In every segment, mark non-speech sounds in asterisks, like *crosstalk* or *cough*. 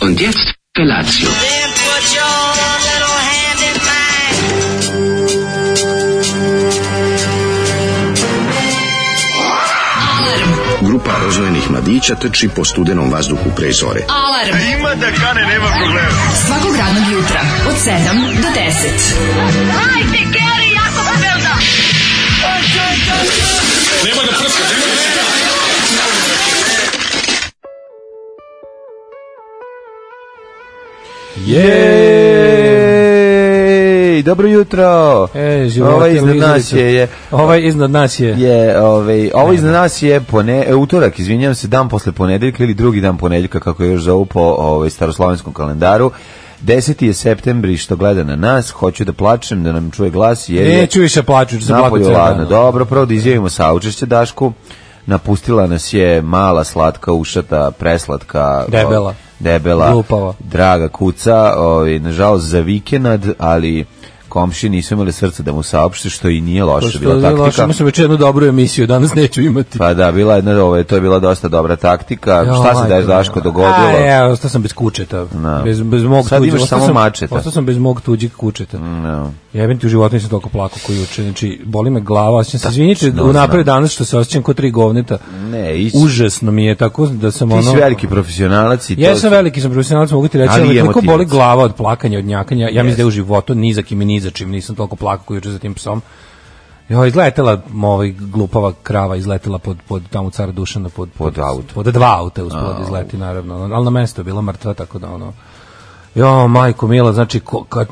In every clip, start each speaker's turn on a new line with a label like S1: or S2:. S1: Und jetzt Felatio.
S2: Then put your little hand in mine.
S3: Grupa rozvojenih mladića trči po studenom vazduhu pre zore.
S4: Alarm. Ima da kane, nema problema. Svakog radnog jutra, od 7 do 10.
S5: Jej! Dobro jutro!
S6: E, živote,
S5: Ovo iznad
S6: Lizalicu.
S5: nas je, je,
S6: Ovaj iznad nas je.
S5: je ovaj, ovo iznad nas je pone, e, utorak, izvinjam se, dan posle ponedeljka ili drugi dan ponedeljka, kako je još zovu po ovaj, staroslovenskom kalendaru. 10. je septembri, što gleda na nas, hoću da plačem, da nam čuje glas, jer je
S6: Neću više plaću, ću E, se
S5: napolju
S6: plaću.
S5: ladno. Dobro, prvo da izjavimo saučešće Dašku. Napustila nas je mala, slatka, ušata, preslatka.
S6: Debela.
S5: o, debela.
S6: Glupava.
S5: Draga kuca, ovaj, nažalost za vikenad, ali komši nisu imali srca da mu saopšte, što i nije loše bila taktika.
S6: Imao sam već jednu dobru emisiju, danas neću imati.
S5: Pa da, bila jedna, ovaj, to je bila dosta dobra taktika.
S6: Jo,
S5: Šta se da je
S6: majko
S5: Daško
S6: moja.
S5: dogodilo?
S6: A, ja, ostao sam bez kučeta.
S5: Da.
S6: Bez, bez mog
S5: Sad
S6: tuđeg-
S5: imaš
S6: ostao
S5: samo
S6: sam-
S5: mačeta. Mm.
S6: Ostao sam bez mog tuđeg kučeta.
S5: No.
S6: Jebem ti u životu nisam toliko plako koji juče. Znači, boli me glava, osjećam se. Izvinite,
S5: znam.
S6: unapred danas što se osjećam ko tri govneta.
S5: Ne, ići.
S6: Užasno mi je tako da sam
S5: Ti
S6: ono...
S5: si veliki profesionalac i Znači, to
S6: Ja
S5: si-
S6: sam veliki sam profesionalac, mogu ti reći,
S5: Ali
S6: ali,
S5: i
S6: toliko
S5: emotivac.
S6: boli glava od plakanja, od njakanja. Ja
S5: Jeste.
S6: mislim da je u životu ni za kim i ni za čim nisam toliko plakao koji juče za tim psom. Jo, izletela ovaj glupava krava izletela pod pod tamo cara Dušana pod
S5: Pod auto.
S6: Pod dva auta je uspela da izleti naravno, ali na mesto je bila mrtva tako da ono. Jo, majko mila, znači ko, kad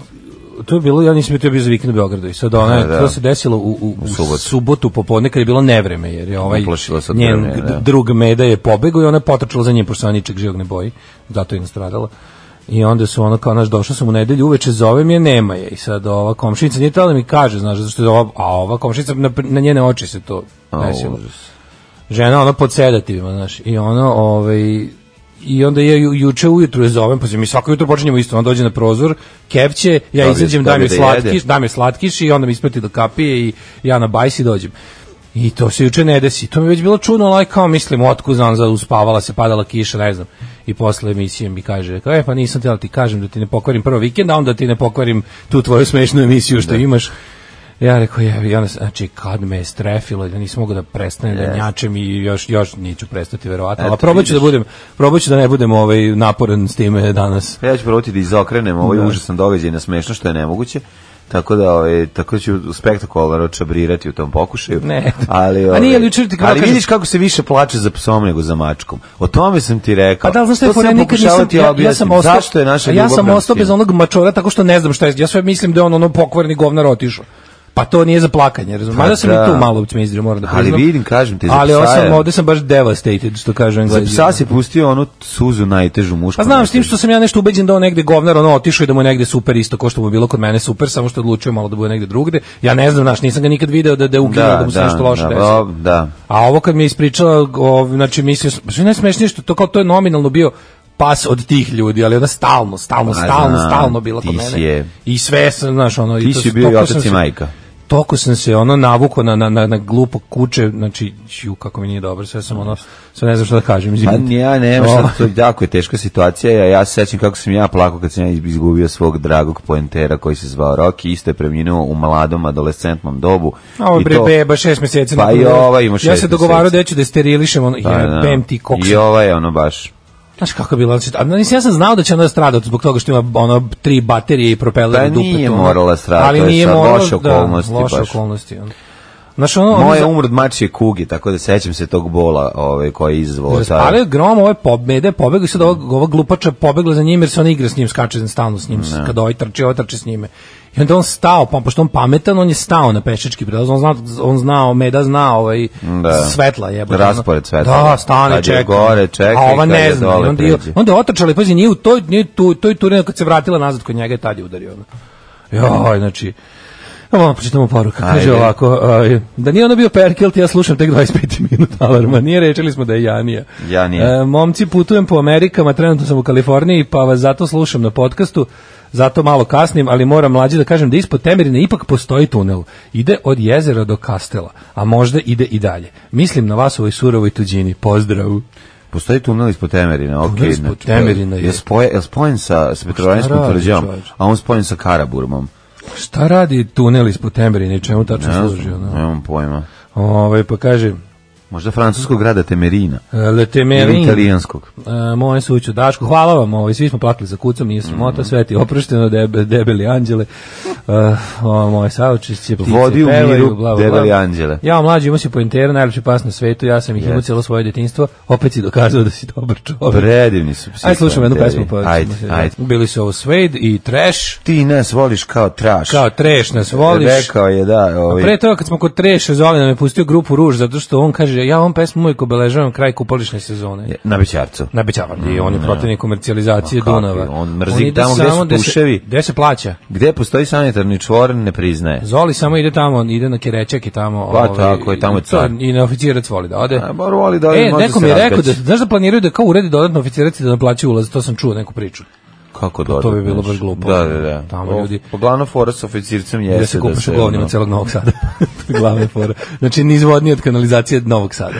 S6: to je bilo, ja nisam bio, to je bio za vikend u Beogradu i sad ona,
S5: Da, da.
S6: to se desilo u, u, u
S5: subotu.
S6: subotu. popodne kad je bilo nevreme, jer je ovaj
S5: Uplašila se od
S6: njen
S5: vremena, da.
S6: d- drug Meda je pobegao i ona je potrčala za njim, pošto ona ničeg živog ne boji, zato je nastradala. I onda su ono kao, znaš, došla sam u nedelju, uveče zovem je, nema je. I sad ova komšinica nije tala da mi kaže, znaš, zato što je ova, a ova komšinica, na, na njene oči se to
S5: A,
S6: desilo
S5: užas.
S6: žena ona pod sedativima, znaš, i ono, ovaj, i onda je ju, juče ujutru je zovem, pa se mi svako jutro počinjemo isto, ona dođe na prozor, kevće, ja
S5: Dobije-
S6: izađem, dam
S5: dobije
S6: je
S5: da
S6: slatkiš,
S5: jede.
S6: dam je slatkiš i onda mi isprati do kapije i ja na bajs i dođem. I to se juče ne desi. To mi je već bilo čudno, ali kao mislim, otkud znam, za uspavala se, padala kiša, ne znam. I posle emisije mi kaže, kao, e, pa nisam htjela ti kažem da ti ne pokvarim prvo vikend, a onda ti ne pokvarim tu tvoju smešnu emisiju
S5: Da.
S6: što imaš. Ja rekao, je, i onda, sam- znači, kad me je strefilo, da nisam mogao da prestanem da njačem i još, još neću prestati, verovatno.
S5: Eto,
S6: Ali probat ću da
S5: vidiš.
S6: budem, probat ću da ne budem ovaj, naporan s time danas.
S5: Pa ja ću probati da izokrenem ovaj
S6: Da.
S5: užasan događaj na smešno što je nemoguće. Tako da ovaj tako ću spektakularno čabrirati u tom pokušaju.
S6: Ne.
S5: Ali
S6: A nije, ali jučer ti
S5: ti
S6: kako
S5: Ali
S6: kažem-
S5: vidiš kako se više plače za psom nego za mačkom. O tome sam ti rekao.
S6: Pa da, ali znaš šta je
S5: To sam
S6: fora, nikad
S5: pokušavao
S6: nisam,
S5: ti
S6: ja, ja
S5: objasniti.
S6: sam ostao,
S5: Zašto je naša
S6: a ja sam
S5: ljubav
S6: ostao bez
S5: prema
S6: onog mačora tako što ne znam šta je, ja sve mislim da je on ono pokvarni govnar otišao. Pa to nije za plakanje, razumiješ?
S5: Pa
S6: Mada sam
S5: da.
S6: i tu malo optimizirao, moram da
S5: Ali
S6: priznam.
S5: vidim, kažem ti, za
S6: Ali
S5: psa
S6: ovo sam,
S5: je-
S6: ovde sam baš devastated, što kažu
S5: psom. Za
S6: Englezi.
S5: psa si pustio onu suzu najtežu mušku.
S6: Pa znam, s tim što sam ja nešto ubeđen da on negde govnar, ono otišao i da mu je negde super isto, ko što mu je bilo kod mene super, samo što je odlučio malo da bude negde drugde. Ja ne znam, znaš, nisam ga nikad video da, da je ukinuo, da, mu se nešto loše
S5: da,
S6: desilo.
S5: o, Da,
S6: A ovo kad mi je ispričala, ov, znači mislio sam, što je najsmešnije što to kao to je nominalno bio pas od tih ljudi, ali ona stalno, stalno,
S5: A,
S6: stalno,
S5: znam,
S6: stalno bila kod
S5: ti si
S6: mene.
S5: je.
S6: I sve sam, znaš, ono...
S5: Ti
S6: to-
S5: si bio i
S6: toliko
S5: otac
S6: sam
S5: i
S6: se-
S5: majka.
S6: Toliko sam se ono navuko na, na, na, na glupo kuće, znači, ju, kako mi nije dobro, sve sam ono, sve ne znam šta da kažem,
S5: Pa
S6: izvinite.
S5: ni ja nemam
S6: O.
S5: šta, to je jako je teška situacija. Ja, ja se sećam kako sam ja plakao kad sam ja izgubio svog dragog poentera koji se zvao Roki, isto je preminuo u mladom adolescentnom dobu.
S6: A *laughs* Ovo je
S5: I
S6: bre
S5: to-
S6: beba šest mjeseci.
S5: Pa
S6: nakon-
S5: i ova ima
S6: Ja
S5: šest
S6: se dogovarao
S5: mjeseci.
S6: da ću da je sterilišem, ono,
S5: Pa, da.
S6: jebem ti koksa.
S5: I ova je ono baš.
S6: Znaš kako je bilo, znači, a nisi, ja sam znao da će ona stradati zbog toga što ima ono tri baterije i propeler
S5: Pa
S6: u dupe.
S5: nije
S6: to, ono.
S5: morala stradati, to je sad
S6: morala,
S5: loše okolnosti
S6: Da, loše
S5: baš.
S6: okolnosti. Ono. Znaš, ono, ono
S5: Moja je
S6: za-
S5: umr od mačije kuge, tako da sećam se tog bola ovaj, koji je izvao.
S6: Raspalio je grom, ovo je pobede, pobegao i sad ova, ova glupača pobegla za njim jer se ona igra s njim, skače stalno s njim, kad ovaj trči, ovaj trči s njime. I onda on stao, pa pošto on pametan, on je stao na pešački prelaz, on znao, on znao, Meda zna ovaj
S5: Da.
S6: svetla jebote.
S5: Raspored svetla.
S6: Da, stane,
S5: Kad je
S6: čeka.
S5: gore, čeka
S6: A
S5: i
S6: ova
S5: kad je
S6: ne zna.
S5: dole,
S6: I onda, je-
S5: pređe.
S6: onda je otrčala, pazi, nije u toj, nije tu, toj turinu kad se vratila nazad kod njega je tad je udario. ono. Joj, znači, Evo vam pročitamo poruka. Kaže
S5: Ajde.
S6: ovako, aj, da nije ono bio Perkelt, ja slušam tek *laughs* 25 minuta alarma. Nije rečili smo da je Janija.
S5: Janija.
S6: E, momci, putujem po Amerikama, trenutno sam u Kaliforniji, pa vas zato slušam na podcastu. Zato malo kasnim, ali moram mlađi da kažem da ispod Temerine ipak postoji tunel. Ide od jezera do kastela, a možda ide i dalje. Mislim na vas u ovoj surovoj tuđini. Pozdrav.
S5: Postoji tunel ispod Temerina, ok.
S6: Tunel ispod
S5: znači,
S6: Temerina je.
S5: je. spoje- Je spojen sa, sa Petrovanjskom
S6: radi,
S5: tvrđavom,
S6: čoveče?
S5: a on spojen sa Karaburmom.
S6: Šta radi tunel ispod Temerina i čemu tačno služi? ono?
S5: Nemam pojma.
S6: Ovaj, pa kaže, "E,
S5: Možda francuskog grada Temerina.
S6: Le
S5: Ili
S6: Temerin,
S5: italijanskog.
S6: e, moje suću Daško, hvala vam, ovaj, svi smo platili za kucom, nije
S5: Mhm.
S6: smota, sve ti je oprošteno, debe, debeli anđele, e, o, moje saučišće, ptice
S5: Vodi u
S6: pevaju,
S5: miru,
S6: bla, bla,
S5: debeli
S6: bla.
S5: anđele.
S6: Ja, mlađi, imao si poentera, najljepši pas na svetu, ja sam ih imao
S5: Jeste.
S6: cijelo svoje detinstvo, opet si dokazao da si dobar čovjek.
S5: Predivni Pa su psi.
S6: Ajde, slušamo jednu
S5: kvarteri.
S6: pesmu. Pa,
S5: Ajde, ajde.
S6: Bili su ovo Suede i Trash,
S5: Ti nas voliš kao traš.
S6: kao Trash nas voliš.
S5: Rekao je, da. Ovaj,
S6: Pre toga kad smo kod Treša Zoli nam je pustio grupu Ruž zato što on kaže ja ovom pesmu uvijek obeležavam kraj kupolišne sezone.
S5: je, na Bećarcu.
S6: Na Bećavan, i on je protivnik komercijalizacije
S5: Mm, Ma kako
S6: Dunava.
S5: je, on mrzi
S6: ide
S5: tamo gde
S6: samo
S5: su
S6: se-
S5: puševi.
S6: Gde se plaća?
S5: Gde postoji sanitarni čvor, ne priznaje.
S6: Zoli samo ide tamo, on ide na Kerečak i tamo.
S5: Pa tako je, tamo je
S6: i to-
S5: car.
S6: I na oficirac voli da ode.
S5: A, bar voli da ode,
S6: e,
S5: može
S6: neko
S5: se
S6: mi je rekao da,
S5: razbeći.
S6: znaš da planiraju da kao uredi dodatno oficirac i da naplaćaju ulaz, to sam čuo neku priču.
S5: Kako dobro.
S6: to bi bilo
S5: znaš.
S6: baš glupo.
S5: Da, da, da.
S6: Tamo
S5: O,
S6: ljudi-
S5: Pa glavno fora sa oficircem jeste
S6: da se kupaš u
S5: ono-
S6: govnima celog Novog Sada. *laughs* To je Glavna fora. Znači, nizvodni od kanalizacije Novog Sada.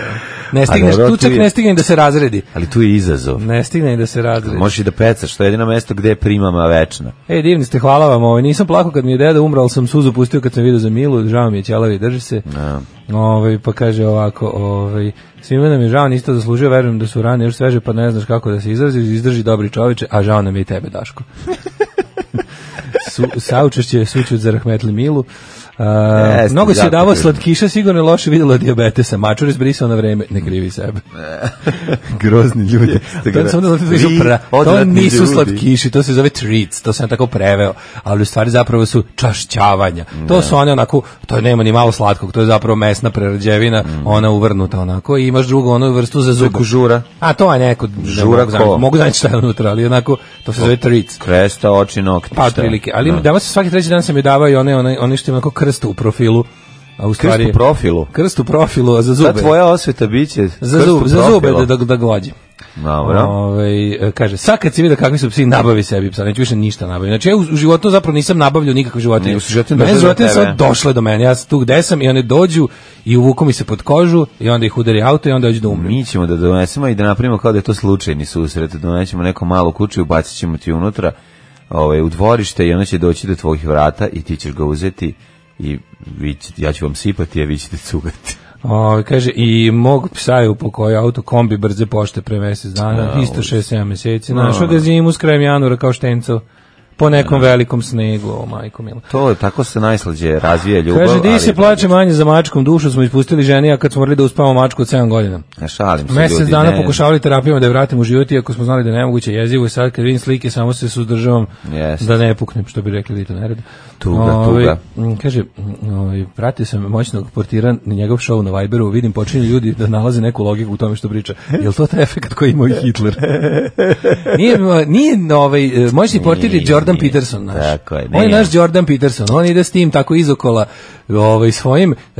S6: Ne stigneš,
S5: dobro,
S6: tu
S5: tu
S6: čak
S5: je-
S6: ne stigne ni da se razredi.
S5: Ali tu je izazov.
S6: Ne stigne ni da se razredi.
S5: Možeš i da pecaš, to je jedino mesto gde je primama
S6: *laughs*
S5: večna.
S6: Ej, E, divni ste, hvala vam. Ovaj, nisam plakao kad mi je deda umrao, ali sam suzu pustio kad sam vidio za Milu. Žao mi je ćelavi, drži se.
S5: Da.
S6: Ovaj, pa kaže ovako, ovaj, svima nam je žao, nisi to zaslužio, verujem da su rane još sveže, pa ne znaš kako da se izrazi, izdrži dobri čoveče, a žao nam je i tebe,
S5: *laughs*
S6: Daško. Su, saučešće, sućut za rahmetli Milu. A,
S5: Jeste,
S6: mnogo se
S5: jako
S6: davao
S5: tužno.
S6: slatkiša, sigurno je loše videlo dijabetesa. Mačur izbrisao na vreme, ne krivi sebe.
S5: Grozni *laughs* ljudi.
S6: da To, sam onda zato što
S5: da. Vi,
S6: nisu pra, to
S5: odvratni
S6: nisu
S5: ljudi.
S6: slatkiši, to se zove treats, to sam ja tako preveo, ali u stvari zapravo su čašćavanja.
S5: Da.
S6: To su one onako, to nema ni malo slatkog, to je zapravo mesna prerađevina,
S5: Mm.
S6: ona uvrnuta onako i imaš drugu onu vrstu za zub.
S5: Žura,
S6: A to je neko, ne
S5: Žura
S6: mogu,
S5: ko?
S6: znam, mogu znači šta je unutra, ali onako, to se zove treats.
S5: kresta, oči, nokti.
S6: Pa
S5: šta? Da.
S6: otprilike, ali ima, danas svaki treći dan sam je davao i one, one, one što ima onako krst u profilu, a u
S5: Krst
S6: stvari...
S5: u profilu.
S6: Krst u profilu, a za
S5: Ta
S6: zube.
S5: tvoja osveta biće
S6: za,
S5: krst u
S6: zub, za zube da,
S5: profilu.
S6: da, da glođe.
S5: Dobro.
S6: Ovaj, e, kaže, sad kad si vidio kakvi su psi, nabavi sebi psa, neću više ništa nabaviti. Znači, ja u, u životu zapravo nisam nabavljao nikakve životinje.
S5: Nego su životinje
S6: Mene
S5: došle do
S6: životinje
S5: tebe.
S6: sad došle do mene, ja sam tu gde sam i one dođu i uvuku mi se pod kožu i onda ih udari auto i onda dođu da umrem.
S5: Mi ćemo da donesemo i da napravimo kao da je to slučajni susret. Donećemo neku malu kuću i ubacit ćemo ti unutra ovaj, u dvorište i ona će doći do tvojih vrata i ti ćeš ga uzeti i vi će, ja ću vam sipati, a vi ćete cugati.
S6: O, Ovaj, kaže, i mog psa je upokojio auto kombi brze pošte pre mesec dana, isto 6-7 meseci. Našao ga zimu s krajem januara kao štencel po
S5: Da.
S6: nekom velikom snegu, o majko milo.
S5: *laughs* To je tako se najslađe razvija ljubav.
S6: Kaže, di
S5: ali- da
S6: se plače manje za mačkom, dušu smo ispustili ženi, a kad smo morali da uspavamo mačku od 7 godina.
S5: Ne, šalim se
S6: Mesec
S5: ljudi,
S6: dana
S5: ne.
S6: pokušavali terapijama da je vratim u život, iako smo znali da je nemoguće jezivo i sad kad vidim slike samo se suzdržavam
S5: Jeste.
S6: da ne puknem, što bi rekli Dito Nered. Ovaj,
S5: Tuga, tuga.
S6: m, Kaže, m, ovaj, pratio sam moćnog portira na njegov show na Viberu, vidim počinju ljudi da nalaze neku logiku u tome što priča. Je li to taj efekt koji je imao i
S5: *laughs*
S6: Hitler? nije, m, nije ovaj, e, moćni portir je
S5: Nije,
S6: Jordan
S5: nije.
S6: Peterson naš.
S5: Tako je,
S6: On je
S5: nije.
S6: naš Jordan Peterson, on ide s tim tako izokola ovaj, svojim, em,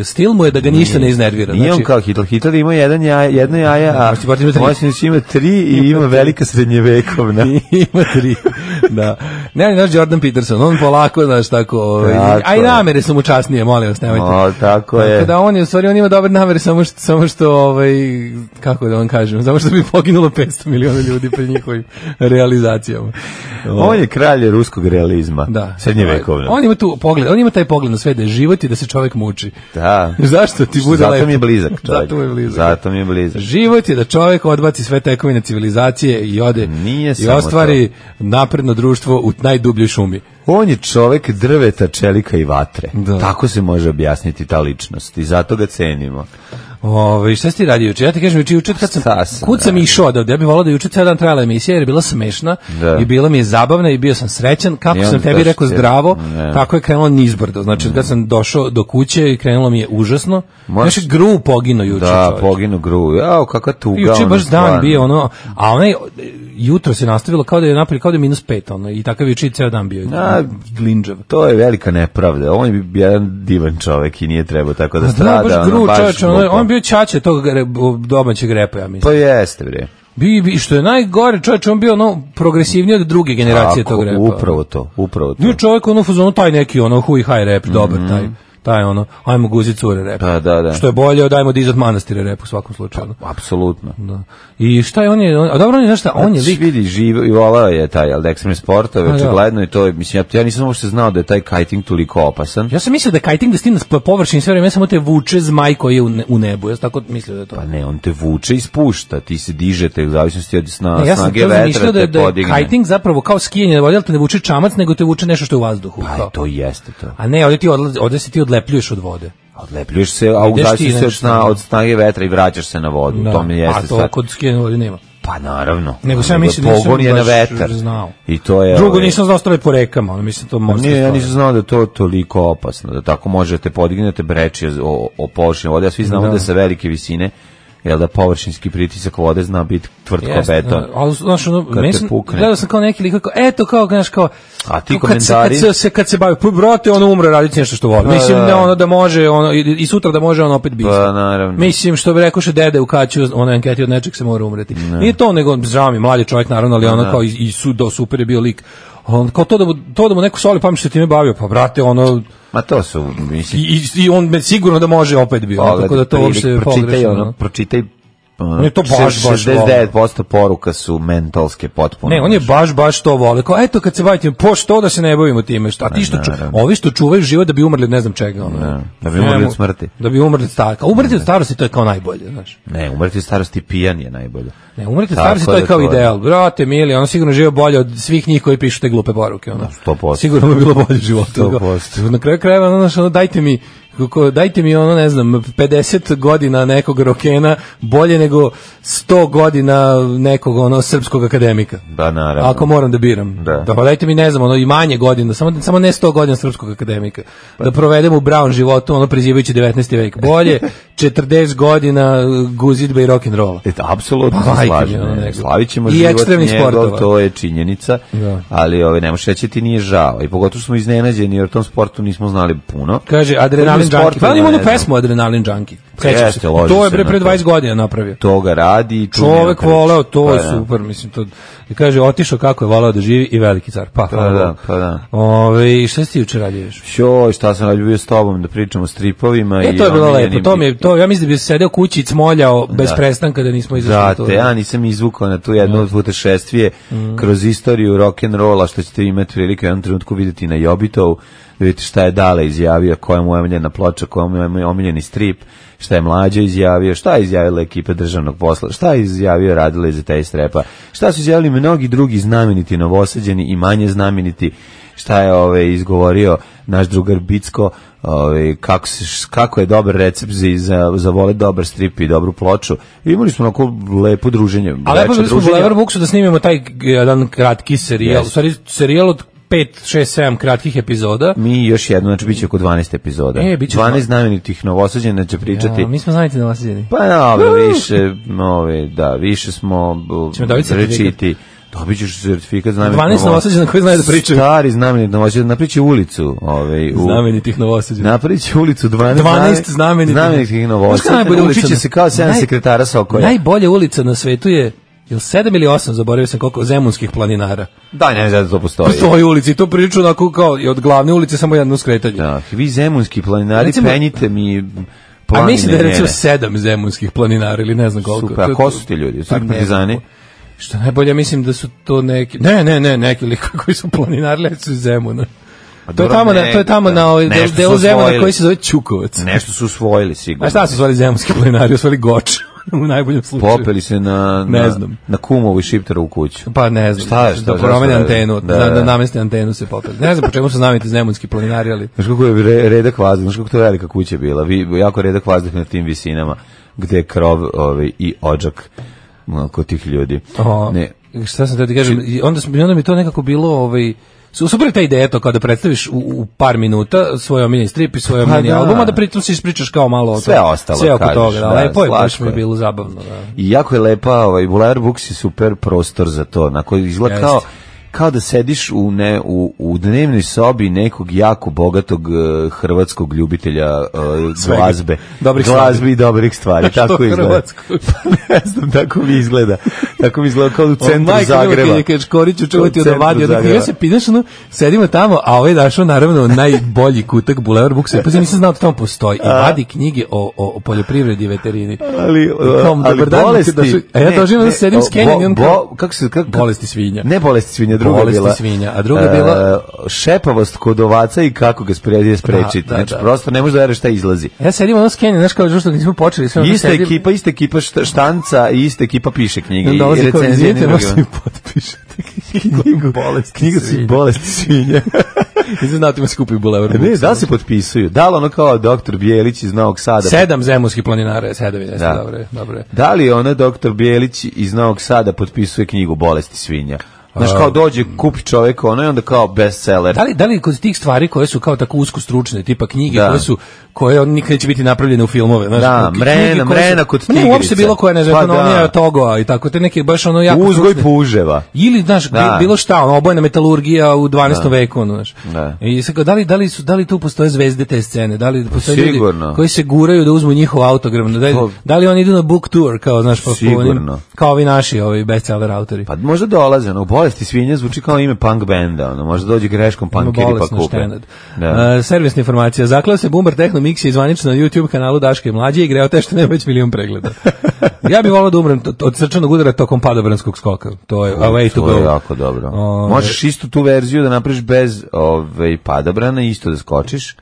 S6: e, stil mu je da ga ništa ne iznervira. znači,
S5: Nije on kao Hitler. Hitler ima jedan jaja, jedno jaja, a
S6: Moćni Portir ima tri.
S5: Moćnić ima tri i ima velika srednjevekovna.
S6: ima tri. Da. Ne, ali naš Jordan Peterson, on polako, znaš, tako, ovaj,
S5: Tako
S6: a i
S5: je.
S6: namere su mu časnije, molim vas, nemojte.
S5: O, tako
S6: Tako
S5: je.
S6: da on je, u stvari, on ima dobre namere, samo što, samo što ovaj, kako da vam kažem, samo što bi poginulo 500 miliona ljudi pri njihovim realizacijama.
S5: On je kralj ruskog realizma.
S6: Da.
S5: Srednjevekovna.
S6: On ima tu pogled, on ima taj pogled na sve da je život i da se čovjek muči.
S5: Da.
S6: Zašto ti bude
S5: Zato
S6: lepo?
S5: mi je blizak čovjek.
S6: Zato mu je blizak.
S5: Zato mi je blizak.
S6: Život je da čovjek odbaci sve tekovine civilizacije i ode
S5: Nije
S6: i
S5: samo
S6: ostvari napredno društvo u najdubljoj šumi.
S5: On je čovek drveta, čelika i vatre.
S6: Da.
S5: Tako se može objasniti ta ličnost i zato ga cenimo.
S6: Ove, šta si ti radio juče? Ja ti kažem, juče, juče kad sam,
S5: Šta sam
S6: kud sam išao odavde, ja bih volao da je juče cijel dan trajala emisija jer je bila smešna
S5: Da.
S6: i bila mi je zabavna i bio sam srećan. Kako
S5: I
S6: sam
S5: onda
S6: tebi
S5: došli
S6: rekao
S5: ti-
S6: zdravo,
S5: Ne.
S6: tako je krenulo nizbrdo. Znači, kad sam došao do kuće i krenulo mi je užasno.
S5: Moraš-
S6: Znači, gru pogino juče.
S5: Da,
S6: čoveče.
S5: poginu gruju. Jao, kakva tuga.
S6: Juče
S5: ono,
S6: baš dan
S5: stvarno.
S6: bio ono, a onaj e, jutro se nastavilo kao da je napolje, kao da je minus pet, ono, i takav je juče i ceo dan bio.
S5: A, Glinđev. To je velika nepravda. On je jedan divan čovek i nije trebao tako da
S6: Da,
S5: strada.
S6: baš gru,
S5: ono, baš
S6: čoveče, ono,
S5: bukvalno.
S6: on je bio ćaće tog re- domaćeg repa, ja mislim.
S5: Pa jeste, bre.
S6: Bi, bi, što je najgore, čovječ, on bio ono progresivniji od druge generacije
S5: Tako,
S6: tog repa.
S5: Upravo to, upravo to.
S6: Bio čovjek ono u fazonu taj neki ono hui haj rap, dobar taj. taj ono, ajmo guzi cure rep.
S5: Pa, Mhm. da, da.
S6: Što je bolje od ajmo diz od manastira rep u svakom slučaju. ono.
S5: Apsolutno.
S6: Da. I šta je on je, on- a dobro on je, znaš šta, on je
S5: Znači,
S6: lik,
S5: vidi, živo i volao je taj al ekstremne sportove,
S6: da.
S5: očigledno i to je, mislim ja, ja nisam uopšte znao da je taj kiting toliko opasan.
S6: Ja sam mislio da je kiting da stigne s po- površini sve vreme, ja samo te vuče zmaj koji je u, ne- u nebu, ja sam tako mislio da je to.
S5: Pa ne, on te vuče i spušta, ti se dižete u zavisnosti od sna,
S6: Ne, ja sam
S5: snage
S6: to
S5: vetra
S6: zamišljao da, je-
S5: te
S6: da je
S5: podigne.
S6: kiting zapravo kao skijanje na vodi, ali te ne vuče čamac, nego te vuče nešto što je u vazduhu.
S5: Pa
S6: kao.
S5: to jeste to.
S6: A ne, ovdje, ti odlazi, ovdje se ti odlepljuješ od vode.
S5: Odlepljuješ se, a u
S6: Ideš ti
S5: zavisnosti se od,
S6: nešto,
S5: sna,
S6: da.
S5: od snage vetra i vraćaš se na vodu.
S6: Da.
S5: to mi
S6: a
S5: jeste
S6: to
S5: stvar.
S6: kod skijanja na vodi nema.
S5: Pa naravno.
S6: Nego sam ja mislio da nisam
S5: Pogon je na
S6: baš
S5: vetar.
S6: znao.
S5: I to je...
S6: Drugo,
S5: ovaj, Pa
S6: nisam znao stvari po rekama, ono, mislim, to morska
S5: Nije, ja
S6: stvar.
S5: nisam znao da je to toliko opasno, da tako možete podignete breči o, o površini vode, a svi znamo da,
S6: Da.
S5: sa velike visine, jel da površinski pritisak vode zna biti tvrd kao
S6: Jeste,
S5: beton.
S6: da, Ali, znaš, ono,
S5: te
S6: meni sam-
S5: pukne.
S6: gledao sam kao neki lik, kao, eto, kao, znaš, kao,
S5: A ti
S6: kao kad se- Kad
S5: komentari?
S6: se, kad se, kad se bavi, pa, brate, ono umre raditi nešto što voli.
S5: Pa,
S6: Mislim,
S5: da.
S6: da ono da može, ono, i, i sutra da može, ono opet biti.
S5: Pa, naravno.
S6: Mislim, što bi rekoše dede u kaću, ono, anketi od nečeg se mora umreti. Nije to, nego, žao mi, mladi čovjek, naravno, ali
S5: Pa da.
S6: ono, kao, i, i su, do super je bio lik. On, kao to da mu, to da mu neko soli pamet što se time bavio, pa, brate, ono,
S5: Ma to su, mislim,
S6: i, i, i on me sigurno da može opet bio. ono, tako da to
S5: prilik,
S6: uopšte
S5: pročitaj,
S6: pogrešno.
S5: ono,
S6: ono.
S5: pročitaj ono,
S6: On je to baš, baš
S5: 69% poruka su mentalske potpuno. Znači,
S6: Ne, on je baš baš to voli. Kao eto kad se bavite, po što da se ne bavimo time, šta ti što ču, ovi što čuvaju život da bi umrli od ne znam čega, ono.
S5: Ne, da bi umrli
S6: Nemo-
S5: od smrti.
S6: Da bi umrli od starosti. A Umrti od starosti to je kao najbolje, znaš.
S5: Ne, umreti u starosti pijan je najbolje.
S6: Ne, umrti od
S5: Tako
S6: starosti to je
S5: da
S6: kao ideal. Brate, mili, on sigurno žive bolje od svih njih koji pišu te glupe poruke, ono.
S5: 100%.
S6: Sigurno bi bilo bolje život.
S5: 100%.
S6: Na kraju krajeva, ono, znaš, ono, dajte mi kako- dajte mi ono, ne znam, 50 godina nekog rokena bolje nego 100 godina nekog ono srpskog akademika.
S5: Da, naravno.
S6: Ako moram da biram.
S5: Da.
S6: Da. Pa dajte mi, ne znam, ono, i manje godina, samo, samo ne 100 godina srpskog akademika.
S5: Pa
S6: Da provedem u brown životu, ono, prizivajući 19. vek.
S5: *laughs*
S6: Bolje 40 godina guzidbe i rock'n'rolla.
S5: E, apsolutno
S6: Pa,
S5: se
S6: majke
S5: slažem.
S6: mi, ono,
S5: ne,
S6: nego.
S5: Slavit ćemo
S6: I
S5: život
S6: ekstremnih
S5: njegov,
S6: sportova.
S5: to je činjenica,
S6: Da.
S5: ali ove, ne možeš reći da ti nije žao. I pogotovo smo iznenađeni jer o tom sportu nismo znali puno.
S6: Kaže, Adrenalin
S5: Kojim
S6: Junkie. Pa
S5: sportovima,
S6: ima onu
S5: ne znam.
S6: pesmu Adrenalin Junkie. Sećam
S5: Pa Jeste,
S6: se.
S5: loži
S6: To je
S5: se
S6: bre
S5: na
S6: pre
S5: to.
S6: 20 godina napravio.
S5: To ga radi. i čujem
S6: Čovek
S5: ja priču.
S6: voleo, to
S5: Pa
S6: je
S5: da.
S6: super, mislim to. I kaže otišao kako je voleo da živi i veliki car. Pa, hvala
S5: da,
S6: Bogu.
S5: pa da.
S6: Ove, i šta si ti juče radio još?
S5: Šoj, šta sam radio bio s tobom da pričamo o stripovima.
S6: E,
S5: i
S6: to je bilo
S5: omiljenim
S6: lepo. To mi je, to, ja mislim da bi se sedeo kući i cmoljao bez
S5: Da.
S6: prestanka da nismo izašli na
S5: Da,
S6: to.
S5: te ja nisam izvukao na tu jedno putešestvije kroz istoriju rock and rolla što ćete imati prilike u jednom trenutku vidjeti na Jobitovu, da vidite šta je Dale izjavio, koja mu je omiljena ploča, koja mu je omiljeni strip, šta je mlađe izjavio, šta je izjavila ekipa državnog posla, šta je izjavio radila iz tej strepa, šta su izjavili mnogi drugi znameniti novosađeni i manje znameniti, šta je ove, izgovorio naš drugar Bicko, ovaj, kako, se, kako je dobar recept za, za, za vole dobar strip i dobru ploču. I imali smo onako lepo druženje.
S6: A lepo
S5: večer
S6: bili smo u
S5: druženja.
S6: Lever Booksu da snimimo taj g- jedan kratki serijal.
S5: Yes.
S6: U stvari, serijal od 5, 6, 7 kratkih epizoda.
S5: Mi još jedno, znači biće oko 12 epizoda.
S6: E, biće
S5: 12
S6: dva-
S5: znamenitih novosađena će pričati.
S6: Ja, mi smo znati na vas jedini.
S5: Pa dobro, više, ove, da, više smo b-
S6: Ćemo dobiti certifikat.
S5: rečiti. Dobit ćeš certifikat znamenitih
S6: 12 novosađena koji znaju da pričaju.
S5: Stari znamenit novosađena, napriči ulicu. Ove, u,
S6: Znamenitih novosadđena.
S5: Napravići ulicu 12,
S6: 12 znamenitih. Znaš
S5: znamenitih
S6: šta je
S5: novosadđena.
S6: najbolja
S5: Učit će
S6: ulica?
S5: se kao 7
S6: Naj-
S5: sekretara Sokoja.
S6: Najbolja ulica na svetu je ili sedam ili osam, zaboravio sam koliko, zemunskih planinara.
S5: Da, ne znam da to postoji.
S6: Po svojoj ulici, to priču onako kao i od glavne ulice samo jedno skretanje.
S5: Da, vi zemunski planinari,
S6: Recimo-
S5: penjite mi
S6: A
S5: planine
S6: mislim da je recimo
S5: njene.
S6: sedam zemunskih planinara ili ne znam koliko.
S5: Super, a
S6: To-
S5: ko su ti ljudi? Su
S6: Pa
S5: ti
S6: ne znam
S5: partizani?
S6: Što je najbolje, mislim da su to neki... Ne, ne, ne, neki likovi *laughs* koji su planinarili, ali su iz Zemuna.
S5: Pa
S6: To je
S5: dobro,
S6: tamo, na,
S5: ne,
S6: to je tamo na ovaj
S5: nešto
S6: del,
S5: su
S6: delu Zemuna
S5: osvojili.
S6: koji se zove Čukovac.
S5: Nešto su usvojili
S6: A
S5: sigurno.
S6: šta su zvali zemunski planinari? Osvali goč, *laughs* u najboljem slučaju.
S5: Popeli se na,
S6: Ne
S5: na,
S6: znam.
S5: na kumovu i šipteru u kuću.
S6: Pa ne znam,
S5: Šta je, šta,
S6: da
S5: zašto
S6: promene
S5: radi?
S6: antenu,
S5: Da,
S6: da, da,
S5: da.
S6: nameste antenu se popeli. Ne znam po čemu su znamiti zemunski planinari, ali...
S5: Znaš kako je re- redak vazduh, znaš kako to je velika kuća bila, vi, jako redak vazduh na tim visinama, gde je krov ovaj, i ođak no, kod tih ljudi.
S6: O,
S5: Ne,
S6: Šta sam teo ti kažem, i onda, smo- i onda mi to nekako bilo... Ovaj, su- Super je ta ideja to kao da predstaviš u, u par minuta svoj omiljeni strip i svoj
S5: Pa
S6: omiljeni
S5: da.
S6: album, a da pritom se ispričaš kao malo o
S5: Sve
S6: tome.
S5: ostalo
S6: Sve oko
S5: kažeš,
S6: toga, da,
S5: da,
S6: lepo je, baš
S5: slatko
S6: mi je
S5: je.
S6: bilo zabavno. Da.
S5: I jako je lepa, ovaj Bular Books je super prostor za to, na koji izgleda
S6: Jeste.
S5: kao kao da sediš u, ne, u, u dnevnoj sobi nekog jako bogatog eh, hrvatskog ljubitelja eh,
S6: Svega.
S5: glazbe.
S6: Dobrih
S5: glazbe
S6: stvari.
S5: i dobrih stvari.
S6: *laughs* Što
S5: tako izgleda.
S6: hrvatskog?
S5: *laughs* ne znam, tako mi izgleda. Tako mi izgleda kao u centru
S6: Majka mila,
S5: Zagreba.
S6: Kad je kažeš Koriću čuvati
S5: U
S6: od
S5: centru
S6: vadi, odakle
S5: Zagreba.
S6: ja se pitaš, ono, sedimo tamo, a ovaj je našao naravno najbolji kutak Bulevar Buksa, pa ja nisam znao da tamo postoji. I vadi knjige o, o, o poljoprivredi i veterini.
S5: ali,
S6: Tom,
S5: ali
S6: dobar dan,
S5: bolesti...
S6: da su- e, ja
S5: ne,
S6: doživim da
S5: ne,
S6: sedim s
S5: o,
S6: Kenjem i on
S5: bo-
S6: kao-
S5: bo- kako se, kako,
S6: Bolesti svinja.
S5: Ne bolesti svinja, druga
S6: Bolesti
S5: bila.
S6: svinja, a druga bila-
S5: e, šepavost kod ovaca i kako ga spredi sprečiti.
S6: Da, da,
S5: znači,
S6: da.
S5: prosto ne možeš da veruješ šta izlazi.
S6: Ja sedim ono skenje, znaš kao što nismo počeli. Sve ono
S5: Ista
S6: sedim-
S5: ekipa, ista ekipa šta- štanca i ista ekipa piše knjige
S6: I onda
S5: i
S6: dolazi kao,
S5: recenzije.
S6: izvinite,
S5: jedni
S6: možete mi
S5: *laughs* drugima.
S6: *laughs* potpišete knjigu.
S5: Bolesti
S6: Knjiga
S5: svinja.
S6: si bolesti svinja. Nisam znao da ima skupi Bulevar Buksa.
S5: Ne, da li se potpisuju? Da li ono kao doktor Bijelić iz Novog Sada?
S6: Sedam zemunskih planinara, sedam, jeste,
S5: Da.
S6: dobro je, dobro je.
S5: Da li ona doktor Bijelić iz Novog Sada potpisuje knjigu Bolesti svinja? Znaš, kao dođe, kupi čovjek ono i onda kao bestseller.
S6: Da li, da li kod tih stvari koje su kao tako usko stručne, tipa knjige
S5: Da.
S6: koje su koje on nikad neće biti napravljene u filmove, znaš,
S5: Da,
S6: knjige
S5: Mrena,
S6: koje su-
S5: Mrena kod
S6: Ma Ne, uopšte
S5: tigrice.
S6: bilo koja, ne znam,
S5: Pa
S6: ekonomija,
S5: da.
S6: togoa i tako, te neke baš ono jako
S5: Uzgoj
S6: stručne.
S5: puževa.
S6: Ili, znaš,
S5: Da.
S6: bilo šta, ono, obojena metalurgija u 12. veku, ono, znaš.
S5: Da.
S6: I sad kao, da li, da li, su, da li tu postoje zvezde te scene? Da li postoje
S5: Sigurno.
S6: ljudi koji se guraju da uzmu njihov autogram? Da, li-
S5: Pa-
S6: da li oni idu na book tour, kao, znaš, po, po onim-
S5: Sigurno.
S6: kao ovi naši, ovi bestseller autori?
S5: Pa možda dolaze, ono, u Bolesti svinja zvuči kao ime punk benda, ono, možda dođe greškom
S6: Ima
S5: punkiri pa
S6: bolesno
S5: kupe.
S6: štenad.
S5: Da.
S6: E, servisna informacija. Zaklao se Boomer Techno Mix je zvanično na YouTube kanalu Daške i Mlađe i greo te što nema već milion pregleda.
S5: *laughs*
S6: ja bih volao da umrem to- od srčanog udara tokom padobranskog skoka. To je a way to
S5: To je
S6: go.
S5: jako dobro.
S6: Ove-
S5: Možeš istu tu verziju da napraviš bez ove, padobrana, isto da skočiš,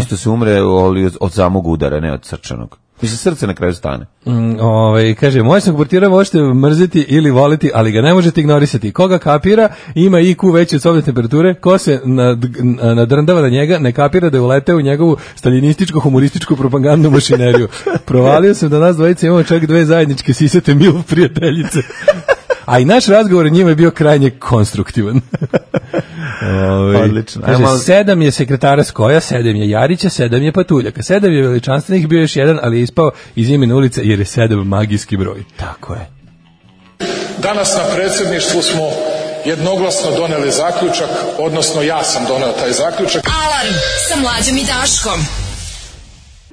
S5: isto se umre ali od, od samog udara, ne od srčanog. Mislim, srce na kraju stane.
S6: Mm, ovaj, kaže, moj sam portira možete mrziti ili voliti, ali ga ne možete ignorisati. Koga kapira, ima IQ veći od sobne temperature, ko se nad, n- nadrndava na njega, ne kapira da je uleteo u njegovu staljinističko-humorističku propagandnu mašineriju. Provalio sam da nas dvojice imamo čak dve zajedničke sisate mil prijateljice. A i naš razgovor o njima je bio krajnje konstruktivan. Ovaj,
S5: Odlično.
S6: Kaže,
S5: Ajmo malo-
S6: sedam je sekretara Skoja, sedam je Jarića, sedam je Patuljaka, sedam je veličanstvenih, bio je još jedan, ali je ispao iz imena ulice jer je sedam magijski broj.
S5: Tako je.
S1: Danas na predsjedništvu smo jednoglasno doneli zaključak, odnosno ja sam doneo taj zaključak.
S4: Alarm sa mlađom i Daškom.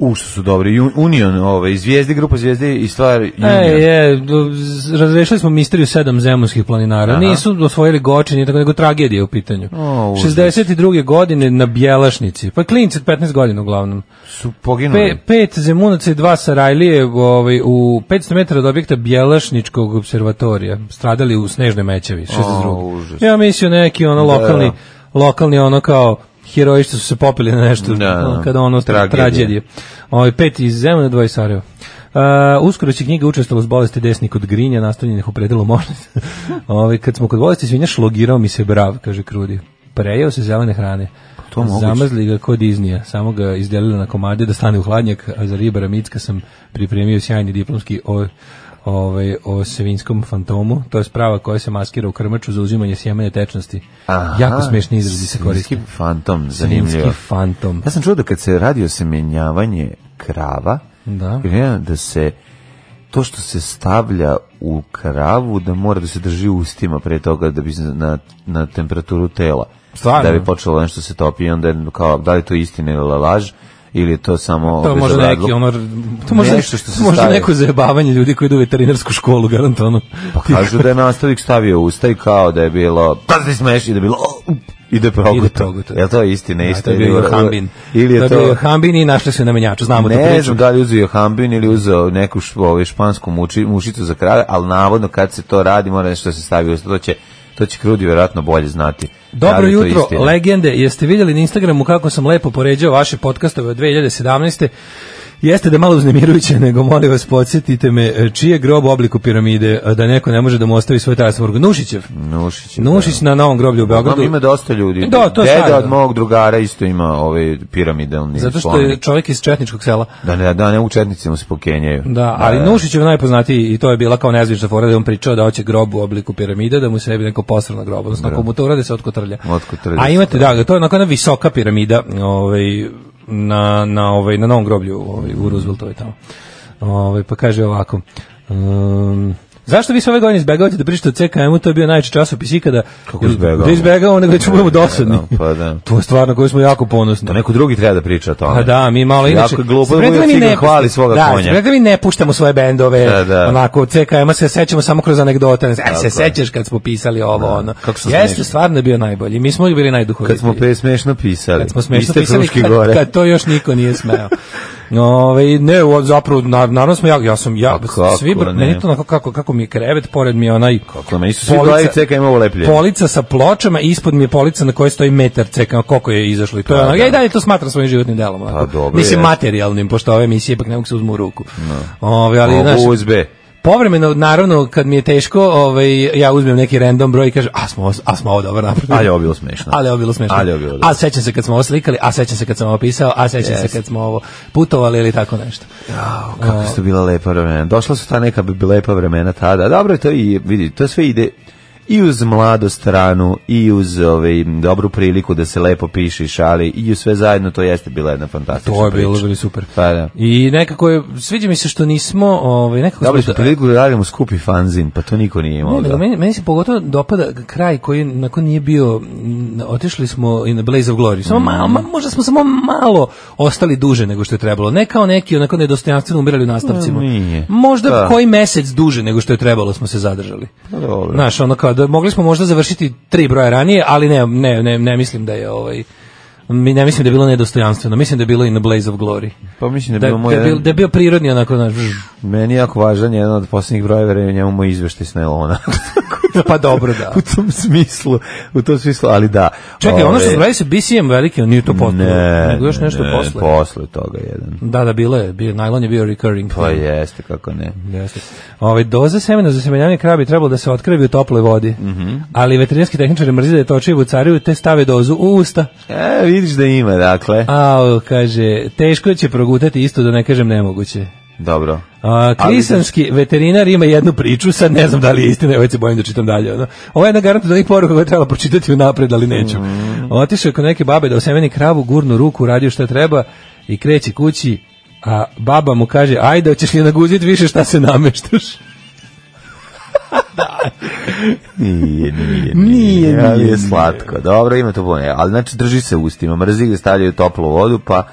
S5: U, što su dobri, Un- Union, ove, zvijezdi, grupa zvijezdi i stvar Union.
S6: E, je, do- z- razrešili smo misteriju sedam zemunskih planinara. Nisu osvojili gočin i tako, nego tragedija je u pitanju.
S5: O, užas.
S6: 62. godine na Bjelašnici. Pa klinic od 15 godina uglavnom.
S5: Su poginuli.
S6: Pe, pet zemunaca i dva sarajlije ovaj, u 500 metara od objekta Bjelašničkog observatorija. Stradali u snežnoj mećevi, 62.
S5: O, užas. Da.
S6: ja mislio neki ono lokalni, lokalni ono kao heroji što su se popili na nešto
S5: Da, da.
S6: ono, kada ono
S5: Tragedije.
S6: tragedije. tragedije. Ovaj, pet iz Zemuna, dva iz Sarajeva. Uh, uskoro će knjiga učestalo s bolesti desni kod grinja, nastavljenih u predelu
S5: *laughs*
S6: možnosti. Ovaj, kad smo kod bolesti svinja, šlogirao mi se brav, kaže Krudi. Prejeo se zelene hrane.
S5: Pa To moguće.
S6: Zamrzli ga kod iznija, samo ga izdelili na komade da stane u hladnjak, a za ribara Micka sam pripremio sjajni diplomski o, ovaj, o sevinskom fantomu, to je sprava koja se maskira u krmaču za uzimanje sjemene tečnosti. jako smešni izrazi se koriste.
S5: Svinjski fantom,
S6: Svinjski
S5: zanimljivo.
S6: fantom.
S5: Ja sam čuo da kad se radi osemenjavanje krava,
S6: Da.
S5: ja, da se to što se stavlja u kravu da mora da se drži u ustima pre toga da bi se na, na temperaturu tela
S6: Stvarno?
S5: da bi počelo nešto se topi i onda je kao da li je to istina ili laž ili je to samo
S6: To može
S5: bezobrazluk?
S6: neki ono, to može,
S5: Nešto što se
S6: to *laughs* može
S5: stavi.
S6: neko zajebavanje ljudi koji idu u veterinarsku školu, garantovano.
S5: pa kažu da je nastavnik stavio u usta i kao da je bilo pa se smeš i da je bilo o, up, i da je progutao
S6: progutao.
S5: je li to istina
S6: Da, to
S5: isto
S6: je bio Hambin.
S5: ili je
S6: bio
S5: to
S6: Hambin i našli su na menjaču, znamo tu
S5: Ne
S6: priču.
S5: znam da li uzeo Hambin ili uzeo neku š- ovaj, špansku muči, mušicu za krave, ali navodno kad se to radi mora nešto da se stavi u usta. To će, to će Krudi vjerojatno bolje znati. Da
S6: Dobro
S5: li je to
S6: jutro,
S5: istina.
S6: legende. Jeste vidjeli na Instagramu kako sam lepo poređao vaše podcastove od 2017. Jeste da je malo uznemirujuće, *laughs* nego molim vas podsjetite me e, čiji je grob u obliku piramide, a da neko ne može da mu ostavi svoj taras morgu. Nušićev.
S5: Nušić. je,
S6: Nušić
S5: da.
S6: na novom groblju u Beogradu.
S5: Uglavnom ima dosta ljudi.
S6: Da, to je
S5: Deda
S6: staro.
S5: od mog drugara isto ima ovaj piramidalni
S6: Zato što je
S5: spomenik.
S6: čovjek iz Četničkog sela.
S5: Da ne, da ne, u četnici mu se pokenjaju.
S6: Da, ali Nušićev najpoznatiji i to je bila kao nezvična fora da je on pričao da hoće grob u obliku piramide, da mu se ne bi neko posrao na grob, odnosno ako mu to urade se otkotrlja.
S5: Otkotrlja
S6: A
S5: se,
S6: imate, da, to je onako jedna visoka piramida ovaj, na, na, ovaj, na novom groblju ovaj, u Rooseveltovoj tamo. Ovaj, pa kaže ovako, um, Zašto vi sve ove godine izbegavate da pričate o CKM-u, to je bio najveći časopis ikada.
S5: Kako
S6: Jer
S5: izbegavamo?
S6: Da izbegavamo, nego da ćemo budemo dosadni.
S5: Da, pa da.
S6: To je stvar na koju smo jako ponosni.
S5: Da neko drugi treba da priča o tome.
S6: Pa da, mi malo inače.
S5: Jako je glupo da
S6: Zbog
S5: Vujo
S6: toga mi
S5: Cigan
S6: ne-
S5: hvali svoga
S6: da,
S5: konja.
S6: zbog toga mi ne puštamo svoje bendove,
S5: Da,
S6: da,
S5: da.
S6: da. onako CKM-a se sećamo samo kroz anegdote. E, se
S5: je.
S6: sećaš kad smo pisali ovo,
S5: Da,
S6: ono.
S5: kako smo smešni.
S6: Jeste, stvarno je bio najbolji. Mi smo uvijek bili najduhovitiji.
S5: Kad smo pe smešno pisali.
S6: Kad smo smešno
S5: Iste
S6: pisali,
S5: Fruške
S6: kad,
S5: gore.
S6: kad to još niko nije smeo. Ove, ne, o, zapravo, na, naravno smo ja, ja sam, ja,
S5: A Pa kako
S6: svi, br-
S5: ne?
S6: meni to onako, kako, kako mi je krevet, pored mi je onaj,
S5: Kako me isu svi
S6: Polica-
S5: glavi CK ima ovo leplje.
S6: polica sa pločama, ispod mi je polica na kojoj stoji metar ceka, koliko je izašlo i to je ono, ja i dalje to smatram svojim životnim delom. onako.
S5: Da, Pa, dobro,
S6: Mislim,
S5: jest.
S6: materijalnim, pošto ove emisije ipak ne mogu se uzmu u ruku. Ove, ali, znaš,
S5: Da. Ovo USB.
S6: povremeno, naravno, kad mi je teško, ovaj, ja uzmem neki random broj i kažem, a smo, os- a smo ovo dobro napravili.
S5: Ali je ovo bilo smešno.
S6: Ali ovo bilo smešno.
S5: Ali ovo bilo dobro.
S6: A sećam se kad smo ovo slikali, a sećam se kad sam ovo pisao, a sećam se kad smo ovo putovali ili tako nešto.
S5: Kako su to bila lepa vremena. Došla su ta neka bi bi lepa vremena tada. Dobro, to i vidi, to sve ide i uz mladu stranu i uz ovaj dobru priliku da se lepo piše i šali i uz sve zajedno to jeste bila jedna fantastična
S6: To je bilo
S5: priča.
S6: bili super.
S5: Pa da.
S6: I nekako je, sviđa mi se što nismo, ovaj, nekako
S5: Dobili
S6: smo-
S5: smo priliku da radimo skupi fanzin, pa to niko nije imao.
S6: Ne, nego
S5: da.
S6: meni, meni se pogotovo dopada kraj koji nakon nije bio, m, otišli smo i na Blaze of Glory. Samo malo, ma- možda smo samo malo ostali duže nego što je trebalo. Ne kao neki onako nedostojanstveno umirali u nastavcima.
S5: Ma, nije.
S6: Možda
S5: Da.
S6: koji mesec duže nego što je trebalo smo se zadržali.
S5: Pa dobro.
S6: Znaš, ono kao da mogli smo možda završiti tri broja ranije, ali ne, ne, ne, ne mislim da je ovaj mi ne mislim da je bilo nedostojanstveno, mislim da je bilo i na Blaze of Glory.
S5: Pa mislim da,
S6: Da,
S5: je bio
S6: da,
S5: moj
S6: je, bil-
S5: jedan,
S6: da je bio prirodni onako, znaš, *laughs* žž.
S5: meni je jako važan jedan od posljednjih brojeva je njemu moj izveštaj s Nelona.
S6: pa *laughs* dobro da.
S5: u tom smislu, u tom smislu, ali da.
S6: Čekaj, ono što
S5: Ove,
S6: smo radili sa BCM veliki, on nije to potpuno,
S5: Ne,
S6: nego još nešto
S5: ne,
S6: posle.
S5: Posle toga jedan.
S6: Da, da, bilo je, bio, najlon je bio recurring.
S5: Pa jeste, kako ne.
S6: Jeste. Ove, doze semena za semenjanje kraja bi trebalo da se otkrevi u toploj vodi,
S5: Mhm.
S6: ali veterinarski tehničari mrzi da je točije vucariju, te stave dozu u usta.
S5: E, vidiš da ima, dakle.
S6: A, kaže, teško će progutati isto, da ne kažem nemoguće.
S5: Dobro.
S6: A, klisanski veterinar ima jednu priču, sad ne znam da li je istina, ovaj se bojim da čitam dalje. Ono. Ovo je jedna garanta da onih poruka koje treba pročitati unapred, ali neću. Otišao je kod neke babe da osemeni kravu, gurnu ruku, radio šta treba i kreće kući, a baba mu kaže, ajde, hoćeš li naguziti više šta se nameštaš?
S5: Nije, nije, nije.
S6: Nije,
S5: ali
S6: nije,
S5: je slatko. Dobro, ima to bolje. Ali znači drži se ustima, mrzi ga stavljaju toplu vodu, pa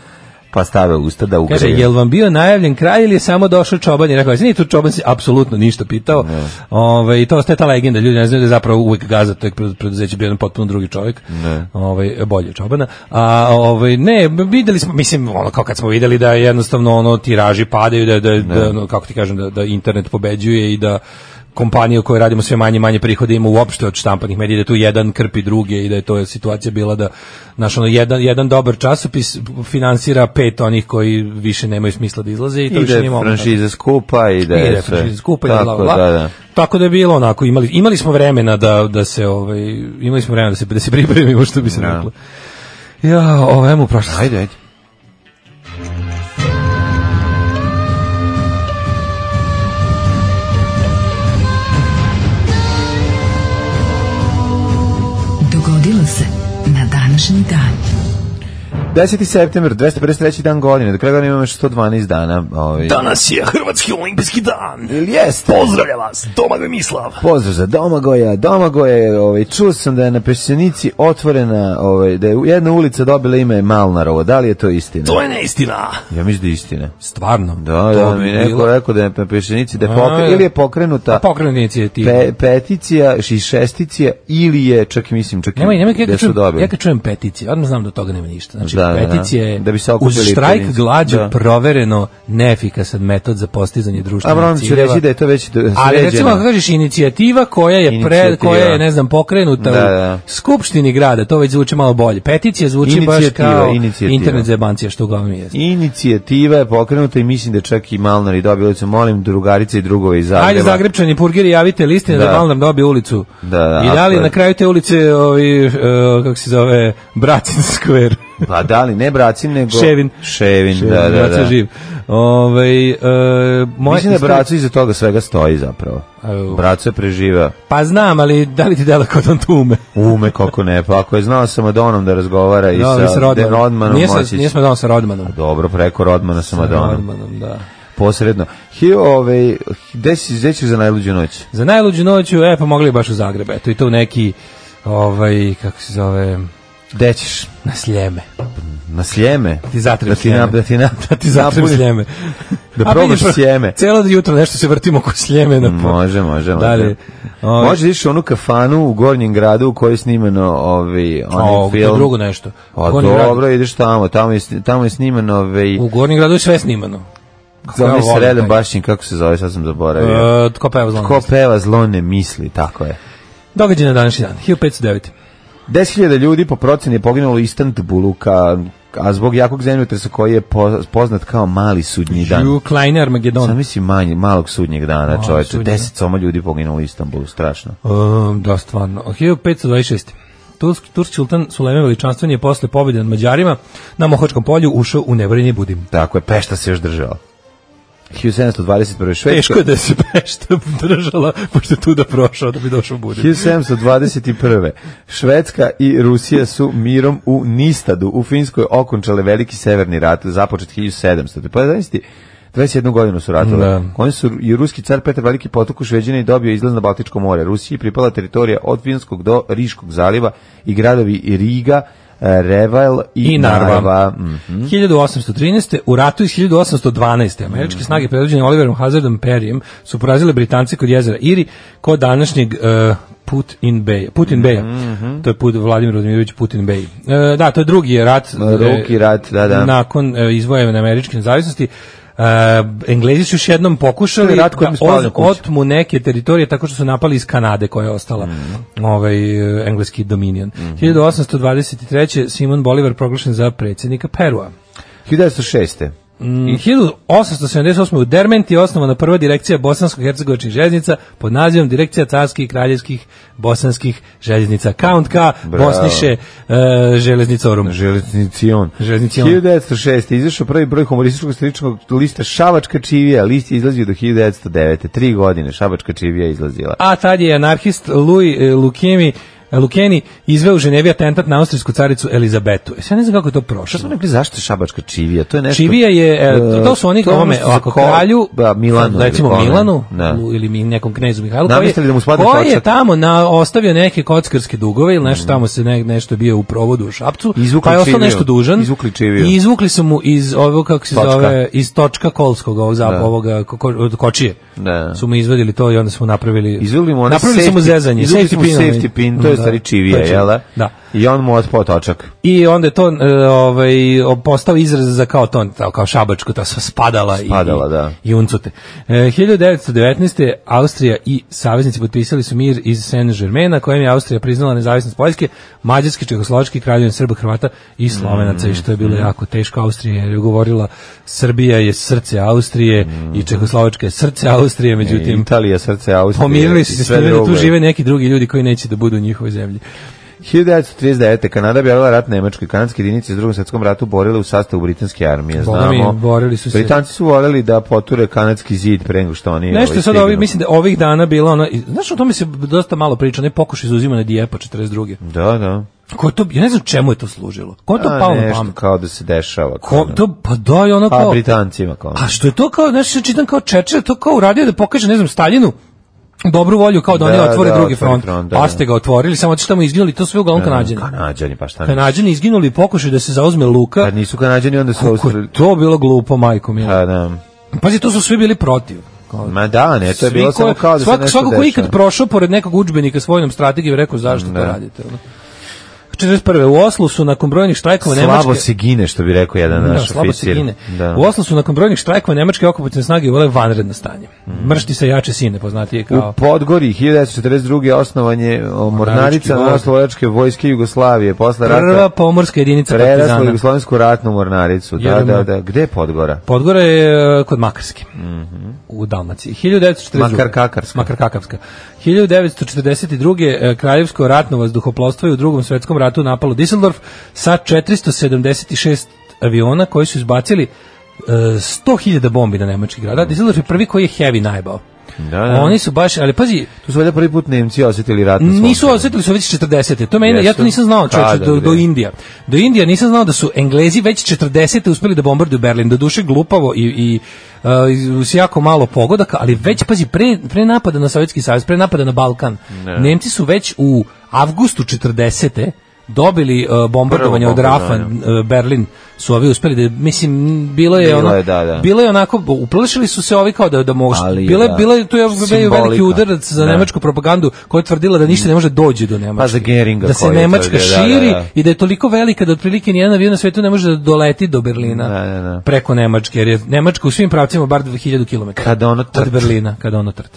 S5: pa stave usta da
S6: Kaže,
S5: ugreju.
S6: jel vam bio najavljen kraj ili je samo došao čoban i rekao, "Jesi, nije tu čoban se apsolutno ništa pitao. Ove, I to ostaje ta legenda, ljudi ne znaju da je zapravo uvek gaza, to je pred- preduzeće bio jedan potpuno drugi čovjek, Ove, Ovaj, bolje od čobana. A, ove, ne, videli smo, mislim, ono, kao kad smo videli da jednostavno ono, tiraži padaju, da, da, da ono, kako ti kažem, da, da internet pobeđuje i da kompanije u kojoj radimo sve manje i manje prihode ima uopšte od štampanih medija, da tu jedan krpi druge i da je to situacija bila da naš ono, jedan, jedan dobar časopis finansira pet onih koji više nemaju smisla da izlaze i to
S5: I da
S6: više nije
S5: je
S6: moguće.
S5: franšiza skupa i da
S6: I
S5: je
S6: da je
S5: sve.
S6: franšiza skupa i bla,
S5: Tako
S6: bla, bla.
S5: da, da.
S6: Tako da je bilo onako, imali, imali smo vremena da, da se, ovaj, imali smo vremena da se, da se pripremimo, što bi se
S5: Da.
S6: reklo. Ja, ovo je mu prošlo.
S5: Ajde, ajde.
S4: Dogodilo se na današnji dan.
S5: 10. september, 253. dan godine, do kraja godine imamo još 112 dana. Ovaj.
S6: Da.
S7: Danas je Hrvatski olimpijski dan.
S5: Ili jeste?
S7: Pozdravlja vas, Domagoj Mislav.
S5: Pozdrav za Domagoja. Domagoje, ovaj, čuo sam da je na Pešćenici otvorena, ovaj, da je jedna ulica dobila ime Malnarovo. Da li je to istina?
S7: To je neistina.
S5: Ja mislim da je istina.
S6: Stvarno.
S5: Da,
S6: to
S5: da,
S6: bi
S5: mi je neko
S6: bilo-
S5: rekao da je na Pešćenici, da je
S6: A, Pa
S5: pokre,
S6: ja.
S5: ili je pokrenuta
S6: Pokrenut inicijativa.
S5: pe, peticija, ši- šesticija, ili je, čak i mislim, čak i
S6: Nemoj, nemoj, ja
S5: da
S6: kad,
S5: su
S6: čujem,
S5: dobili.
S6: ja kad čujem peticije, odmah znam da od toga nema ništa. Znači,
S5: Da, da, da.
S6: peticije je
S5: Da bi se
S6: uz
S5: okupili
S6: štrajk
S5: pojedinci.
S6: glađu
S5: Da.
S6: provereno neefikasan metod za postizanje
S5: A
S6: društvenih
S5: moram ću
S6: ciljeva.
S5: reći da je to već do-
S6: Ali recimo,
S5: sređeno.
S6: kako kažeš, inicijativa koja je, pre,
S5: Inicijativa.
S6: koja je ne znam, pokrenuta
S5: Da,
S6: u
S5: da.
S6: skupštini grada, to već zvuči malo bolje. Peticija zvuči baš
S5: Inicijativa,
S6: kao
S5: inicijativa.
S6: internet za jebancija, što uglavnom jeste.
S5: Inicijativa je pokrenuta i mislim da je čak i Malnar i dobio ulicu. Molim drugarice i drugove iz Zagreba.
S6: Ajde Zagrebčani purgiri javite listine da,
S5: Da.
S6: malo nam dobije ulicu.
S5: Da, da,
S6: I da li
S5: ako je-
S6: na kraju te ulice ovi, e, kako se zove Bracin Square.
S5: Pa da li, ne Bracin, nego...
S6: Ševin.
S5: Ševin,
S6: Še-
S5: da, da,
S6: Braco
S5: da.
S6: živ. Ovaj, e, moj-
S5: Mislim da Braco iza toga svega stoji zapravo. Braco je preživao.
S6: Pa znam, ali da li ti dela kod on tume?
S5: Ume, kako ne. Pa ako je znao sa Madonom da razgovara i
S6: Da,
S5: sa,
S6: sa Rodmanom.
S5: Rodmanom
S6: Nije sa-
S5: moći će-
S6: Nije sa Rodmanom, sa Rodmanom.
S5: Dobro, preko Rodmana sa Madonom.
S6: Rodmanom, da.
S5: posredno. Hi, ove, gde si gde ćeš za najluđu noć?
S6: Za najluđu noću, e, pa mogli baš u Zagreb, eto, i to u neki, ovaj, kako se zove,
S5: Gde ćeš?
S6: na sljeme.
S5: Na Sljeme?
S6: Ti zatrem
S5: da ti
S6: Sljeme.
S5: na, da ti na,
S6: Da ti zatrem
S5: napuni-
S6: sljeme.
S5: Da
S6: A pa
S5: probaš
S6: vidiš, *laughs*
S5: sjeme.
S6: Celo da jutro nešto se vrtimo oko sljemena. po-
S5: Može, može, može.
S6: Dalje. Ovaj,
S5: Može da ideš u onu kafanu u Gornjem gradu u kojoj je snimano ovaj, onaj
S6: o, to
S5: film.
S6: je Pa, drugo nešto.
S5: Pa
S6: Gornji grad-
S5: dobro, ideš tamo, tamo je, sni- tamo je sniman ovaj,
S6: U Gornjem gradu je sve snimano.
S5: za
S6: ja
S5: onaj
S6: volim
S5: sreden
S6: taj.
S5: bašćin, kako se zove, sad sam zaboravio.
S6: E, tko peva zlom?
S5: Ko peva zlo ne misli, tako je.
S6: Događaj na današnji dan, 1509.
S5: 10.000 ljudi po proceni je poginulo u Istanbulu, ka, a zbog jakog zemljotresa koji je po, poznat kao mali sudnji dan.
S6: Hugh Kleiner Armageddon.
S5: Sam misli manj, malog sudnjeg dana, čoveče.
S6: sudnji dan.
S5: 10 soma ljudi poginulo u Istanbulu, strašno.
S6: Um, da, stvarno. 1526. Tursk, Tursk sultan Sulejman Veličanstveni je posle pobjede nad Mađarima na Mohačkom polju ušao u Nebranje Budim.
S5: Tako je, pešta se još držala. 1721. Švedska.
S6: Teško je da se *laughs* pešta držala, pošto je tuda prošao da bi došao u Budim.
S5: 1721. Švedska i Rusija su mirom u Nistadu u Finskoj okončale veliki severni rat započet 1700. Pa da 21 godinu su ratove.
S6: Da.
S5: Oni su i ruski car Petar Veliki potok u Šveđine i dobio izlaz na Baltičko more. Rusiji pripala teritorija od Finskog do Riškog zaliva i gradovi Riga, e, Reval i,
S6: I Narva.
S5: Mhm.
S6: 1813. U ratu iz 1812. Američke
S5: Mhm.
S6: snage predvođene Oliverom Hazardom Perryem su porazile Britance kod jezera Iri kod današnjeg uh, Put in Bay. Putin Bay.
S5: Mhm.
S6: To je put Vladimir Vladimirović Putin Bay. E, da, to je drugi je rat.
S5: Drugi
S6: e,
S5: rat, da, da.
S6: Nakon e, izvojevane američke nezavisnosti. E, Englezi su još jednom
S5: To
S6: pokušali
S5: je rat koji
S6: da
S5: mi spali na
S6: oz-
S5: kuću.
S6: otmu neke teritorije tako što su napali iz Kanade koja je ostala
S5: Mhm.
S6: ovaj, e, engleski dominion. 1823. Simon Bolivar proglašen za predsjednika Perua.
S5: 1906.
S6: Mm, 1878. u Dermenti je osnovana prva direkcija bosansko-hercegovičnih željeznica pod nazivom Direkcija carskih i kraljevskih bosanskih željeznica. Count K,
S5: Bravo.
S6: Bosniše, e, železnicorum.
S5: Železnicijon.
S6: Železnicijon.
S5: 1906. izašao prvi broj humorističkog stričnog lista Šabačka čivija. List je izlazio do 1909. Tri godine Šabačka čivija je izlazila.
S6: A tad je anarhist Louis e, Lukemi Lukeni izveo u Ženevi atentat na austrijsku caricu Elizabetu. E, sad ne znam kako je to
S5: Što
S6: prošlo.
S5: smo rekli zašto je Šabačka čivija? To je nešto...
S6: Čivija je, e, to, to su oni
S5: To je ono
S6: kome,
S5: što za
S6: ovako,
S5: ko-
S6: kralju, e,
S5: da, Milanu
S6: recimo
S5: ili kome.
S6: Milanu,
S5: Da.
S6: Lu- ili mi- nekom knezu Mihajlu, koji,
S5: Namislili da mu spadne
S6: koji je
S5: točak.
S6: tamo na, ostavio neke kockarske dugove ili nešto tamo se ne, nešto je bio u provodu u Šapcu,
S5: Mm. Izvukli
S6: pa je ostao
S5: čiviju.
S6: nešto dužan.
S5: Izvukli čiviju.
S6: I izvukli su mu iz ovo, kako se
S5: Točka.
S6: zove, iz točka Kolskog, ovog zap,
S5: Da.
S6: ovoga, ko, ko- od kočije.
S5: Da.
S6: Su mu izvadili to i onda su mu napravili...
S5: Izvili mu onaj
S6: napravili su mu
S5: safety-
S6: zezanje.
S5: izvukli
S6: safety
S5: su mu
S6: pin, onaj.
S5: safety pin, to je
S6: Da.
S5: stari čivija,
S6: To je
S5: jel da?
S6: Da.
S5: I on mu otpao točak.
S6: I onda je to e, ovaj postao izraz za kao ton, kao, kao šabačko, ta sva spadala,
S5: Spadala,
S6: i,
S5: da.
S6: i uncote. E, 1919. Austrija i saveznici potpisali su mir iz Saint-Germaina, kojem je Austrija priznala nezavisnost Poljske, Mađarske, Čehoslovačke, Kraljevine Srba, Hrvata i Slovenaca, i što je bilo
S5: Mm.
S6: jako teško Austrija, jer je govorila Srbija je srce Austrije i
S5: Mm.
S6: Čehoslovačka je srce Austrije, međutim...
S5: Italija, srce, Austrije.
S6: Pomirili
S5: i
S6: su se s
S5: sve
S6: time da tu
S5: drugo.
S6: žive neki drugi ljudi koji neće da budu u njihovoj zemlji.
S5: 1939. Kanada objavila rat Nemačkoj. Kanadske jedinice u drugom svetskom ratu borile u sastavu britanske armije.
S6: Boga mi,
S5: Znamo, Pa
S6: borili su se.
S5: Britanci su voljeli da poture kanadski zid pre nego što oni...
S6: Nešto
S5: ovaj,
S6: je sad ovi,
S5: stignu.
S6: mislim da je ovih dana bilo ono, i- znaš o tome se dosta malo priča, ne pokušaj zauzimanja Dijepa 42.
S5: Da, da.
S6: Ko je to, ja ne znam čemu je to služilo. Ko je Pa to
S5: A,
S6: palo na
S5: nešto
S6: pamet?
S5: kao da se dešava.
S6: Ko, to, pa da je ono
S5: Pa
S6: kao...
S5: Britancima kao.
S6: A što je to kao, znaš, ja čitam kao Čečer, to kao uradio da pokaže, ne znam, Staljinu, dobru volju kao da,
S5: Da,
S6: oni otvore
S5: da,
S6: drugi
S5: otvori
S6: front.
S5: front, da,
S6: pa
S5: da.
S6: ste ga otvorili, samo otišli tamo i izginuli, to sve uglavnom kanadjani.
S5: Kanadjani, pa šta ne.
S6: Kanadjani izginuli i pokušaju da se zauzme Luka.
S5: Kad nisu kanadjani, onda su
S6: Kako
S5: Australi...
S6: je to bilo glupo, majko mila.
S5: Pa da.
S6: Pazi, to su svi bili protiv. Kao,
S5: Ma da, ne, to je
S6: Svi ko-
S5: bilo samo kao da se
S6: svako-
S5: nešto
S6: Svako ko je
S5: dešava.
S6: ikad prošao pored nekog udžbenika s vojnom strategijom je rekao zašto to
S5: Da.
S6: radite. Ono. 41. U Oslu su nakon brojnih štrajkova Nemačke...
S5: Slabo se gine, što bi rekao jedan
S6: Da,
S5: naš
S6: slabo se
S5: oficir.
S6: gine.
S5: Da.
S6: U Oslu su nakon brojnih štrajkova Nemačke okupacijne snage uvele vanredno stanje. Mršti se jače sine, poznatije kao...
S5: Mhm. U Podgori 1942. osnovanje o,
S6: Mornarički
S5: mornarica
S6: vod.
S5: Narodno-slovačke vojske Jugoslavije posle
S6: Prva
S5: rata
S6: pomorska jedinica
S5: prerasla u
S6: partizana.
S5: Jugoslovensku ratnu mornaricu. Da,
S6: Jerema.
S5: da, da. Gde je Podgora?
S6: Podgora je e, kod Makarske. U Dalmaciji. 1942.
S5: Makar Kakarska.
S6: Makar Kakavska. 1942. e, Kraljevsko ratno vazduhoplovstvo je u drugom svetskom ratu napalo Düsseldorf sa 476 aviona Da, koji su izbacili e, 100.000 bombi na nemački grad. Düsseldorf je prvi koji je heavy najbao.
S5: Da, da.
S6: Oni su baš, ali pazi,
S5: Tu su valjda prvi put Nemci osetili Pa, da, rat na svom
S6: nisu
S5: terenu.
S6: osetili su već 40. To meni,
S5: Jesu.
S6: ja to nisam znao, čovječe,
S5: Kada,
S6: do, do
S5: gde?
S6: Indija. Do Indija nisam znao da su Englezi već 40. uspeli da bombarduju Berlin. Do duše glupavo i, i uh, iz- s jako malo pogodaka, ali već, pazi, pre, pre napada na Sovjetski savez, pre napada na Balkan, Nemci su već u avgustu 40. dobili uh, bombardovanje od Rafa
S5: bombardovanje.
S6: uh, Berlin su ovi uspeli da mislim bilo je
S5: Bilo
S6: ono
S5: je, da, da.
S6: bilo je onako uplašili su se ovi kao da da može
S5: Ali,
S6: bilo je
S5: da.
S6: bilo je tu je veliki
S5: Simbolika.
S6: udarac za
S5: Da.
S6: nemačku nemačku propagandu koja je tvrdila da ništa ne može doći do Nemačke.
S5: Pa za Geringa
S6: Da se
S5: koji je
S6: Nemačka
S5: tvrdio, da, da,
S6: širi
S5: da.
S6: i da je toliko velika da otprilike nijedan avion na svetu ne može da doleti do Berlina
S5: Da, da, da.
S6: preko Nemačke, jer je Nemačka u svim pravcima bar 2000 km.
S5: Kada ono trt.
S6: Od Berlina, kada ono trt. E,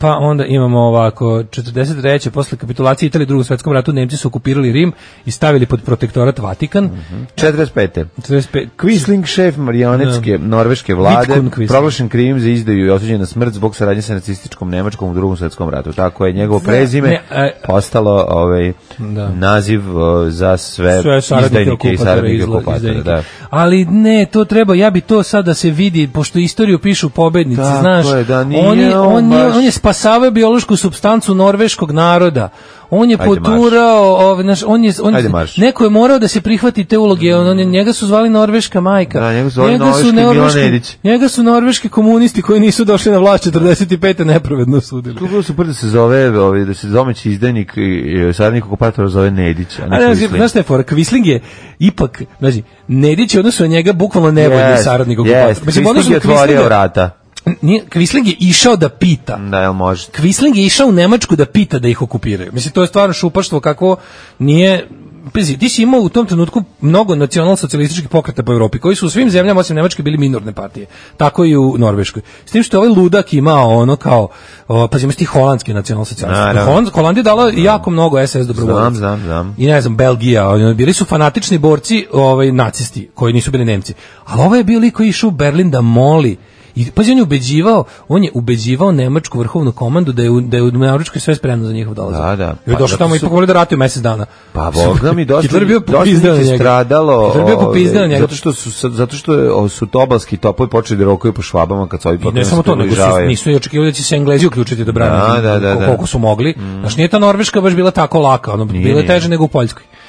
S6: pa onda imamo ovako 43. posle kapitulacije Italije u drugom svetskom ratu Nemci su okupirali Rim i stavili pod protektorat Vatikan
S5: Mhm. 45.
S6: 45
S5: Quisling, šef marionetske norveške vlade,
S6: Vidkun Da. Quisling.
S5: proglašen krivim za izdaju i osuđen na smrt zbog saradnje sa nacističkom Nemačkom u drugom svetskom ratu. Tako je njegovo prezime
S6: ne, e,
S5: postalo ovaj,
S6: Da.
S5: naziv o, za sve,
S6: sve saradnike
S5: izdajnike i
S6: okupatora
S5: saradnike
S6: izla-
S5: okupatora.
S6: izdajnike.
S5: Da.
S6: Ali ne, to treba, ja bi to sad da se vidi, pošto istoriju pišu pobednici,
S5: Tako
S6: znaš,
S5: je, da, nije
S6: on, je,
S5: on
S6: on, je,
S5: baš-
S6: on je spasavao biološku substancu norveškog naroda. On je
S5: Ajde,
S6: poturao, ovaj, znaš, on je, on,
S5: Ajde, marš.
S6: neko je morao da se prihvati te uloge, on, on je- njega su zvali norveška majka.
S5: Da, njega su zvali norveški Milan Nedić.
S6: njega su norveški komunisti koji nisu došli na vlast 45. nepravedno sudili.
S5: Tu bilo super da se zove, ovaj, da se domaći izdajnik i, i saradnik okupatora zove Nedić, a ne
S6: A ne,
S5: Quisling.
S6: znaš šta je fora? Kvisling je ipak, znači, Nedić je odnosno njega bukvalno nebolji
S5: Jest,
S6: saradnik okupatora.
S5: jest, Quisling je otvorio vrata.
S6: Nije, Kvisling je išao da pita.
S5: Da, jel možete?
S6: Kvisling je išao u Nemačku da pita da ih okupiraju. Mislim, to je stvarno šupaštvo kako nije... Pazi, ti si imao u tom trenutku mnogo nacionalsocijalističkih pokreta po Evropi, koji su u svim zemljama, osim Nemačke, bili minorne partije. Tako i u Norveškoj. S tim što je ovaj ludak imao ono kao, o, pazi, imaš ti holandski nacionalsocijalisti.
S5: Naravno.
S6: Holand, Holandija je dala jako mnogo SS dobrovoljaca.
S5: Znam, znam, znam.
S6: I ne znam, Belgija, ono, bili su fanatični borci, ovaj nacisti, koji nisu bili Nemci. Ali ovo je bio lik koji je išao u Berlin da moli I pazi, on je ubeđivao, on je ubeđivao nemačku vrhovnu komandu da je u, da je u Nemačkoj sve spremno za njihov dolazak.
S5: Da, da.
S6: I
S5: Pa
S6: došao
S5: zato
S6: tamo i
S5: su-
S6: pogovorio da ratuje mesec dana.
S5: Pa Boga mi
S6: *laughs*
S5: dosta
S6: Hitler je bio
S5: dosta
S6: popizdeo
S5: njih je
S6: na njega.
S5: stradalo.
S6: Hitler je bio
S5: ovaj,
S6: popizdeo na njega.
S5: Zato što su sad- zato što je, o, su tobalski topovi počeli da rokuju po švabama kad su ovi
S6: I ne
S5: pokrenu
S6: samo
S5: se
S6: to, nego su,
S5: Pa približavaju.
S6: nisu i očekivali da će se Englezi uključiti da brane
S5: Da, da, da, da.
S6: koliko su mogli. Znaš, nije ta Norveška baš bila tako laka, ono, bila je
S5: nije.
S6: teže nego u Poljskoj. E,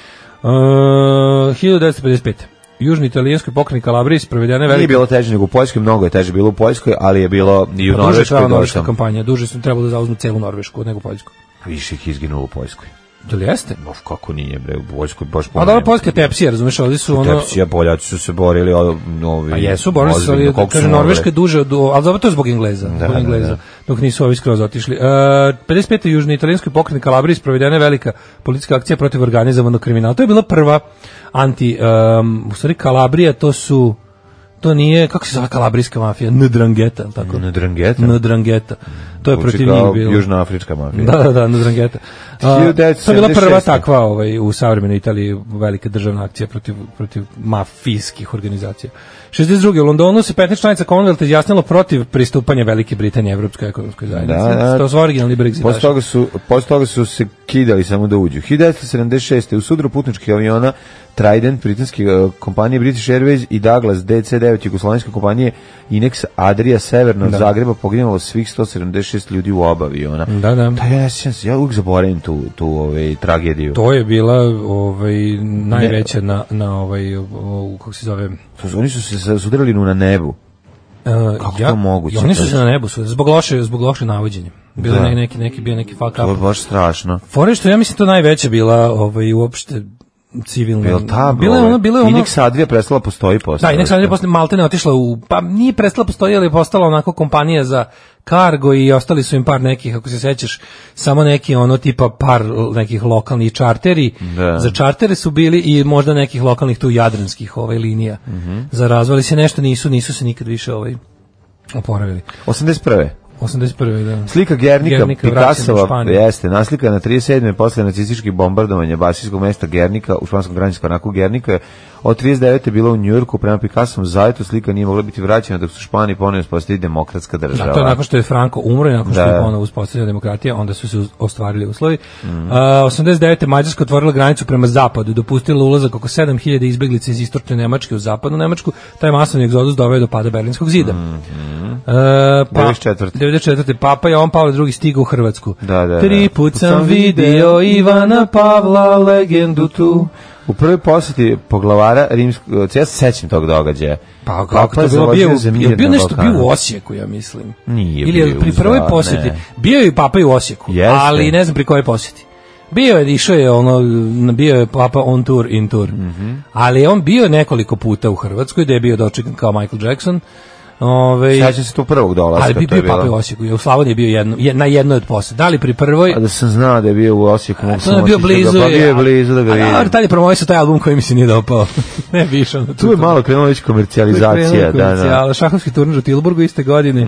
S6: Uh, 1955. Južni italijanski pokrenik Kalabrije sprovedena je
S5: Nije
S6: velika
S5: bilo teže nego u Poljskoj, mnogo je teže bilo u Poljskoj, ali je bilo i u
S6: Pa duže je
S5: Norveškoj
S6: trajala
S5: dosta.
S6: norveška kampanja, duže su trebalo da zauzmu celu Norvešku nego Poljsku.
S5: Više ih izginulo u Poljskoj.
S6: Da li jeste?
S5: Of, kako nije, bre, u Poljskoj baš
S6: A dobro, Poljska je tepsija, razumeš, ovdje su ono...
S5: Tepsija, Poljaci su se borili, o, ovi...
S6: A Pa jesu, borili su,
S5: ozbiljno,
S6: ali
S5: koliko su
S6: kaže,
S5: morali.
S6: Norveška je duže od... Ali dobro, to je zbog Engleza. Da, zbog
S5: da,
S6: Engleza
S5: da.
S6: Dok nisu ovi skroz otišli. E, 55. južni italijanski pokret Kalabriji sprovedena je velika politička akcija protiv organizovanog kriminala. To je bila prva anti... em, u stvari, Kalabrija, to su... To nije, kako se zove kalabrijska mafija? Ndrangeta, jel tako?
S5: Ndrangheta?
S6: Ndrangeta. To je
S5: Zvuči
S6: protiv
S5: kao
S6: njih bilo.
S5: Južnoafrička mafija.
S6: Da, da, da, na Drangeta. A,
S5: 1976.
S6: To je bila prva takva ovaj, u savremenoj Italiji velika državna akcija protiv, protiv mafijskih organizacija. 62. U Londonu se 15 članica Commonwealth izjasnilo protiv pristupanja Velike Britanije Evropskoj ekonomskoj zajednici.
S5: Da, da.
S6: To su originalni
S5: Posle
S6: Brexit.
S5: toga, su, posle toga su se kidali samo da uđu. 1976. u sudru putničkih aviona Trident, britanske e, kompanije British Airways i Douglas DC-9 jugoslovenske kompanije Inex Adria Severno od Zagreba poginulo svih 176 ljudi u oba aviona.
S6: Da, da.
S5: Da, ja, sjećam se, ja uvijek zaboravim tu, tu ovaj, tragediju. To.
S6: To je bila ovaj, najveća na, na ovaj, o- o- kako se zove,
S5: su- Oni su se sudarili na nebu.
S6: Uh,
S5: Kako to moguće?
S6: i Oni su se na nebu, su, zbog loše, zbog loše navođenja. Bilo da. neki, neki, bio neki fuck
S5: To je
S6: up.
S5: baš strašno.
S6: Fore što ja mislim to najveća bila ovaj, uopšte civilna.
S5: Jel ta,
S6: bila je
S5: ovaj,
S6: ono, bila je ono...
S5: Inex Adria prestala postoji posle.
S6: Da, i nek sam je posle Maltene otišla u, pa nije prestala postoji, ali je postala onako kompanija za kargo i ostali su im par nekih, ako se sećaš, samo neki ono tipa par l- nekih lokalnih čarteri.
S5: Da.
S6: Za čartere su bili i možda nekih lokalnih tu jadranskih ovaj linija.
S5: Mhm.
S6: Za razvali se nešto nisu, nisu se nikad više ovaj oporavili.
S5: 81.
S6: 81. da.
S5: Slika
S6: Gernika,
S5: Gernika, Gernika
S6: vraćena u
S5: Picassova
S6: Španiju.
S5: jeste naslika na 37. posle nacističkih bombardovanja basijskog mesta Gernika u španskom graničkom anaku Gernika je Od 39. je bila u Njujorku prema Picassovom zavetu slika nije mogla biti vraćena dok su Špani ponovno postoji demokratska država.
S6: Da, to je nakon što je Franco umro i nakon što
S5: Da.
S6: je ponovo uspostavljena demokratija, onda su se uz- ostvarili uslovi.
S5: Mhm.
S6: Uh, 89. Mađarska otvorila granicu prema zapadu, dopustila ulazak oko 7000 izbeglica iz istočne Nemačke u zapadnu Nemačku. Taj masovni egzodus doveo je do pada Berlinskog zida.
S5: Mhm.
S6: E, pa,
S5: 94..
S6: 94. Papa Jovan Pavle II stigao u Hrvatsku.
S5: Da, da,
S6: Tri
S5: da.
S6: put sam video Ivana Pavla legendu tu.
S5: U prvoj posjeti poglavara rimskog, ja se sećam tog događaja.
S6: Pa kako
S5: je
S6: to bilo,
S5: založio
S6: bio,
S5: za
S6: bio,
S5: mir
S6: bio
S5: na
S6: nešto bio
S5: Balkanu.
S6: u Osijeku, ja mislim.
S5: Nije
S6: Ili je
S5: bio
S6: pri
S5: uzda,
S6: prvoj posjeti.
S5: ne.
S6: Bio je i papa i u Osijeku,
S5: Jeste.
S6: ali ne znam pri kojoj posjeti. Bio je, išao je ono, bio je papa on tour, in tour.
S5: Mhm.
S6: Ali je on bio nekoliko puta u Hrvatskoj, gde je bio dočekan kao Michael Jackson. Ove,
S5: Sećam se tu prvog dolaska,
S6: ali bi
S5: to je
S6: bio papa i u
S5: bilo.
S6: Osijeku, je u Slavoniji je bio jedno, je, na jednoj od posjeta. Da li pri prvoj,
S5: A da sam znao da je bio u Osijeku, mogu
S6: to je
S5: sam
S6: bio
S5: otići da ga-
S6: blizu.
S5: Pa bio je blizu da ga
S6: Ali, ali
S5: vidim.
S6: tad je promovisao taj album koji mi se nije dopao. *laughs* ne bi išao na tu
S5: Tu je malo krenula već komercijalizacija, da, da. Mhm.
S6: da. Šahovski turnir u Tilburgu iste godine.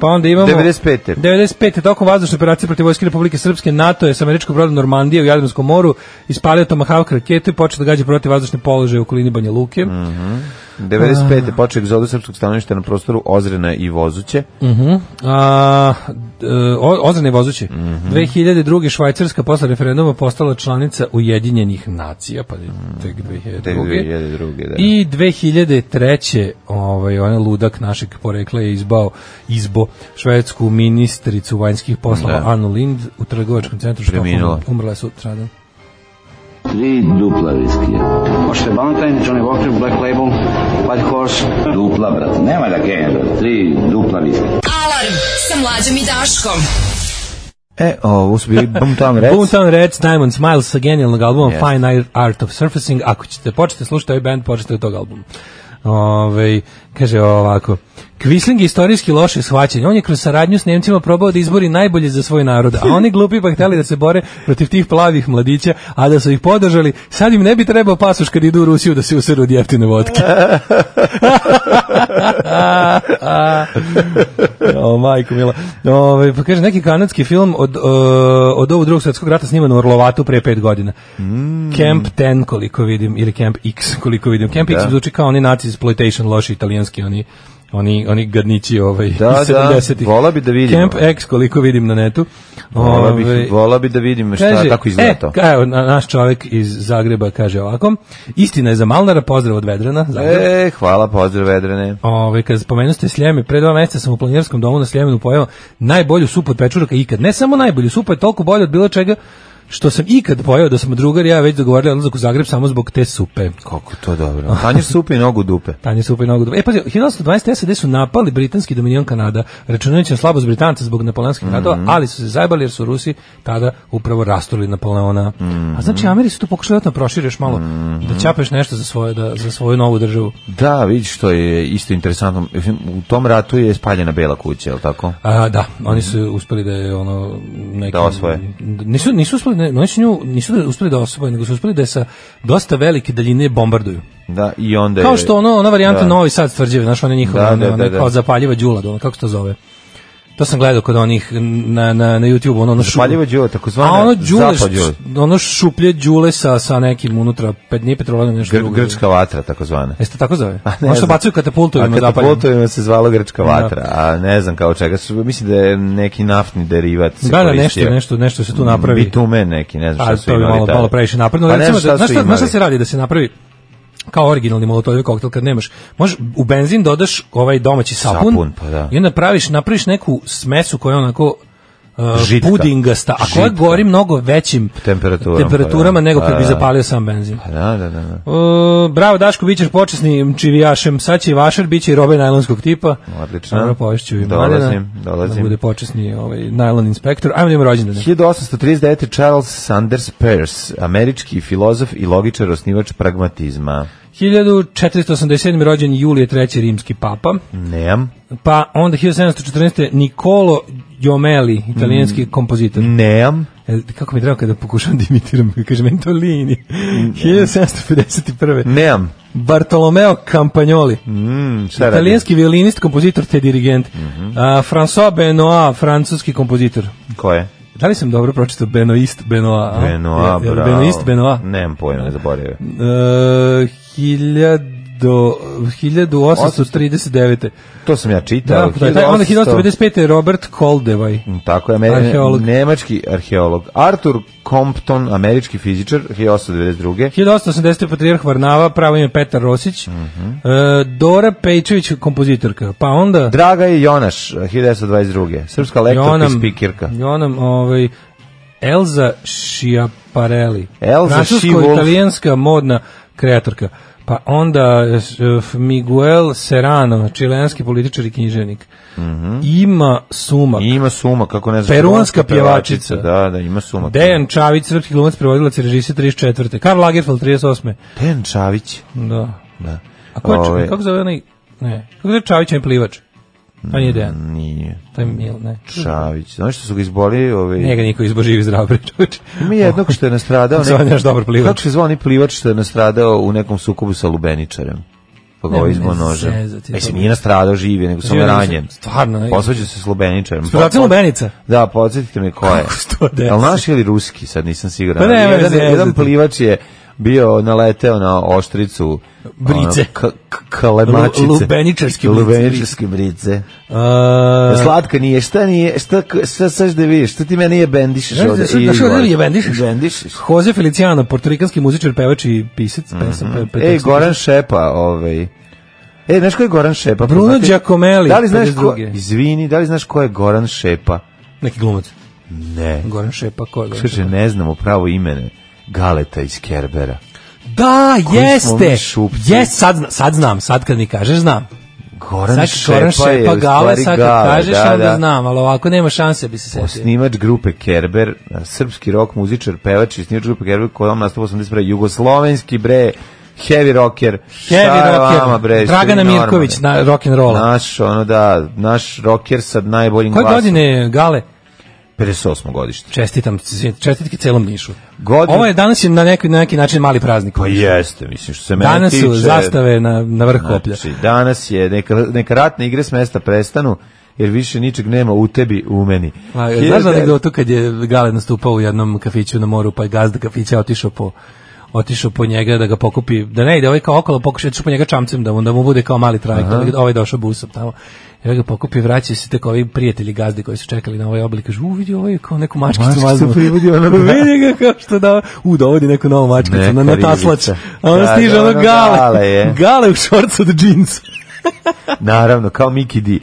S6: Pa onda imamo
S5: 95..
S6: 95. tokom vazdušne operacije protiv vojske Republike Srpske NATO je sa američkog broda Normandije u Jadranskom moru ispalio Tomahawk raketu i počeo da gađa protiv vazdušne položaje u okolini Banja Luke.
S5: Mhm. 95. je počeo egzodus srpskog stanovišta na prostoru Ozrena i Vozuće.
S6: Mhm. A, d- e, o- Ozrane vozući.
S5: Mhm.
S6: 2002. Švajcarska posle referenduma postala članica Ujedinjenih nacija, pa je tek
S5: Mhm.
S6: 2002.
S5: 2002. da.
S6: I 2003. ovaj onaj ludak našeg porekla je izbao izbo švedsku ministricu vanjskih poslova
S5: Da.
S6: Anu Lind u trgovačkom centru
S5: Preminula.
S6: Stockholma. Umrla je da. sutradan.
S8: Tri dupla viskija. Možete Valentine, Johnny Walker, Black Label, White Horse. Dupla, brate, nema da genja, brate. Tri dupla viskija.
S4: Alarm sa mlađom i Daškom.
S5: E, ovo su bili Boomtown Reds.
S6: Boomtown Reds, Diamond Smiles sa genijalnog albuma
S5: Jeste.
S6: Fine Art of Surfacing. Ako ćete početi slušati ovaj band, počete od tog albuma. Ove, kaže ovako Kvisling je istorijski loše shvaćen on je kroz saradnju s Nemcima probao da izbori najbolje za svoj narod, a oni glupi pa hteli da se bore protiv tih plavih mladića a da su ih podržali, sad im ne bi trebao pasuš kad idu u Rusiju da se useru od jeftine vodke o, majko mila. Ove, pa kaže, neki kanadski film od, e, od ovog drugog svjetskog rata sniman u Orlovatu pre pet godina.
S5: Mm.
S6: Camp 10, koliko vidim, ili Camp X, koliko vidim. Camp
S5: Da.
S6: X zvuči kao oni nazi exploitation, loši italijanski, oni oni oni gadnići ovaj
S5: Da,
S6: iz
S5: da,
S6: 70-ih.
S5: vola bi da vidimo.
S6: Camp X koliko vidim na netu.
S5: Vola
S6: Ovaj,
S5: bih, vola bi da vidim šta, kako izgleda
S6: e,
S5: to.
S6: ka- evo, na, naš čovjek iz Zagreba kaže ovako, istina je za Malnara, pozdrav od Vedrana, Zagreb.
S5: E, hvala, pozdrav Vedrane.
S6: Ove, kad spomenuste ste Sljeme, pre dva meseca sam u planinarskom domu na Sljemenu pojeo najbolju supu od pečuraka ikad. Ne samo najbolju, supa je toliko bolja od bilo čega što sam ikad pojeo da smo drugar i ja već dogovorili odlazak u Zagreb samo zbog te supe.
S5: Kako to *laughs* dobro. Tanjir supe i nogu u dupe.
S6: Tanje supe i nogu. E, pazi, 1920. SAD su napali britanski dominion Kanada, računajući na slabost Britanca zbog napoleonskih ratova, ali su se zajbali jer su Rusi tada upravo rasturili Napoleona. A znači, Ameri su tu pokušali da prošire još malo, da ćapeš nešto za, svoje, da, za svoju novu državu.
S5: Da, vidiš što je isto interesantno. U tom ratu je spaljena bela kuća, je li tako?
S6: A, da, oni su uspeli da je ono neki
S5: Da osvoje.
S6: Nisu nisu uspeli, ne, oni su nju nisu da uspeli da osvoje, nego su uspeli da je sa dosta velike daljine bombarduju.
S5: Da, i onda je...
S6: Kao što ono ona varijanta
S5: da.
S6: Novi Sad tvrđave, znaš, ona njihova
S5: Da,
S6: ona,
S5: da,
S6: ona
S5: da, da.
S6: kao zapaljiva đula, da, ono, kako se to zove. To sam gledao kod onih na na na YouTubeu, ono, ono šu-
S5: Zapaljiva đula, takozvana
S6: A ono đule,
S5: zapad đule.
S6: ono šuplje đule sa sa nekim unutra, pet nije petroleum nešto
S5: Gr
S6: drugo. E,
S5: grčka vatra, takozvana.
S6: Jeste tako zove?
S5: ne
S6: Ono što
S5: znam.
S6: bacaju katapultovima
S5: A
S6: zapaljeno.
S5: katapultovima se zvala grčka
S6: Da.
S5: vatra, a ne znam kao čega. Su- Mislim da je neki naftni derivat se
S6: Da, da,
S5: koristio.
S6: nešto, nešto, nešto se tu napravi.
S5: Bitumen neki, ne
S6: A
S5: znam šta su
S6: Pa to bi
S5: imali.
S6: malo,
S5: tada.
S6: malo previše napravno.
S5: Pa
S6: Pa
S5: ne
S6: Recimo,
S5: znam
S6: da,
S5: šta
S6: znaš,
S5: su
S6: šta, znaš šta
S5: imali.
S6: se radi da se napravi kao originalni molotovi koktel kad nemaš. Možeš u benzin dodaš ovaj domaći sapun,
S5: Sapun, pa da.
S6: i onda praviš, napraviš neku smesu koja je onako uh,
S5: Žitka.
S6: pudingasta, a koja
S5: Žitka.
S6: gori mnogo većim
S5: Temperaturama,
S6: temperaturama
S5: pa da.
S6: nego
S5: Pa
S6: kad bi
S5: da.
S6: zapalio sam benzin.
S5: Pa Da, da, da. da.
S6: Uh, bravo Daško, bit ćeš počasnim čivijašem, sad će i vašar, bit će i robe najlonskog tipa.
S5: Odlično.
S6: Dobro, povešću i
S5: Dolazim,
S6: Mladena,
S5: dolazim.
S6: Da bude počasni ovaj, najlon inspektor. Ajmo da ima rođendane.
S5: 1839. Charles Sanders Peirce, američki filozof i logičar, osnivač pragmatizma.
S6: 1487. rođen Julije III. rimski papa,
S5: Nemam.
S6: pa onda 1714. Nikolo Jomeli,
S5: Mm.
S6: italijanski kompozitor.
S5: Nemam.
S6: E, Kako mi treba kada pokušam da imitiram, *laughs* kaže Mentolini.
S5: Mm.
S6: 1751.
S5: Nemam.
S6: Bartolomeo Campagnoli,
S5: Mm, šta radi?
S6: italijanski violinist, kompozitor te dirigent.
S5: Mhm.
S6: A, François Benoit, francuski kompozitor.
S5: Ko je?
S6: Da li sam dobro pročitao Benoist Benoit? a?
S5: Benoit,
S6: Je- je li
S5: bravo. Mm.
S6: Benoist Benoit.
S5: Nemam pojma, ne zaboravio.
S6: E, hiljado, 1839.
S5: To sam ja čitao.
S6: Da, da, da, onda
S5: 1800
S6: 1955. je Robert Koldevaj.
S5: Tako je, Ameri-
S6: Arheolog.
S5: nemački arheolog. Arthur Compton, američki fizičar, 1892.
S6: 1880. Patrijarh Varnava, pravo ime Petar Rosić.
S5: Mhm.
S6: E, Dora Pejčević, kompozitorka. Pa onda...
S5: Draga je Jonaš, 1922. Srpska lektorka i spikirka.
S6: Jonam, ovaj, Elza Schiaparelli.
S5: Elza Schiwolf.
S6: italijanska modna kreatorka. Pa onda eh, f- Miguel Serrano, čilenski političar i književnik. Ima Sumak.
S5: Mhm. Ima suma, kako ne znaš.
S6: Peruanska
S5: peruanska pevačica.
S6: pjevačica.
S5: Da, da, ima suma.
S6: Dejan Čavić, srpski glumac, prevodilac i režisir 34. Karl Lagerfeld 38.
S5: Dejan Čavić.
S6: Da.
S5: Da.
S6: A ko je, Ča-
S5: Ove,
S6: kako zove onaj, ne, kako zove Čavić, onaj plivač? To nije Dejan,
S5: Nije.
S6: to je Mil, ne.
S5: Čavić. Znaš što su ga izboli? Ove,
S6: Njega niko izboživi zdrav pričuč.
S5: Ima jednog što je
S6: *laughs*
S5: nastradao.
S6: Zove
S5: neki-
S6: naš dobar plivač.
S5: Kako se zvao onaj plivač što je nastradao u nekom sukobu sa Lubeničarem? Pa ga
S6: Nemoj
S5: ovaj izbo
S6: me
S5: nožem.
S6: zezati,
S5: Ej, se
S6: to-
S5: nije nastradao živi, nego sam
S6: Živi, nego sam-
S5: ranjen.
S6: stvarno, ne?
S5: Posvađao se s Lubeničarem.
S6: Spadacija
S5: Po-
S6: Lubenica.
S5: Da, podsjetite me ko je.
S6: Sto deset.
S5: Jel naš ili ruski, sad nisam siguran.
S6: Pa nemoj me
S5: jedan,
S6: zezati.
S5: jedan plivač je bio naleteo na oštricu
S6: Brice.
S5: ono, k- k- kalemačice.
S6: Lu- lubeničarske brice.
S5: Lubeničarske brice. Da,
S6: A,
S5: Slatka nije, šta nije, šta, šta saš da vidiš, šta ti mene je bendišeš
S6: Znaš da-
S5: ovde?
S6: znaš da što ovde je bendišeš?
S5: Bendišeš.
S6: Jose Feliciano, portorikanski muzičar, pevač i pisac. Mm
S5: Ej, Goran Šepa, ovaj. Ej, znaš ko je Goran Šepa?
S6: Bruno
S5: Poznati-
S6: Giacomelli,
S5: Da li znaš ko,
S6: 52..
S5: izvini, da li znaš ko je Goran Šepa?
S6: Neki glumac.
S5: Ne.
S6: Goran Šepa, ko je Goran
S5: Kaže,
S6: Šepa?
S5: ne znamo pravo imene. Galeta iz Kerbera.
S6: Da,
S5: smo mi
S6: jeste!
S5: šupci?
S6: Jes, sad, zna- sad znam, sad kad mi kažeš, znam.
S5: Goran
S6: Sad
S5: Šepa,
S6: Goran
S5: je
S6: Šepa,
S5: u
S6: Gale,
S5: stvari
S6: sad kad
S5: Gale,
S6: kažeš,
S5: da,
S6: onda
S5: da.
S6: znam, ali ovako nema šanse da bi se setio.
S5: Osnivač grupe Kerber, srpski rock muzičar, pevač i osnivač grupe Kerber, kojom nastupa 81. Jugoslovenski, bre, heavy rocker. Šta je
S6: Heavy rocker,
S5: vama, bre, ste
S6: Dragana
S5: vi normalni?
S6: Mirković, na, rock and roll.
S5: Naš, ono da, naš rocker sa najboljim
S6: Koje
S5: glasom.
S6: godine je Gale?
S5: 58. godište.
S6: Čestitam, c- čestitke celom Nišu.
S5: Godin-
S6: Ovo je danas je na neki, na neki način mali praznik.
S5: Pa jeste, mislim, što se mene
S6: Danas
S5: tiče.
S6: su zastave na, na vrh koplja.
S5: Znači, danas je, neka, neka ratne igre s mesta prestanu, jer više ničeg nema u tebi, u meni.
S6: A,
S5: Hiljada-
S6: Znaš da anegdotu kad je Gale nastupao u jednom kafiću na moru, pa je gazda kafića otišao po otišao po njega da ga pokupi, da ne ide ovaj kao okolo, pokušao je otišao po njega čamcem da mu, da mu bude kao mali trajekt, ali ovaj došao busom tamo. I ovaj ga pokupi, vraća se tek ovi prijatelji gazde koji su čekali na ovaj oblik, kažu, u vidi ovo je kao neku mačkicu
S5: Mačkicu
S6: vaznu. *laughs*
S5: privodi, ono da.
S6: vidi ga kao što da, u dovodi neku novu mačkicu,
S5: Neka
S6: na, na taslač.
S5: ribica.
S6: A on
S5: Da,
S6: stiže
S5: da,
S6: ono
S5: ono
S6: gale,
S5: Gale je.
S6: gale u šorcu od džinsa.
S5: Naravno, kao Miki D.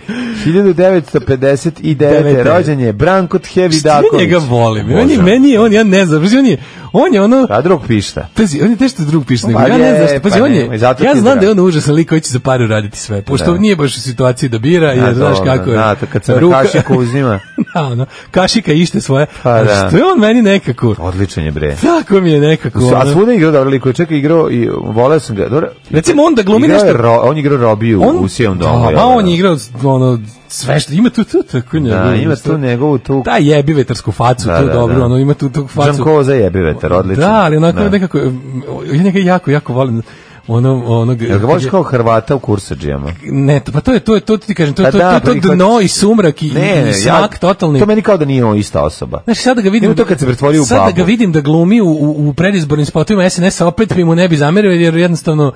S5: 1959.
S6: Devete.
S5: rođen je Brankot Heavy
S6: Ja
S5: Daković.
S6: njega volim. On je,
S5: Obožavam.
S6: meni je, on, ja ne znam, on je, on je ono,
S5: A drug pišta.
S6: Pazi, on je nešto drug piše nego
S5: Pa
S6: ja ne
S5: je,
S6: znam što. Pazi,
S5: pa
S6: on
S5: nemoj,
S6: je,
S5: zato
S6: ja
S5: ti
S6: znam
S5: znam.
S6: da je on užasan lik koji će za pare raditi sve, pošto
S5: Da.
S6: nije baš u situaciji da bira, jer znaš
S5: dobro,
S6: kako je.
S5: Da, to kad se na
S6: ruka-
S5: kašiku uzima.
S6: *laughs* Da, ono, kašika ište svoje.
S5: Pa
S6: Ali
S5: da.
S6: Što je on meni nekako?
S5: Odličan je
S6: *laughs*
S5: bre.
S6: Tako mi je nekako.
S5: A
S6: Ono.
S5: svuda je igrao dobro liko, čekaj igrao i voleo sam ga. Dobro.
S6: Recimo, on da glumi
S5: Igrao je
S6: nešto-
S5: Ro, on je igrao Robiju u Sijom domu.
S6: Da,
S5: jel
S6: ma on
S5: da?
S6: je igrao ono, sve što ima tu, tu, tako njegovu-
S5: Da, ima tu njegovu tu
S6: Da, jebi vetarsku facu,
S5: Da,
S6: to
S5: da,
S6: dobro,
S5: da.
S6: ono, ima tu tu facu.
S5: Džanko za jebi vetar, odlično.
S6: Da, ali onako nekako, mm, ja njega jako, jako volim. Ono, ono,
S5: Jel ga voliš kao Hrvata u kursađijama?
S6: Ne, to- pa to je to, je- to ti kažem, to,
S5: Pa
S6: to,
S5: da,
S6: to, to,
S5: prihvat-
S6: dno i sumrak i,
S5: Ne,
S6: i
S5: ne,
S6: smak
S5: ja,
S6: totalni.
S5: To meni kao da nije on ista osoba.
S6: Znaš, sad da ga vidim...
S5: Ima to kad se pretvori u
S6: sad
S5: babu.
S6: da ga vidim da glumi u, u, u predizbornim spotovima SNS-a, opet mi mu ne bi zamerio, jer jednostavno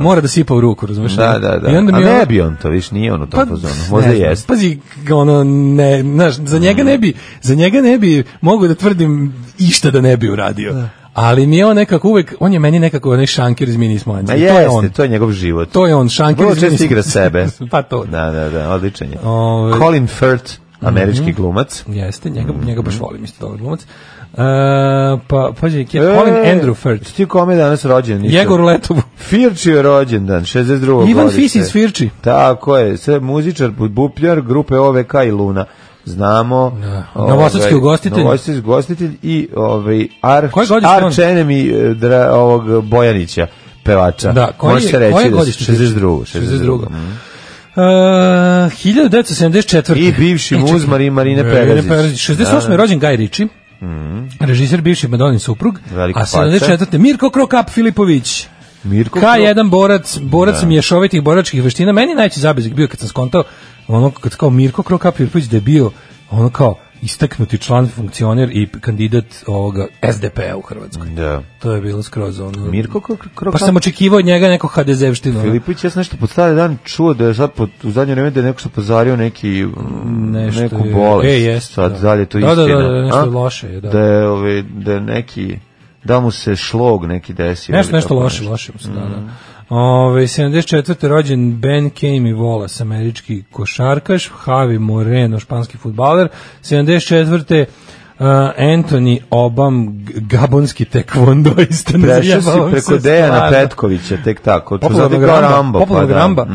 S6: mora da sipa u ruku, razumiješ?
S5: Da, da, da.
S6: I onda mi
S5: A
S6: ono- pa
S5: ne bi on to, viš, nije on u tom fazonu. Možda
S6: ne znam,
S5: jeste.
S6: Pazi, ga ono, ne, znaš, za njega ne bi, za njega ne bi, mogu da tvrdim išta da ne bi uradio. Ali mi je on nekako uvek, on je meni nekako onaj šanker iz mini Ismajlanca.
S5: Ma
S6: I Pa, To je
S5: jeste,
S6: on.
S5: to je njegov život.
S6: To je on, šanker
S5: Vrlo
S6: iz Mini
S5: često igra sebe.
S6: Ismajlanca. *laughs* pa to,
S5: Da, da, da, odličan je.
S6: Ove- Mhm.
S5: Colin Firth, američki glumac.
S6: Jeste, njega, njega baš volim isto dobar glumac. E, pa, pađe, je Colin
S5: E,
S6: Andrew Firth.
S5: Ti kome je danas rođen? Nisam-
S6: Jegor Letovu.
S5: Firči je rođendan, 62.
S6: Ivan
S5: godište.
S6: Fis iz Firči.
S5: Tako je, sve muzičar, bupljar, grupe OVK i Luna. Znamo. ovaj,
S6: Da. Novosadski ugostitelj.
S5: Novosadski ugostitelj i ovaj, Arch,
S6: Koje godište je on?
S5: Arch Enemy eh, dra, ovog Bojanića, pevača.
S6: Da, koji
S5: Može
S6: je-
S5: se reći
S6: koje
S5: da
S6: godište?
S5: su- 62.
S6: 62..
S5: Mhm.
S6: E, 1974.
S5: Mm. I bivši
S6: E, čekaj.
S5: muzmar i Marine Da.
S6: Marine
S5: Perazić.
S6: Perazić. 68. je rođen Gaj Riči.
S5: Mm.
S6: Režiser bivši Madonin suprug.
S5: Velika
S6: a 74. Mirko Krokap Filipović.
S5: Mirko Da. Krok.
S6: K1 borac, borac mješovitih boračkih veština. Meni je najveći zabezik bio kad sam skontao ono kad kao Mirko Krokap Filipović da je bio ono kao istaknuti član, funkcioner i kandidat ovoga SDP-a u Hrvatskoj.
S5: Da.
S6: To je bilo skroz ono...
S5: Mirko Kro- Krokop.
S6: Pa sam očekivao od njega neko HDZ-vštinu. ono.
S5: Filipić, ja sam nešto pod stari dan čuo da je sad pod, u zadnje vreme da je neko se pozario neki, mm,
S6: Nešto
S5: neku
S6: je-
S5: bolest.
S6: E, jeste,
S5: Sad
S6: da.
S5: da li je to
S6: Da, da,
S5: istina?
S6: da, da, nešto
S5: a?
S6: loše je, da.
S5: Da je, ove, da je neki, da mu se šlog neki desio.
S6: Nešto,
S5: ili
S6: nešto
S5: tako
S6: loše, *laughs* loše. mu se, Da, da. Ove, 74. rođen Ben Kame Volas, američki košarkaš, Javi Moreno, španski futbaler. 74. Uh, Anthony Obam, g- gabonski *laughs* tekvondoista.
S5: Prešao si
S6: zajebao
S5: preko
S6: se
S5: Dejana
S6: stvarno.
S5: Petkovića, tek tako. Ču
S6: Popularnog
S5: zove ga
S6: Ramba,
S5: Rambo,
S6: popularnog
S5: pa da.
S6: Ramba.
S5: Mhm.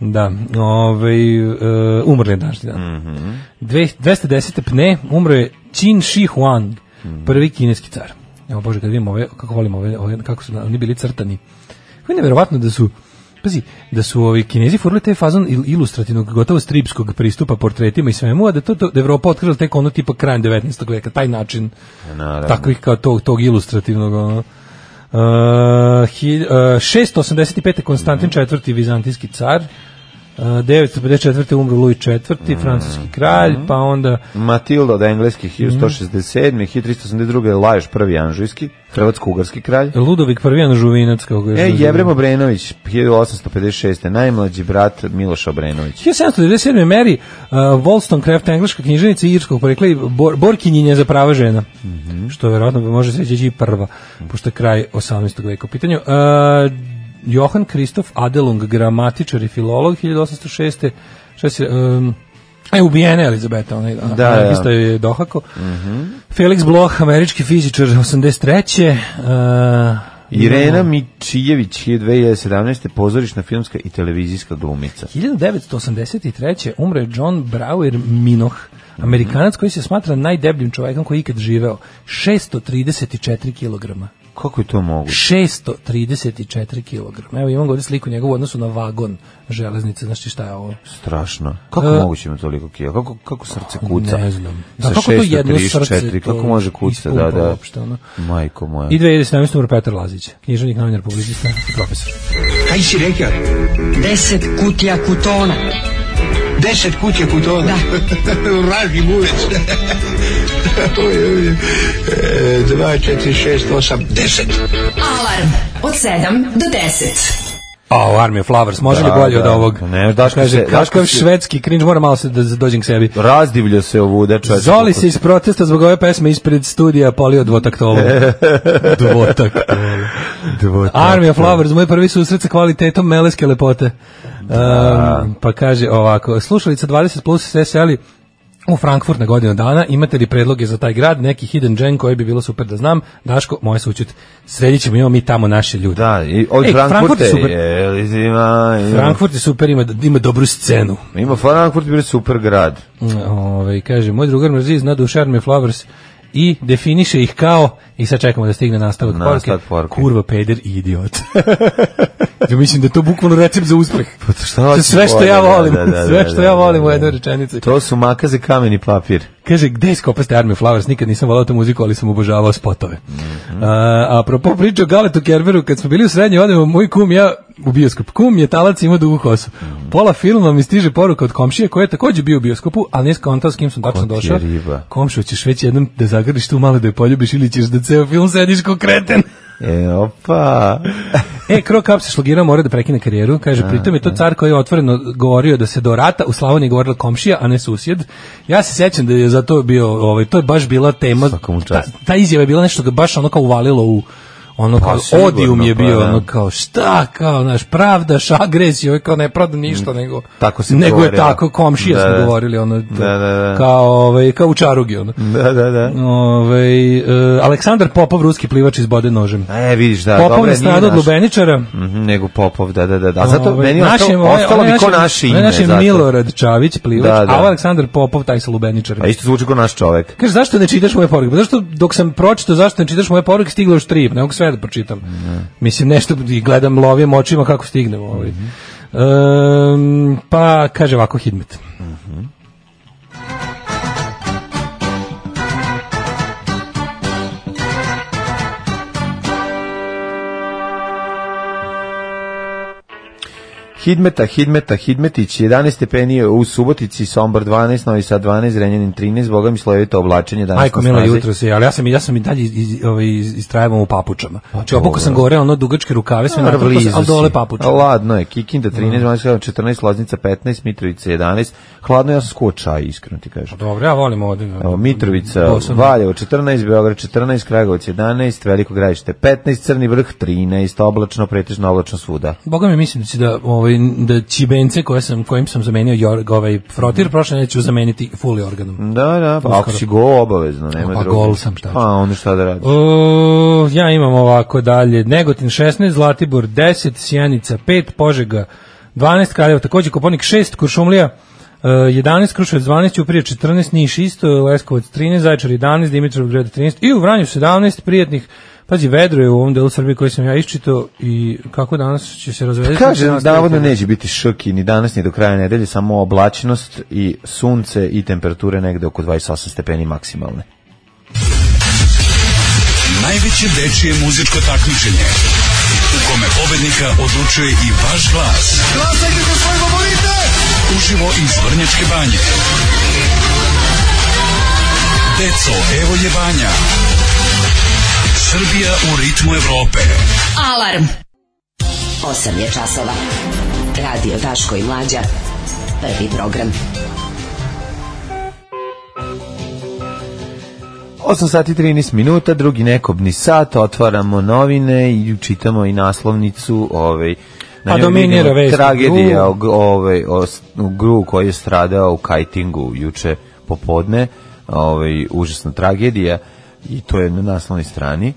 S5: Mhm.
S6: Da, ovaj, uh, umrli je da. današnji dan. Dve- 210. pne umro je Qin Shi Huang, prvi kineski car. Evo Bože, kad vidimo ove, kako volim ove, ove kako su na- oni bili crtani. Kako je neverovatno da su Pazi, da su ovi kinezi furli taj fazon il- ilustrativnog, gotovo stripskog pristupa portretima i svemu, a da to, to da je Evropa otkrila tek ono tipa krajem 19. veka, taj način
S5: Naravno.
S6: takvih kao tog, tog ilustrativnog ono. Uh, hi, uh, 685. Konstantin IV. vizantijski car, uh, 954. umro Luj IV. francuski kralj, pa onda
S5: Matilda od engleskih
S6: Mhm.
S5: 1167. 1382. Lajoš prvi anžujski, hrvatsko-ugarski kralj.
S6: Ludovik I. Anužuvinac, kako je
S5: E, Jevrem Obrenović, 1856. Najmlađi brat Miloša Obrenovića.
S6: 1797. Mary uh, Wollstonecraft, engleska knjiženica irskog porekla i bor, borkinjenja za prava žena, što verovatno bi može sreći i prva, pošto je kraj 18. veka u pitanju. Uh, Johan Kristof Adelung, gramatičar i filolog, 1806. Šta se... Um, E, ubijena je Elizabeta, onaj,
S5: da.
S6: da, isto je dohako. Felix Bloch, američki fizičar, 83. Uh,
S5: Irena Mičijević je 2017. pozorišna filmska i televizijska glumica.
S6: 1983. umre John Brauer Minoh, Amerikanac koji se smatra najdebljim čovekom koji je ikad živeo. 634 kg.
S5: Kako je to moguće?
S6: 634 kg. Evo imam ga ovde sliku njegovu u odnosu na vagon železnice. Znaš ti šta je ovo?
S5: Strašno. Kako
S6: E,
S5: moguće ima toliko kija? Kako, kako srce kuca?
S6: Ne znam.
S5: Da, kako to jedno srce? Kako
S6: to
S5: može kuca? Da,
S6: ispumpa
S5: da.
S6: uopšte, ono?
S5: Majko moja.
S6: I 2017. umre Petar Lazić, književnik, novinar, publicista i profesor.
S9: Kaj si rekao?
S4: Deset kutija kutona.
S9: Deset kuće kod toga. Vraži gulec. *laughs* Oj, oj, oj. E, Dva, četiri, šest, osam, deset.
S4: Alarm od 7 do 10.
S6: A, Army of Lovers, može li
S5: Da,
S6: bolje od
S5: da.
S6: ovog?
S5: Ne, Daško
S6: Kaže,
S5: se- Daško
S6: kakav
S5: se-
S6: švedski cringe, moram malo se da dođem k sebi.
S5: Razdivlja se ovuda čovječe.
S6: Zoli se iz protesta zbog ove pesme ispred studija polio dvotaktolo.
S5: *laughs*
S6: dvotaktolo. Army of Lovers, moj prvi susret sa kvalitetom meleske lepote. Um, pa kaže ovako, slušalica 20 plus ste seli u Frankfurt na godinu dana, imate li predloge za taj grad, neki hidden gem koji bi bilo super da znam, Daško, moje sućut, sredit ćemo, imamo mi tamo naše ljude.
S5: Da, i od
S6: Ej, Frankfurt
S5: Frankfurta
S6: je super.
S5: je, ima, ima,
S6: Frankfurt je super, ima, ima dobru scenu.
S5: ima Frankfurt je super grad.
S6: Ove, Ovaj, kaže, moj drugar mrzi zna duše Army of Lovers i definiše ih kao i sad čekamo da stigne nastavak,
S5: Nastavak
S6: poruke.
S5: poruke.
S6: Kurva, peder i idiot. *laughs* ja mislim da je to bukvalno recept za uspeh.
S5: Pa to šta
S6: To je
S5: hoćeš
S6: sve što
S5: bolje,
S6: ja volim, *laughs*
S5: da, da, da,
S6: sve što
S5: da,
S6: ja
S5: da,
S6: volim
S5: da,
S6: u
S5: da.
S6: jednoj rečenici.
S5: To su makaze kamen i papir.
S6: Kaže, gde iskopaste Army of Flowers? Nikad nisam volao tu muziku, ali sam obožavao spotove.
S5: Mhm.
S6: A, a apropo priče o Galetu Kerberu, kad smo bili u srednjoj, odemo moj kum, i ja u bioskop. Kum je talac ima dugu kosu.
S5: Mhm.
S6: Pola filma mi stiže poruka od komšije koja je takođe bio u bioskopu, ali nije skontao s kim sam tačno
S5: ti je
S6: došao.
S5: riba?
S6: Komšo, ćeš već jednom da zagrliš tu malo da je poljubiš ili ćeš da ceo film sediš ko kreten.
S5: E,
S6: *laughs*
S5: opa.
S6: E, Kro Kap se šlogirao, mora da prekine karijeru. Kaže, pritom je to car koji je otvoreno govorio da se do rata u Slavoniji govorila komšija, a ne susjed. Ja se sjećam da je zato bio, ovaj, to je baš bila tema.
S5: Svaka mu čast.
S6: Ta, ta izjava je bila nešto ga baš ono kao uvalilo u ono kao
S5: sigurno,
S6: odium je
S5: pa
S6: bio
S5: da.
S6: ono kao šta kao naš pravdaš agresiju ovaj kao ne pravda ništa nego
S5: Mm, tako se
S6: nego je
S5: govorilo.
S6: tako komšija
S5: Da,
S6: smo
S5: da.
S6: govorili ono to,
S5: Da, da, da.
S6: kao ovaj kao u čarugi ono
S5: Da, da, da.
S6: ovaj e, Aleksandar Popov ruski plivač izbode nožem
S5: E, vidiš, da,
S6: Popov
S5: dobro,
S6: je
S5: nije
S6: stradao od
S5: naš.
S6: Lubeničara
S5: Mhm, nego Popov, da, da, da. da. A zato
S6: Ovaj,
S5: meni je
S6: naš je
S5: ostalo,
S6: ovaj-
S5: ostalo
S6: ovaj
S5: mi
S6: naš
S5: ko
S6: je-
S5: naše
S6: ovaj
S5: ime.
S6: Naš je
S5: zato.
S6: Milorad Čavić, plivač,
S5: Da, da.
S6: a Aleksandar Popov, taj sa Lubeničara.
S5: A Pa isto zvuči kao naš čovek.
S6: Kaže, zašto ne čitaš moje poruke? Pa Zašto dok sam pročitao zašto ne čitaš moje poruke, stiglo još tri, ne mogu sve da pročitam. Mislim, nešto i gledam, lovim očima kako stignem. Ovaj.
S5: Mhm.
S6: Ehm, pa, kaže ovako Hidmet.
S5: Hidmeta, Hidmeta, Hidmetić, 11 stepeni u Subotici, Sombor 12, Novi Sad 12, Renjanin 13, Boga mi slojevito oblačenje danas
S6: Majko
S5: na
S6: milo
S5: snazi.
S6: jutro se, ali ja sam ja sam i dalje iz, iz, ovaj, iz, istrajavam u papučama. Znači, obuko sam gore ono dugačke rukave, sve
S5: Dobar,
S6: natrpao sam,
S5: Pa blizu
S6: ali
S5: si.
S6: dole Mm. papuče.
S5: Ladno je, Kikinda 13, Vanjska Kraljevica 14, Loznica 15, Mitrovica 11, hladno ja sam skuo čaj, iskreno ti kažem.
S6: Dobro, ja volim ovdje.
S5: Evo, Mitrovica,
S6: Dosadno.
S5: Valjevo 14, Beograd 14, Kragovac 11, Veliko gradište 15, Crni vrh 13, oblačno, pretežno oblačno svuda.
S6: Boga mi mislim da će da ovaj da čibence koje sam kojim sam zamenio jorg ovaj
S5: Mhm.
S6: frotir prošle neću zameniti fuli organom.
S5: Da, da, pa ako
S6: Uskoro.
S5: si go obavezno, nema
S6: Pa
S5: druge.
S6: gol sam, šta ću?
S5: Pa onda šta da radiš?
S6: O, ja imam ovako dalje. Negotin 16, Zlatibor 10, Sjenica 5, Požega 12, Kraljevo takođe, Koponik 6, Kuršumlija e, 11, Kruševac 12, Uprije 14, Niš isto, Leskovac 13, Zaječar 11, Dimitrov grad 13 i u Vranju 17 prijatnih Pazi, vedro je u ovom delu Srbije koji sam ja iščito i kako danas će se razvedeti. da
S5: Kaže,
S6: Nastaviti-
S5: navodno neće biti šoki ni danas ni do kraja nedelje, samo oblačnost i sunce i temperature negde oko 28 stepeni maksimalne.
S10: Najveće dečije muzičko takmičenje u kome pobednika odlučuje i vaš glas. Glasajte za svoje favorite! Uživo iz Vrnjačke banje. Deco, evo je banja. Srbija u ritmu Evrope.
S4: Alarm. 8 je časova. Radio Daško i Mlađa. Prvi program.
S5: 8 sati 13 minuta, drugi nekobni sat, otvaramo novine i čitamo i naslovnicu ovaj, na
S6: Pa
S5: njoj
S6: dominira
S5: vidimo
S6: vest o
S5: Tragedija
S6: Gru.
S5: o, g- ovaj, o, s- o Gru koji je stradao u kajtingu juče popodne, ovaj, užasna tragedija i to je na naslovnoj strani.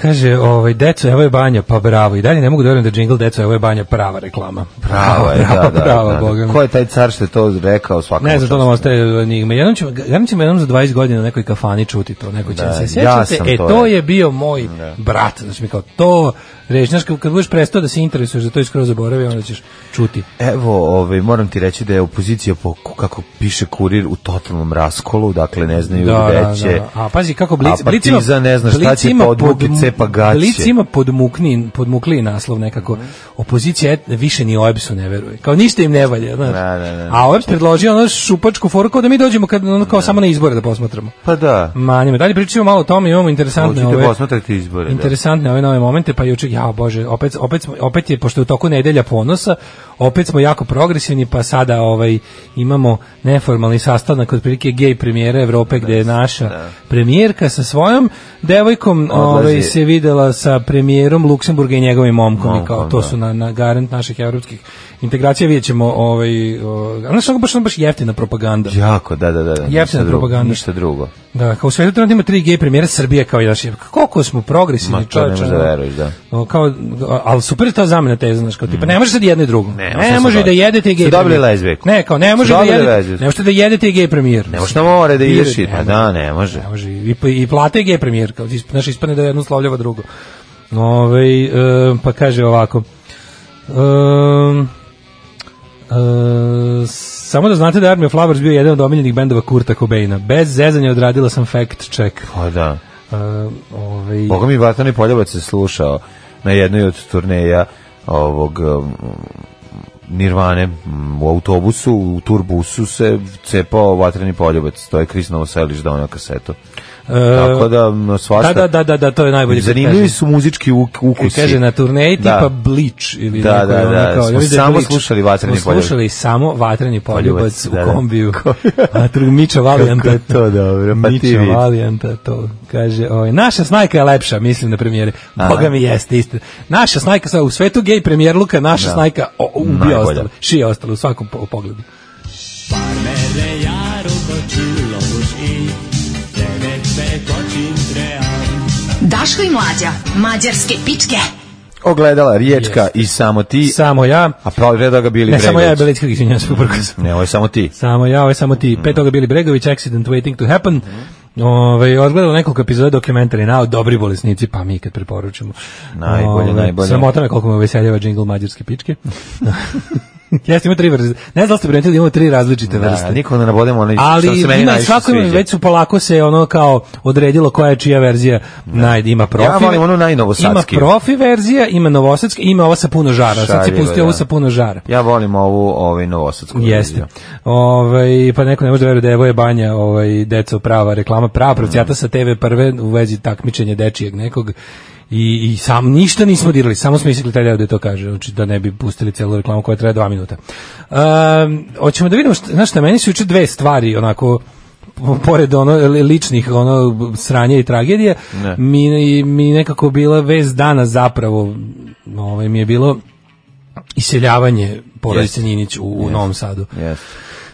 S6: Kaže, ovaj, deco, evo je banja, pa bravo. I dalje ne mogu da verujem da jingle deco, evo je banja, prava reklama.
S5: Pravo je, da,
S6: prava,
S5: da.
S6: prava,
S5: da, da.
S6: Boga mi.
S5: Ko je taj car što je to rekao svakako?
S6: Ne znam, to nam ostaje enigma. Jednom ćemo, jednom ćemo jednom za 20 godina u nekoj kafani čuti to. Neko će
S5: Da,
S6: se
S5: ja
S6: sjećate,
S5: sam
S6: e,
S5: to
S6: to,
S5: rekao." Da.
S6: je bio moj brat. Znači mi kao, to, reći, znaš, kad kad budeš prestao da se interesuješ za to i skroz zaboravio, onda ćeš čuti.
S5: Evo, ovaj, moram ti reći da je opozicija, po, kako piše kurir, u totalnom raskolu, dakle ne znaju gde će.
S6: Da, A pazi kako Blic,
S5: A Partizan ne zna šta
S6: Blic
S5: će,
S6: ima
S5: pa odmuke
S6: podmu-
S5: cepa gaće.
S6: Blic ima podmukni, podmukli naslov nekako. Opozicija et, više ni OEBS-u ne veruje. Kao ništa im ne valja, znaš.
S5: Da, da, da.
S6: A OEBS predložio ono šupačku foru kao da mi dođemo kad, ono, kao samo na izbore da posmatramo.
S5: Pa da,
S6: Manje me. Dalje pričamo malo o tome, imamo interesantne
S5: hoćete
S6: ove
S5: posmatrati izbore. da.
S6: interesantne ove nove momente, pa juče, ja bože, opet, opet, smo- opet je, pošto je u toku nedelja ponosa, opet smo jako progresivni, pa sada ovaj, imamo neformalni sastanak od prilike gej premijera Evrope, gde je naša premijerka sa svojom devojkom
S5: da. Odlazi.
S6: ovaj, se videla sa premijerom Luksemburga i njegovim momkom, i kao,
S5: Momkom,
S6: to
S5: da.
S6: su na, na garant naših evropskih integracija, vidjet ćemo, ovaj, o, znaš, ono baš, ono baš jeftina propaganda.
S5: Jako, da, da, da. da,
S6: Jeftina
S5: ništa drugo,
S6: propaganda.
S5: Ništa drugo.
S6: Da, kao u svetu trenutno ima tri gej premijera Srbije kao jedan šef. Koliko smo progresivni
S5: Ma to ne
S6: čovječe,
S5: možeš da
S6: ono.
S5: veruješ, da.
S6: O, Kao, ali super je ta zamena teza, znaš, kao tipa, ne može sad jedno i drugo.
S5: Ne,
S6: Ne,
S5: možemo
S6: može
S5: sad
S6: da
S5: dobiti.
S6: jedete i gej
S5: Su dobili
S6: premijer.
S5: lezbijku.
S6: Ne, kao, ne
S5: Su
S6: može da
S5: dobili
S6: jedete,
S5: lezbijku.
S6: ne možete da jedete i gej premijer.
S5: Ne možeš na more da
S6: Nije,
S5: ideš i...
S6: ne
S5: Pa
S6: može.
S5: da, ne može.
S6: Ne može, i, i plate je gej premijer, kao, isp- znaš, ispane da jedno slavljava drugo. Ove, pa kaže ovako, Um, e, samo da znate da je Army of Lovers bio jedan od omiljenih bendova Kurta Cobaina. Bez zezanja odradila sam fact check.
S5: Pa da.
S6: E, ovaj,
S5: Boga mi Vatani Poljevac se slušao na jednoj od turneja ovog um, Nirvane mm, u autobusu, u turbusu se cepao Vatreni Poljevac. To je Kris Novoselić donio kasetu.
S6: e,
S5: Tako da, no, svašta...
S6: da, da, da, da, to je najbolje. kad
S5: Zanimljivi
S6: kaže.
S5: su muzički uk-
S6: Kad
S5: ukusi.
S6: kaže na turneji
S5: Da.
S6: tipa Bleach ili
S5: Da,
S6: neko
S5: da,
S6: je ono
S5: da,
S6: kao,
S5: smo
S6: ja vidim da je
S5: samo
S6: Bleach.
S5: slušali Vatreni
S6: Smo slušali samo vatreni poljubac
S5: Poljubac,
S6: u
S5: da, da. *laughs*
S6: kombiju. A tu Miča Valijanta.
S5: Kako je to dobro, pa ti
S6: Miča
S5: vidi.
S6: Valijanta to kaže. Oj, naša snajka je lepša, mislim na premijere. Boga mi jeste, isto. Naša snajka sa u svetu gej premijer Luka, naša snajka o, ubija
S5: Da. Najbolja.
S6: ostalo. Šije ostalo u svakom po- pogledu.
S4: Daško i Mlađa. Mađarske pičke.
S5: Ogledala Riječka i samo ti,
S6: Samo ja.
S5: a provjeda ga bili
S6: Ne samo ja,
S5: Bregović.
S6: Belić, kako izvinjam se, uprko sam.
S5: Ne, ovo je samo ti.
S6: Samo ja, ovo je samo ti.
S5: Mhm.
S6: Pet toga bili Bregović, Accident Waiting to Happen. Ove, odgledalo nekoliko epizoda dokumentari na dobri bolesnici, pa mi kad preporučimo. Ovaj,
S5: Najbolje, najbolje.
S6: Sramota me koliko me veseljava džingl mađarske pičke. *laughs* Jeste, ima tri vrste. Ne znam da li ste primetili, imamo tri različite
S5: Da,
S6: vrste.
S5: nikako ne nabodemo onaj što
S6: Ali
S5: se meni
S6: ima,
S5: najviše
S6: svako ima,
S5: sviđa.
S6: već su polako se ono kao odredilo koja je čija verzija naj, ima profi.
S5: Da. volim onu najnovosadskiju.
S6: Ima profi verzija, ima novosadska, ima ova sa puno žara. Sad si
S5: Šaljivo,
S6: pustio
S5: da.
S6: ovo sa puno žara.
S5: Ja volim ovu ovaj novosadsku.
S6: Jeste.
S5: verziju.
S6: Ovaj pa neko ne može da veruje da je Evoje Banja, ovaj deco prava reklama, prava procijata sa TV prve u vezi takmičenja dečijeg nekog i, i sam ništa nismo dirali, samo smo isekli taj deo da to kaže, znači da ne bi pustili celu reklamu koja traje dva minuta. Um, hoćemo da vidimo, šta, znaš šta, meni su juče dve stvari onako po- pored ono li- ličnih ono sranja i tragedije
S5: Ne.
S6: mi, mi nekako bila vez dana zapravo ovaj mi je bilo iseljavanje porodice
S5: Jeste.
S6: Ninić u, u Novom Sadu.
S5: Jeste.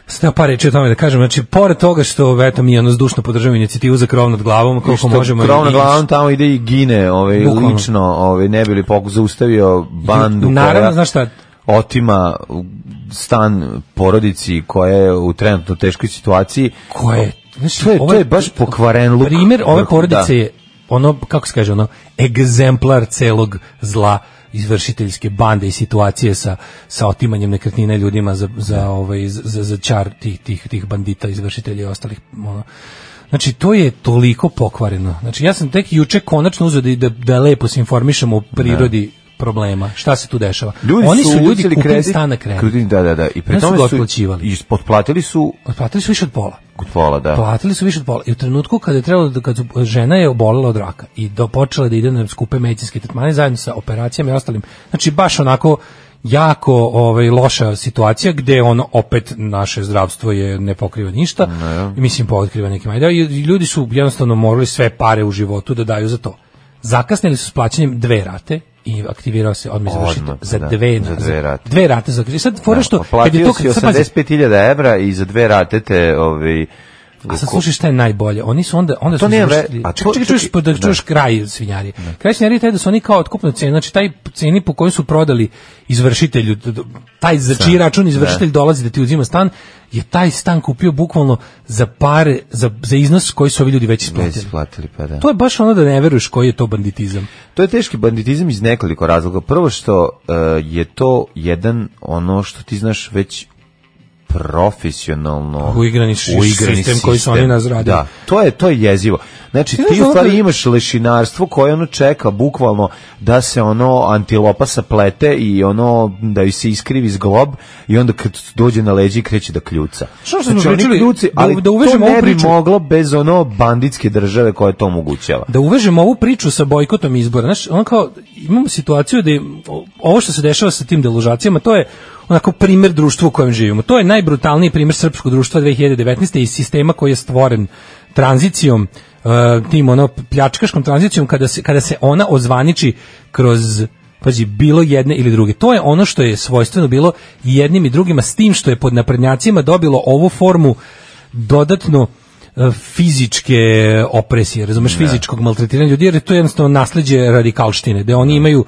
S6: Sada par reči o tome da kažem, znači pored toga što eto mi ono zdušno podržavamo inicijativu za krov nad glavom, koliko
S5: Što
S6: možemo
S5: krov nad
S6: i-
S5: glavom tamo ide i gine, ovaj
S6: Bukvalno.
S5: lično, ovaj ne bi li poku zaustavio bandu
S6: Naravno,
S5: koja
S6: znaš šta?
S5: otima stan porodici koja je u trenutno teškoj situaciji.
S6: koje znaš,
S5: To je- to
S6: ovo
S5: je baš pokvaren luk.
S6: Primer ove
S5: Vrhu,
S6: porodice
S5: da.
S6: je ono kako se kaže ono egzemplar celog zla izvršiteljske bande i situacije sa sa otimanjem nekretnina ljudima za
S5: Da.
S6: za ovaj za za čar tih tih tih bandita izvršitelja i ostalih ono. Znači, to je toliko pokvareno. Znači, ja sam tek juče konačno uzeo da, da, da lepo se informišemo o prirodi problema. Šta se tu dešava? Oni su ljudi
S5: Da. uzeli
S6: kupili stan na kredit.
S5: kredit, Da, da, da. I
S6: Ne
S5: pre
S6: su
S5: tome
S6: ga
S5: su
S6: otplaćivali.
S5: i potplatili su
S6: Otplatili su više od pola.
S5: kod pola, da.
S6: Platili su više od pola. I u trenutku kada je trebalo da kad su, žena je obolela od raka i do, počela da ide na skupe medicinske tretmane zajedno sa operacijama i ostalim. Znači baš onako jako ovaj loša situacija gde ono opet naše zdravstvo je ne pokriva ništa. I mislim pootkriva nekim ajde i i ljudi su jednostavno morali sve pare u životu da daju za to. Zakasnili su s plaćanjem dve rate i aktivirao se odmah izvršitelj
S5: Odmah,
S6: za
S5: da,
S6: dve
S5: za
S6: na-
S5: dve rate. Da,
S6: Dve rate za. I sad fora što kad je
S5: platio
S6: to
S5: si
S6: sad pazi,
S5: 85.000 evra i za dve rate te ovaj
S6: A sad slušaj šta je najbolje. Oni su onda onda
S5: To
S6: su
S5: nije
S6: izvršili-
S5: vre- a to-
S6: čekaj, čekaj, čuješ
S5: čekaj,
S6: da
S5: da.
S6: čuješ kraj svinjarije. Kraj svinjarije je taj da su oni kao otkupna cena, znači taj ceni po kojoj su prodali izvršitelju d- d- taj za čiji račun izvršitelj dolazi da ti uzima stan je taj stan kupio bukvalno za pare za, za iznos koji su ovi ljudi već
S5: već
S6: isplatili.
S5: isplatili, pa da.
S6: To je baš ono da ne veruješ koji je to banditizam.
S5: To je teški banditizam iz nekoliko razloga. Prvo što e, je to jedan ono što ti znaš već profesionalno
S6: Uigrani ši- Znači, sistem koji su oni razradili.
S5: Da, to je to je jezivo.
S6: Ti
S5: Znači ti,
S6: znaš da
S5: u
S6: ono
S5: stvari
S6: kad-
S5: imaš lešinarstvo koje ono čeka bukvalno da se ono antilopa saplete i ono da ju se iskrivi zglob i onda kad dođe na leđi kreće da kljuca. Znači,
S6: Što što smo
S5: oni
S6: pričali,
S5: kljuci,
S6: da-
S5: ali
S6: da uvežemo
S5: to
S6: ovu
S5: ne bi
S6: priču-
S5: moglo bez ono banditske države koja to omogućava.
S6: da uvežemo ovu priču sa bojkotom izbora. Znaš, ono kao, imamo situaciju da je, o- ovo što se dešava sa tim deložacijama, to je onako primer društva u kojem živimo. To je najbrutalniji primer srpskog društva 2019. i sistema koji je stvoren tranzicijom, e, tim ono pljačkaškom tranzicijom, kada se, kada se ona ozvaniči kroz pazi, bilo jedne ili druge. To je ono što je svojstveno bilo i jednim i drugima, s tim što je pod naprednjacima dobilo ovu formu dodatno e, fizičke opresije, razumeš, fizičkog maltretiranja ljudi, jer je to jednostavno nasleđe radikalštine, da oni imaju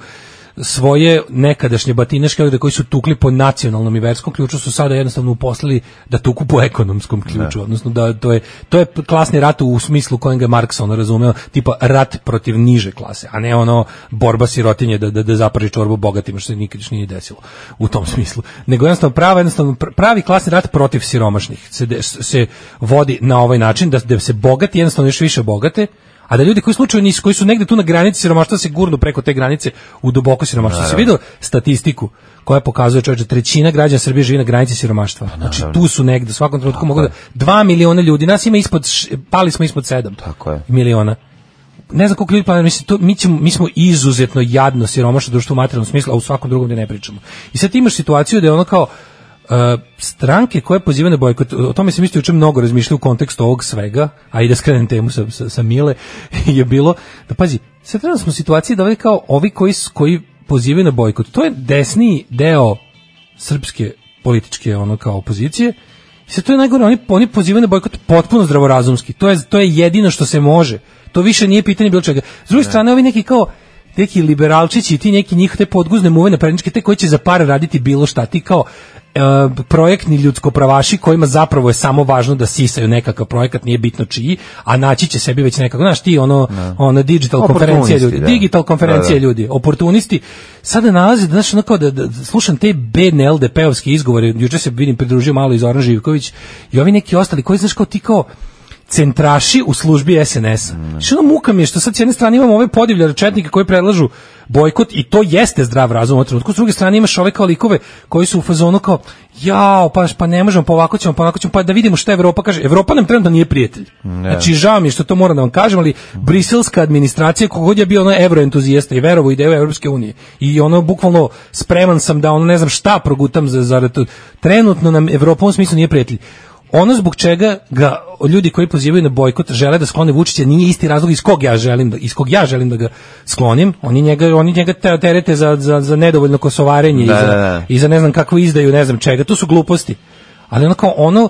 S6: svoje nekadašnje batinaške odrede koji su tukli po nacionalnom i verskom ključu su sada jednostavno uposlili da tuku po ekonomskom ključu, odnosno da to je, to je klasni rat u smislu kojem ga je Marks ono razumeo, tipa rat protiv niže klase, a ne ono borba sirotinje da, da, da zapravi čorbu bogatima, što se nikad još nije desilo u tom smislu. Nego jednostavno prava, jednostavno pr- pravi klasni rat protiv siromašnih se, de- se vodi na ovaj način da, da se bogati jednostavno još više bogate, a da ljudi koji slučajno nisu, koji su negde tu na granici siromaštva se gurnu preko te granice u duboko siromaštvo. Si vidio statistiku koja pokazuje čovječe, trećina građana Srbije živi na granici siromaštva. Znači tu su negde, u svakom trenutku mogu da... Dva miliona ljudi, nas ima ispod, š- pali smo ispod sedam
S5: Tako je.
S6: miliona ne znam koliko ljudi planira, mislim, to, mi, ćemo, mi smo izuzetno jadno siromašno društvo u materijalnom smislu, a u svakom drugom da ne pričamo. I sad ti imaš situaciju da je ono kao e, stranke koje pozivaju na bojkot, o tome se mislio juče mnogo razmišljao u kontekstu ovog svega, a i da skrenem temu sa, sa, sa Mile, *laughs* je bilo, da pazi, sad trenutno smo u situaciji da ovdje kao ovi koji, s- koji pozivaju na bojkot, to je desniji deo srpske političke ono kao opozicije. I sad to je najgore, oni, oni pozivaju na bojkot potpuno zdravorazumski. To je, to je jedino što se može. To više nije pitanje bilo čega. S druge strane, ovi neki kao neki liberalčići i ti neki njih te podguzne muve na te koji će za pare raditi bilo šta. Ti kao e, projektni ljudskopravaši kojima zapravo je samo važno da sisaju nekakav projekat, nije bitno čiji, a naći će sebi već nekako, znaš ti, ono, ono digital konferencija ljudi,
S5: da.
S6: digital konferencija
S5: Da, da.
S6: ljudi, oportunisti, sada nalaze, znaš, ono kao da, da slušam te bedne LDP-ovske izgovore, juče se vidim pridružio malo i Zoran Živković, i ovi neki ostali, koji, znaš, kao ti kao, centraši u službi SNS-a. Što ono muka mi je što sad s jedne strane imamo ove podivljare četnike koji predlažu bojkot i to jeste zdrav razum u ovom trenutku, s druge strane imaš ove kao likove koji su u fazonu kao jao, pa, pa ne možemo, pa ovako ćemo, pa onako ćemo, pa da vidimo šta Evropa kaže. Evropa nam trenutno nije prijatelj. Znači, žao mi je što to moram da vam kažem, ali briselska administracija, kogod je bio ono evroentuzijasta i verovo ideju Evropske unije i ono bukvalno spreman sam da ono ne znam šta progutam za, za to. Trenutno nam Evropa u ovom smislu nije prijatelj ono zbog čega ga ljudi koji pozivaju na bojkot žele da sklone Vučića nije isti razlog iz kog ja želim da iz kog ja želim da ga sklonim oni njega oni njega te- terete za, za, za nedovoljno kosovarenje i,
S5: Da,
S6: za,
S5: da, da.
S6: i za ne znam kakvu izdaju ne znam čega to su gluposti ali ono kao ono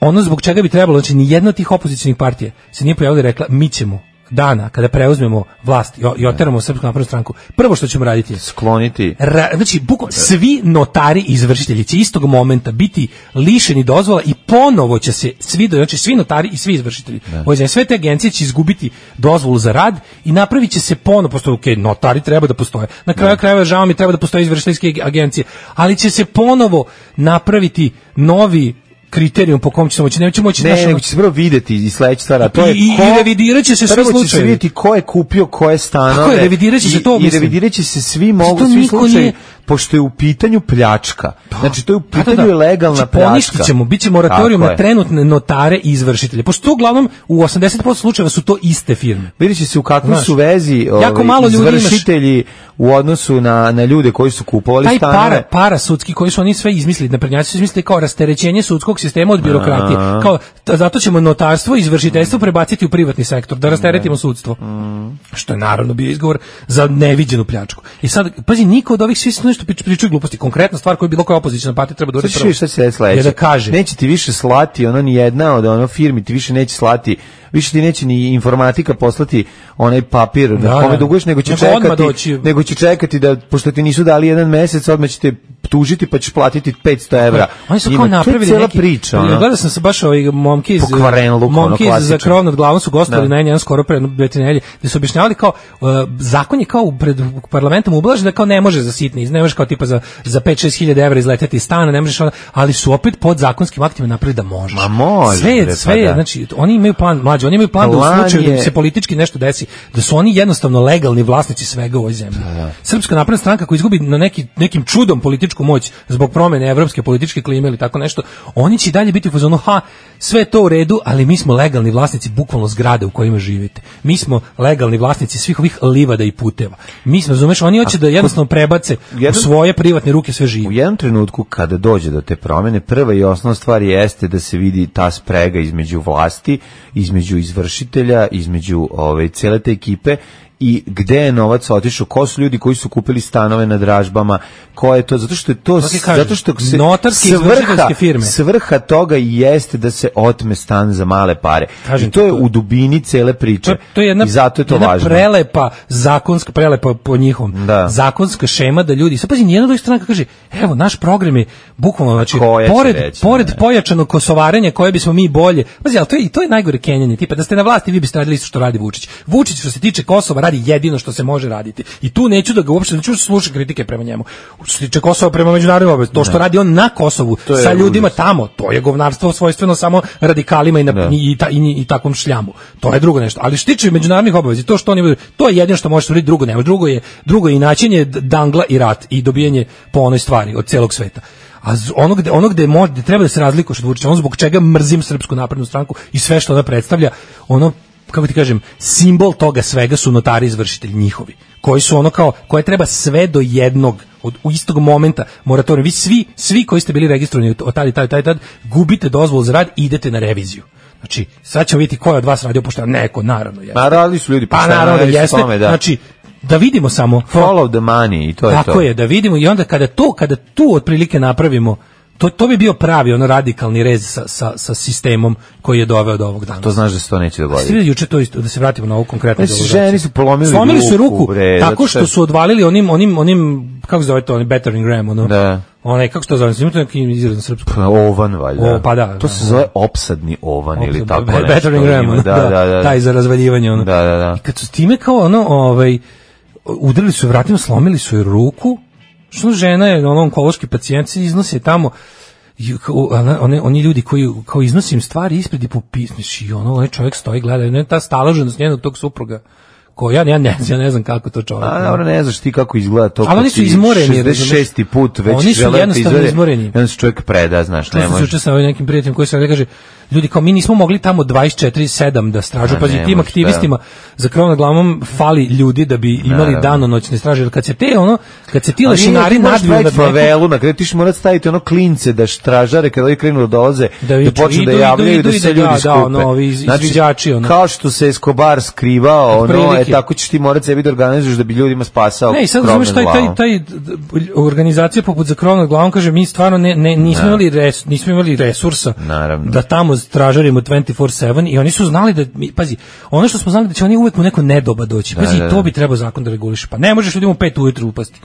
S6: ono zbog čega bi trebalo, znači ni jedna od tih opozicionih partija se nije pojavila i rekla mi ćemo dana kada preuzmemo vlast i, o- i oteramo Srpsku naprednu stranku. Prvo što ćemo raditi je
S5: Skloniti.
S6: Ra, znači, bukvalno, svi notari i izvršitelji će istog momenta biti lišeni dozvola i ponovo će se svi, do- znači svi notari i svi izvršitelji.
S5: Da.
S6: Ovo je za sve te agencije će izgubiti dozvolu za rad i napravit će se ponovo, postoje, ok, notari treba da postoje, na kraju krajeva žao mi treba da postoje izvršiteljske ag- agencije, ali će se ponovo napraviti novi kriterijum po kom će se moći, neće moći znaš,
S5: Ne,
S6: ono-
S5: nego će se prvo videti i sledeća stvar, a to je
S6: I- i- i revidirat će se svi
S5: prvo će se
S6: slučajevi.
S5: vidjeti ko je kupio koje stanove.
S6: Tako je, revidirat će se
S5: i-
S6: to,
S5: I
S6: mislim.
S5: revidirat će se svi mogu,
S6: to
S5: svi
S6: niko
S5: slučajevi,
S6: nije-
S5: pošto je u pitanju pljačka. Znači, to je u
S6: Pa da,
S5: pitanju legalna
S6: Znači,
S5: pljačka.
S6: Poništit ćemo, bit će moratorijum
S5: Tako
S6: na
S5: je.
S6: trenutne notare i izvršitelje. Pošto to uglavnom u 80% slučajeva su to iste firme.
S5: Vidjet će se u kakvoj
S6: Znaš,
S5: su vezi
S6: jako
S5: ovi,
S6: malo ljudi imaš-
S5: izvršitelji u odnosu na, na ljude koji su kupovali
S6: Taj
S5: stanove.
S6: Pa para, para sudski koji su oni sve izmislili, naprednjaci su izmislili kao rasterećenje sudskog sistema od birokratije. Kao, t- zato ćemo notarstvo i izvršiteljstvo prebaciti u privatni sektor, da rasteretimo sudstvo.
S5: Mm.
S6: Što je naravno bio izgovor za neviđenu pljačku. I sad, pazi, niko od ovih svi su nešto prič- pričaju gluposti. Konkretna stvar koju bilo koja opozicijna partija treba da uradi
S5: Sad ćeš
S6: prvo.
S5: vidjeti šta će reći sledeće.
S6: Je da kaže.
S5: Neće ti više slati, ono ni jedna od ono firmi ti više neće slati, više ti neće ni informatika poslati onaj papir da, na
S6: Da,
S5: kome
S6: da.
S5: duguješ, nego će
S6: Nego odmah
S5: čekati,
S6: doći.
S5: nego će čekati da, pošto ti nisu dali jedan mesec, odmah će te tužiti pa ćeš platiti 500 evra.
S6: Oni su
S5: Njima.
S6: kao
S5: To je
S6: napravili
S5: cijela
S6: neki... Pa,
S5: priča, ono.
S6: Gledao sam se baš ovaj momke iz...
S5: Pokvaren luk, ono,
S6: momke iz za
S5: klasičan.
S6: krov nad glavom su gostovali
S5: Da.
S6: na jedan skoro pre dve tri nedelje, gde su objašnjavali kao uh, zakon je kao u- pred parlamentom ublažen da kao ne može za sitni, iz- ne može kao tipa za za 5-6 hiljada evra izleteti iz stana, ne možeš ono, ali su opet pod zakonskim aktima napravili da može.
S5: Ma može,
S6: Sve
S5: bre,
S6: je,
S5: pa
S6: sve je,
S5: da.
S6: znači oni imaju plan, mlađi, oni imaju plan, da
S5: Plan
S6: u slučaju da im
S5: je-
S6: se politički nešto desi, da su oni jednostavno legalni vlasnici svega u ovoj zemlji. Srpska napredna stranka koja izgubi na neki, nekim čudom političku moć zbog promene evropske političke klime ili tako nešto, oni će i dalje biti u fazonu, ha, sve je to u redu, ali mi smo legalni vlasnici bukvalno zgrade u kojima živite. Mi smo legalni vlasnici svih ovih livada i puteva. Mi smo, razumeš, oni hoće da jednostavno prebace u
S5: jedan-
S6: svoje privatne ruke sve živo.
S5: U jednom trenutku kada dođe do te promene, prva i osnovna stvar jeste da se vidi ta sprega između vlasti, između izvršitelja, između ove cele te ekipe i gde je novac otišao, ko su ljudi koji su kupili stanove na dražbama, ko je to, zato što je to,
S6: To ti
S5: s-
S6: kažem,
S5: zato što se
S6: notarske i izvršiteljske firme.
S5: svrha toga i jeste da se otme stan za male pare.
S6: Kažem
S5: I to
S6: ti,
S5: je
S6: to-
S5: u dubini cele priče.
S6: To, to je jedna,
S5: I zato je to
S6: jedna
S5: važno.
S6: prelepa zakonska, prelepa po njihom,
S5: Da.
S6: zakonska šema da ljudi, sad pazi, nijedna druga strana kaže, evo, naš program je bukvalno, znači,
S5: koja će
S6: pored,
S5: reći,
S6: pored
S5: ne.
S6: pojačanog kosovarenja koje bismo mi bolje, pazi, ali to je, i to je najgore kenjanje, tipa, da ste na vlasti, vi biste radili isto što radi Vučić. Vučić, što se tiče Kosova, radi jedino što se može raditi. I tu neću da ga uopšte, neću slušati kritike prema njemu. Što se tiče Kosova prema međunarodnim obavezama, to što radi on na Kosovu,
S5: je
S6: sa ljudima
S5: užas.
S6: tamo, to je govnarstvo svojstveno samo radikalima i, na,
S5: Da.
S6: i i, ta, i, i takvom šljamu. To je drugo nešto. Ali što se tiče međunarodnih obaveza, to što oni imaju, to je jedino što možeš uraditi, drugo nema. Drugo je, drugo je inačenje d- dangla i rat i dobijanje po onoj stvari od celog sveta. A z- ono gde, ono gde, mo- gde treba da se razlikuješ od Vučića, ono zbog čega mrzim Srpsku naprednu stranku i sve što ona predstavlja, ono kako ti kažem, simbol toga svega su notari i izvršitelji njihovi, koji su ono kao, koje treba sve do jednog od u istog momenta moratorijum. Vi svi, svi koji ste bili registrovani od tad i tad i tad, i tad gubite dozvolu za rad i idete na reviziju. Znači, sad ćemo vidjeti ko je od vas radio pošteno. Neko, naravno. Je.
S5: Ma radili su ljudi
S6: Pa
S5: pošteno,
S6: naravno
S5: radili
S6: da
S5: su
S6: jeste.
S5: tome, da.
S6: Znači, da vidimo samo.
S5: Follow the money i to je to.
S6: Tako je, da vidimo i onda kada to, kada tu otprilike napravimo, to, to bi bio pravi ono radikalni rez sa, sa, sa sistemom koji je doveo do ovog dana.
S5: To znaš da se to neće dogoditi.
S6: Jeste vidjeli juče to isto, da se vratimo na ovu konkretnu
S5: Znači,
S6: deložaciju?
S5: ženi su polomili
S6: Slomili su
S5: ruku,
S6: ruku
S5: bre, zato
S6: tako
S5: što
S6: što
S5: je-
S6: su odvalili onim onim onim kako se zove to, onim battering ram, ono.
S5: Da.
S6: onaj, kako se to zove, ima to neki izraz na srpskom.
S5: Pa, Ovan, valjda.
S6: O, pa da,
S5: to
S6: da,
S5: se
S6: da.
S5: zove opsadni ovan
S6: Opet-
S5: ili tako
S6: Be-
S5: nešto.
S6: Bettering
S5: ima.
S6: Ram, ono,
S5: da, da, da,
S6: Taj za razvaljivanje, ono.
S5: Da, da, da.
S6: I kad su s time kao, ono, ovaj, udarili su je vratima, slomili su joj ruku, što žena je, ono, onkološki pacijent, se iznose tamo, i kao, ona- one, oni ljudi koji kao iznose im stvari ispred i popisniš i ono, onaj čovjek stoji i gleda, i ono je ta staloženost njenog tog supruga, koja, ja ne, ja ne znam kako to čovjek.
S5: A dobro, ne znaš ti kako izgleda to.
S6: Ali
S5: kad
S6: oni su
S5: ti
S6: izmoreni,
S5: 66.
S6: razumeš?
S5: put već
S6: Oni su
S5: žele da te
S6: jednostavno
S5: izvede,
S6: izmoreni.
S5: i Onda se čovjek preda, znaš,
S6: To
S5: ne
S6: sam se
S5: može.
S6: juče sa ovim nekim prijateljem koji sam da kaže ljudi kao mi nismo mogli tamo 24/7 da stražu,
S5: A
S6: pa
S5: ne
S6: tim
S5: može,
S6: aktivistima za krov nad glavom fali ljudi da bi imali
S5: Naravno.
S6: danonoćne straže, jer kad se te ono, kad se ti
S5: Ali
S6: lešinari
S5: ti moraš
S6: nadviju nad
S5: staviti
S6: nekom,
S5: favelu, na kraju ti ćeš morati staviti ono klince da štražare kada ovi krenu da dolaze, da,
S6: viču,
S5: počnu da
S6: idu,
S5: javljaju,
S6: idu,
S5: da
S6: idu,
S5: se
S6: da,
S5: ljudi
S6: da,
S5: skupe. Znači,
S6: ono, ovi iz- izviđači, ono.
S5: Kao što se Escobar skrivao, ono, e,
S6: Otprilike.
S5: tako ćeš ti morati sebi da organizuješ da bi ljudima spasao
S6: Ne, i sad
S5: krov
S6: razumeš
S5: nad
S6: taj, taj,
S5: glavom.
S6: taj d- d- organizacija poput za krov nad glavom kaže mi stvarno ne, ne, nismo, imali res, nismo imali resursa
S5: Da. Naravno.
S6: da tamo stražarimo 24-7 i oni su znali da, mi, pazi, ono što smo znali da će oni uvek u neko nedoba doći, pazi,
S5: da, da.
S6: to bi trebao zakon da reguliše, pa ne možeš ljudima u pet ujutru upasti.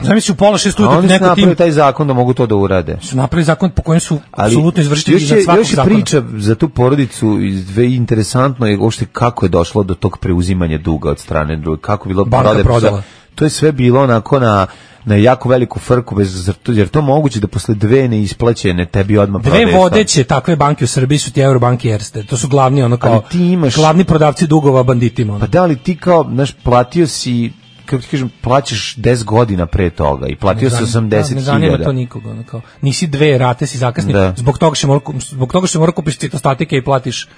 S6: Zamisli u pola šest
S5: A
S6: ujutru
S5: oni su
S6: neko tim
S5: napravili taj zakon da mogu to da urade.
S6: su napravili zakon po kojem su apsolutno izvršitelji
S5: još je,
S6: iznad svakog
S5: još je
S6: zakona.
S5: priča za tu porodicu iz- ve- interesantno je uopšte kako je došlo do tog preuzimanja duga od strane druge, kako je bilo
S6: Banka
S5: prodaje-
S6: prodala.
S5: To je sve bilo onako na na jako veliku frku bez zar to- jer to moguće da posle dve neisplaćene tebi odmah
S6: Dve
S5: prodaje stan.
S6: vodeće takve banke u Srbiji su ti Eurobank i Erste. To su glavni ono kao
S5: Ali ti imaš-
S6: glavni prodavci dugova banditima. Ono.
S5: Pa da li ti kao, znaš, platio si kako ti kažem, plaćaš 10 godina pre toga i platio si
S6: Ne zanim- da,
S5: 80
S6: Ne zanima to
S5: hiljada.
S6: nikoga, ono kao. Nisi dve rate si zakasni,
S5: Da.
S6: zbog toga što mora kup- zbog toga što mora kupiš citostatike i platiš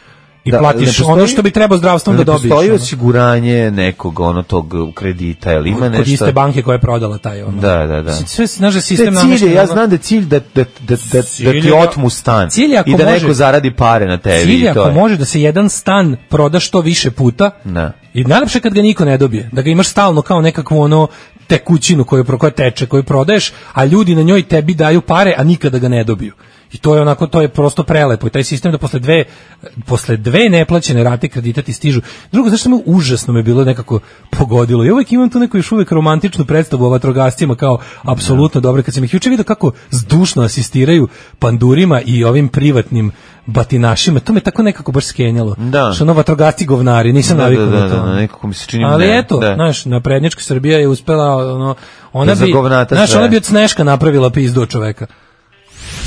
S6: i
S5: Da,
S6: platiš
S5: ne postoji-
S6: ono što bi trebao zdravstvom da
S5: Ne
S6: dobiješ.
S5: postoji
S6: ono.
S5: osiguranje nekog ono tog kredita ili ima
S6: Kod
S5: nešto
S6: iste banke koja je prodala taj ono.
S5: Da, da, da.
S6: Sve znaš da
S5: Te
S6: sistem
S5: cilje,
S6: namešten,
S5: ja
S6: ono-
S5: znam da je cilj da, da, da, da, da
S6: Cilj je
S5: ti
S6: da-
S5: otmu stan
S6: Cilj je ako
S5: i da
S6: može-
S5: neko zaradi pare na tebi.
S6: Cilj je
S5: i E, to
S6: ako
S5: je.
S6: može da se jedan stan proda što više puta.
S5: Da.
S6: I najlepše je kad ga niko ne dobije, da ga imaš stalno kao nekakvu ono tekućinu koju pro koja teče, koju prodaješ, a ljudi na njoj tebi daju pare, a nikada ga ne dobiju. I to je onako to je prosto prelepo i taj sistem da posle dve posle dve neplaćene rate kredita ti stižu. Drugo zašto me užasno me bilo nekako pogodilo. I uvek imam tu neku još uvek romantičnu predstavu o vatrogascima kao apsolutno dobro kad sam ih juče video kako zdušno asistiraju pandurima i ovim privatnim batinašima. To me tako nekako baš skenjalo.
S5: Da.
S6: Što ono vatrogasci govnari, nisam
S5: Da,
S6: navikao
S5: da,
S6: na
S5: da,
S6: to.
S5: da, nekako mi se čini...
S6: Ali
S5: ne,
S6: eto,
S5: da.
S6: znaš, na prednjačka Srbija je uspela, ono, ona
S5: Da
S6: bi,
S5: zagovnata
S6: znaš,
S5: sve.
S6: ona bi od Sneška napravila pizdu od čoveka.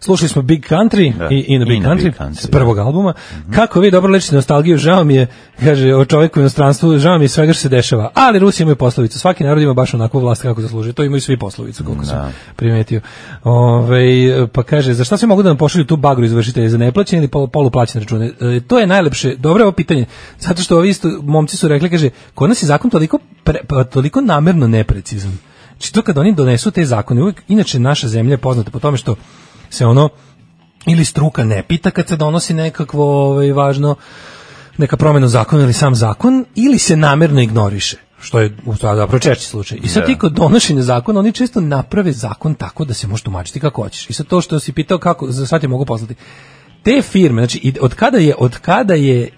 S6: Slušali smo Big Country
S5: Da,
S6: i In a Big,
S5: In a
S6: Country,
S5: Big Country,
S6: s prvog albuma. Kako vi dobro lečite nostalgiju, žao mi je, kaže, o čoveku u inostranstvu, žao mi je svega što se dešava. Ali Rusi imaju poslovicu, svaki narod ima baš onako vlast kako zaslužuje. To imaju svi poslovicu, koliko sam primetio. Ove, pa kaže, za šta sve mogu da nam pošalju tu bagru izvršitelje, za neplaćene ili pol- poluplaćene račune? E, to je najlepše, dobro je ovo pitanje, zato što ovi isto momci su rekli, kaže, kod nas je zakon toliko, pre, pa, toliko namerno neprecizan. Znači to kad oni donesu te zakone, uvek, inače naša zemlja je poznata po tome što se ono, ili struka ne pita kad se donosi nekakvo ovaj, važno neka promena u zakonu ili sam zakon ili se namerno ignoriše što je u stvari zapravo češći slučaj. I sad ti kod donošenja zakona, oni često naprave zakon tako da se može tumačiti kako hoćeš. I sad to što si pitao kako, za sad ti mogu poslati. Te firme, znači, i od kada je, od kada je e,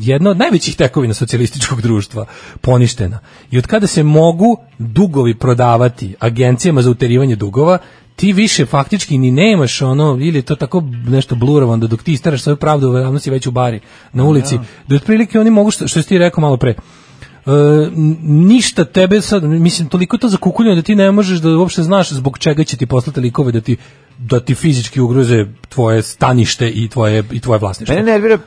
S6: jedna od najvećih tekovina socijalističkog društva poništena i od kada se mogu dugovi prodavati agencijama za uterivanje dugova, ti više faktički ni nemaš ono, ili je to tako nešto blurovan da dok ti istaraš svoju pravdu u ravnosti već u bari, na ulici, da otprilike oni mogu, što, što si ti rekao malo pre, E, n- ništa tebe sad, mislim, toliko to zakukuljeno da ti ne možeš da uopšte znaš zbog čega će ti poslati likove da ti, da ti fizički ugroze tvoje stanište i tvoje, i tvoje vlasništvo.
S5: Mene nervira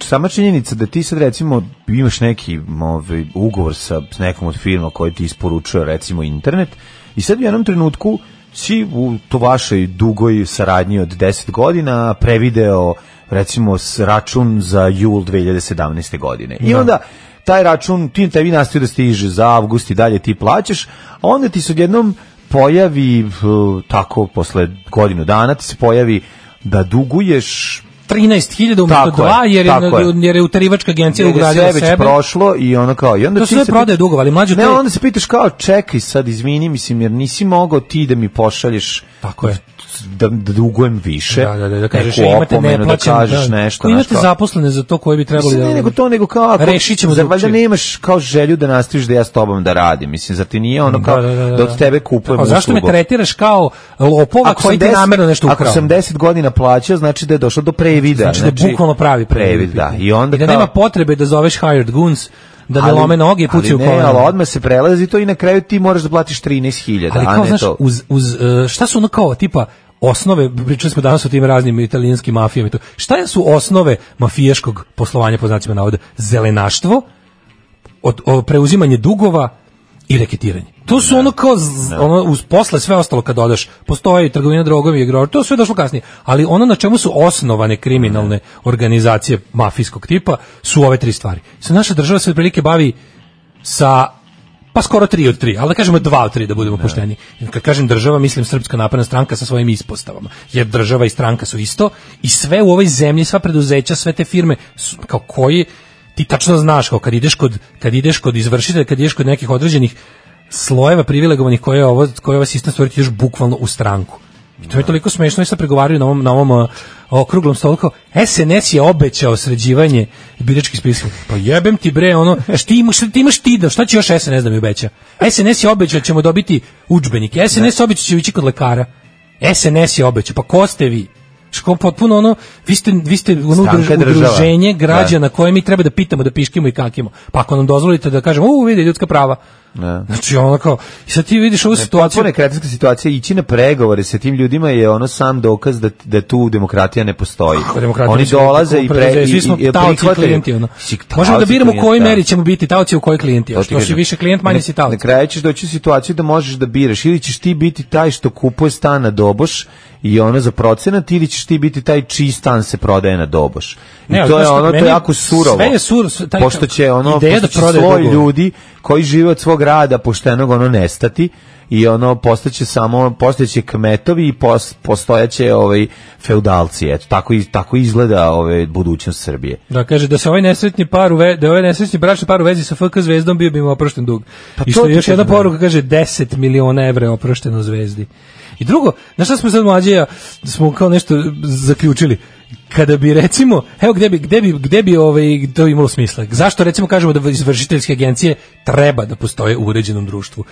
S5: sama činjenica da ti sad recimo imaš neki ovaj, ugovor sa s nekom od firma koji ti isporučuje recimo internet i sad u jednom trenutku si u to vašoj dugoj saradnji od 10 godina prevideo recimo s račun za jul 2017. godine. I onda taj račun ti tebi nastoji da stiže za avgust i dalje ti plaćaš, a onda ti se odjednom pojavi v, tako posle godinu dana ti se pojavi da duguješ
S6: 13.000 umesto
S5: Tako je,
S6: 2 jer je,
S5: tako je.
S6: jer je utarivačka agencija
S5: Jer je
S6: ugradila
S5: sve već
S6: sebe.
S5: prošlo i ono kao i onda
S6: To
S5: ti
S6: sve
S5: se
S6: prodaje
S5: pit-
S6: dugova, ali mlađe,
S5: ne,
S6: to je-
S5: onda se pitaš kao čekaj sad izvini mislim jer nisi mogao ti da mi pošalješ
S6: Tako je.
S5: da, da dugujem više.
S6: Da, da, da, da kažeš,
S5: neku
S6: imate
S5: opomenu,
S6: neplaćen,
S5: da kažeš nešto.
S6: Ko
S5: znaš,
S6: imate
S5: kao-
S6: zaposlene za to koji bi trebali
S5: Mislim,
S6: da...
S5: ne, nego to, nego kao... Ako,
S6: Rešit ćemo
S5: zar valjda
S6: drugčije.
S5: nemaš kao želju da nastaviš da ja s tobom da radim. Mislim, zar ti nije ono kao da, od tebe kupujem
S6: A zašto me
S5: uslugu?
S6: tretiraš kao lopova
S5: Ako sam
S6: koji ti
S5: deset-
S6: namerno nešto ukrao?
S5: Ako sam 10 godina plaćao, znači da je došlo do previda.
S6: Znači, da je bukvalno pravi previd.
S5: da. I onda
S6: da
S5: kao-
S6: nema potrebe da zoveš hired goons, da ne lome noge i pucaju
S5: ali ne,
S6: kolena.
S5: ali odmah se prelazi to i na kraju ti moraš da platiš 13.000,
S6: ali
S5: a
S6: kao,
S5: ne
S6: znaš,
S5: to.
S6: uz, uz, e, šta su ono kao, tipa, osnove, pričali smo danas o tim raznim italijanskim mafijama i to, šta su osnove mafijaškog poslovanja, po znacima navoda, zelenaštvo, od, o, preuzimanje dugova i reketiranje. To su ono kao, z- ono, uz posle sve ostalo kad odaš, postoje i trgovina drogom i igrovar, to sve došlo kasnije, ali ono na čemu su osnovane kriminalne organizacije mafijskog tipa su ove tri stvari. Sa naša država se otprilike bavi sa pa skoro tri od tri, ali da kažemo dva od tri da budemo pošteni. Jer Kad kažem država, mislim Srpska napredna stranka sa svojim ispostavama. Jer država i stranka su isto i sve u ovoj zemlji, sva preduzeća, sve te firme su, kao koji ti tačno znaš kao kad ideš kod kad ideš kod izvršitelja, kad ideš kod nekih određenih slojeva privilegovanih koje je ovo koje je ovaj sistem stvoriti još bukvalno u stranku. I to je toliko smešno i sad pregovaraju na ovom, na ovom uh, okruglom stolu kao SNS je obećao sređivanje biračkih spiska. Pa jebem ti bre, ono, šti imaš, ti imaš ti da, šta će još SNS da mi obeća? SNS je obećao da ćemo dobiti udžbenike, SNS je obećao da će ići kod lekara. SNS je obećao, pa ko ste vi? Ško potpuno ono, vi ste, vi ste ono
S5: Stranka
S6: udruž-
S5: je država.
S6: udruženje
S5: Da.
S6: građana na koje mi treba da pitamo, da piškimo i kakimo. Pa ako nam dozvolite da kažemo, u, vidi, ljudska prava.
S5: Da.
S6: Znači, ono kao, i sad ti vidiš ovu situaciju,
S5: Potpuno je kretinska situacija, ići na pregovore sa tim ljudima je ono sam dokaz da, da tu demokratija ne postoji.
S6: Kako demokrati
S5: Oni
S6: mislim, da
S5: dolaze
S6: kako
S5: i, pre,
S6: preduzeće, svi
S5: i,
S6: smo
S5: i, i
S6: taoci i
S5: prihvataju.
S6: klijenti. Ono.
S5: Si taoci
S6: Možemo da biramo u
S5: klijent,
S6: kojoj
S5: da.
S6: meri ćemo biti taoci, u kojoj klijenti.
S5: To
S6: A
S5: ti
S6: Što si
S5: kažem.
S6: više klijent, manje
S5: Na-
S6: si taoci.
S5: Na kraju ćeš doći u situaciju da možeš da biraš. Ili ćeš ti biti taj što kupuje stan na doboš i ono za procenat, ili ćeš ti biti taj čiji stan se prodaje na doboš. I
S6: Ne, ali
S5: to je
S6: znaš šta,
S5: ono, to je
S6: meni
S5: jako surovo.
S6: sve je sur- su- taj-
S5: pošto će ono,
S6: ideja
S5: pošto
S6: da
S5: će
S6: prodaje
S5: sloj
S6: dugove.
S5: ljudi koji žive od svog rada poštenog ono nestati i ono postaće samo postaće kmetovi i pos, postojaće ovaj feudalci eto tako i tako izgleda ovaj budućnost Srbije
S6: Da kaže da se ovaj nesretni par u ve, da je ovaj nesretni bračni par u vezi sa FK Zvezdom bio bi mu oprošten dug.
S5: Pa
S6: I
S5: to
S6: što je
S5: ti
S6: još jedna
S5: kažem, da.
S6: poruka kaže 10 miliona evra je oprošteno Zvezdi. I drugo, na šta smo sad mlađe ja smo kao nešto zaključili kada bi recimo, evo gde bi gde bi gde bi ovaj to imalo smisla. Zašto recimo kažemo da izvršiteljske agencije treba da postoje u uređenom društvu?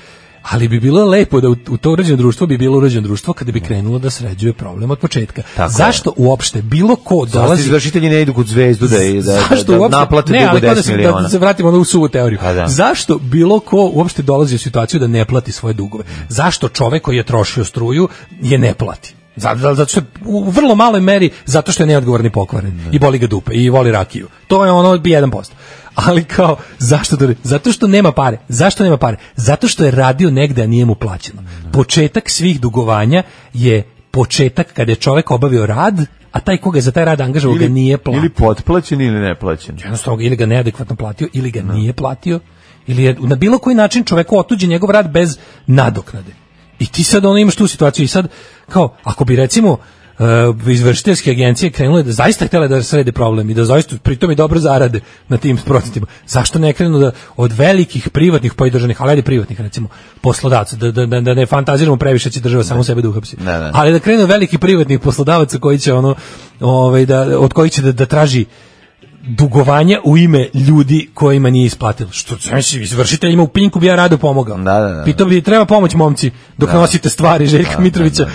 S6: Ali bi bilo lepo da u, u to uređeno društvo bi bilo uređeno društvo kada bi krenulo da sređuje problem od početka.
S5: Tako je.
S6: Zašto uopšte bilo ko
S5: Zašto
S6: dolazi
S5: izvršitelji ne idu kod zvezdu da, da,
S6: Zašto
S5: da, da
S6: uopšte-
S5: naplate
S6: ne, ali
S5: dugo
S6: kao
S5: 10
S6: da se,
S5: miliona?
S6: Da se vratimo na ovu suvu teoriju.
S5: Pa da.
S6: Zašto bilo ko uopšte dolazi u situaciju da ne plati svoje dugove? Zašto čovek koji je trošio struju je ne plati? Zato, zato što je u vrlo maloj meri zato što je neodgovorni pokvaren
S5: Da.
S6: i boli ga dupe i voli rakiju. To je ono 1%. Ali kao, zašto to ne- Zato što nema pare. Zašto nema pare? Zato što je radio negde, a nije mu plaćeno.
S5: Da.
S6: Početak svih dugovanja je početak kada je čovek obavio rad, a taj koga je za taj rad angažao ga nije platio
S5: Ili potplaćen ili neplaćen.
S6: jednostavno ili ga neadekvatno platio ili ga nije platio ili je na bilo koji način čoveku otuđi njegov rad bez nadoknade. I ti sad ono imaš tu situaciju i sad kao ako bi recimo e, izvršiteljske agencije krenule da zaista htele da srede problem i da zaista pritom i dobro zarade na tim procentima. Zašto ne krenu da od velikih privatnih pa i državnih, ali ajde privatnih recimo, poslodavaca, da, da, da, da ne fantaziramo previše će država samo sebe da uhapsi.
S5: Ne, ne.
S6: Ali da krenu veliki privatnih poslodavaca koji će ono, ovaj, da, od kojih će da, da traži dugovanja u ime ljudi kojima nije isplatilo. Što znači, izvršiteljima u Pinku bi ja rado pomogao.
S5: Da, da, da.
S6: Pitao bi, treba pomoć momci dok nosite stvari Željka Mitrovića.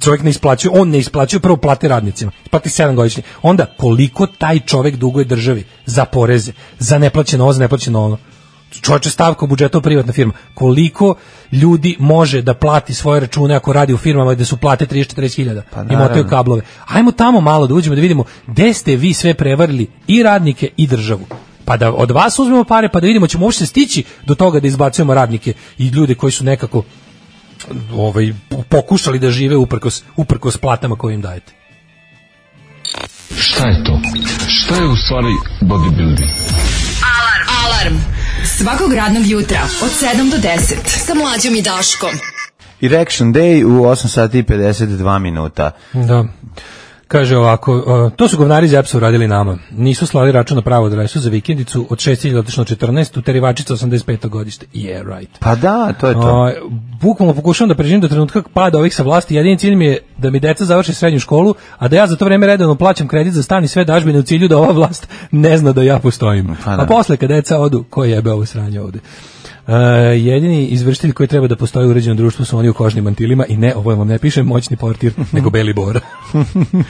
S6: Čovjek ne isplaćuje, on ne isplaćuje, prvo plati radnicima. Plati 7 godišnji. Onda, koliko taj čovjek duguje državi za poreze, za neplaćeno ovo, za neplaćeno ono. Čovječe stavka u budžetu privatna firma. Koliko ljudi može da plati svoje račune ako radi u firmama gde su plate 30-40 hiljada i
S5: naravno.
S6: motaju kablove. Ajmo tamo malo da uđemo da vidimo gde ste vi sve prevarili i radnike i državu. Pa da od vas uzmemo pare pa da vidimo ćemo uopšte stići do toga da izbacujemo radnike i ljude koji su nekako ovaj pokušali da žive uprkos uprkos platama koje im dajete.
S10: Šta je to? Šta je u stvari bodybuilding?
S4: Alarm. Alarm. Svakog radnog jutra od 7 do 10 sa mlađom i Daškom.
S5: Erection Day u 8 sati i 52 minuta.
S6: Da. Kaže ovako, uh, to su govnari iz EPS-a uradili nama. Nisu slali račun na pravu adresu za vikendicu od 6000 otišlo 14, u terivačica 85. godište. Yeah, right.
S5: Pa da, to je to.
S6: Ovaj, bukvalno pokušavam da preživim do trenutka pada ovih sa vlasti. Jedini cilj mi je da mi deca završe srednju školu, a da ja za to vreme redovno plaćam kredit za stan i sve dažbine u cilju da ova vlast ne zna da ja postojim.
S5: Pa da.
S6: A posle kad deca odu, ko jebe ovo sranje ovde? E, jedini izvršitelj koji treba da postoji u uređenom društvu su oni u kožnim mantilima i ne, ovo vam ne piše moćni
S5: *laughs*
S6: portir, nego beli bor. *laughs*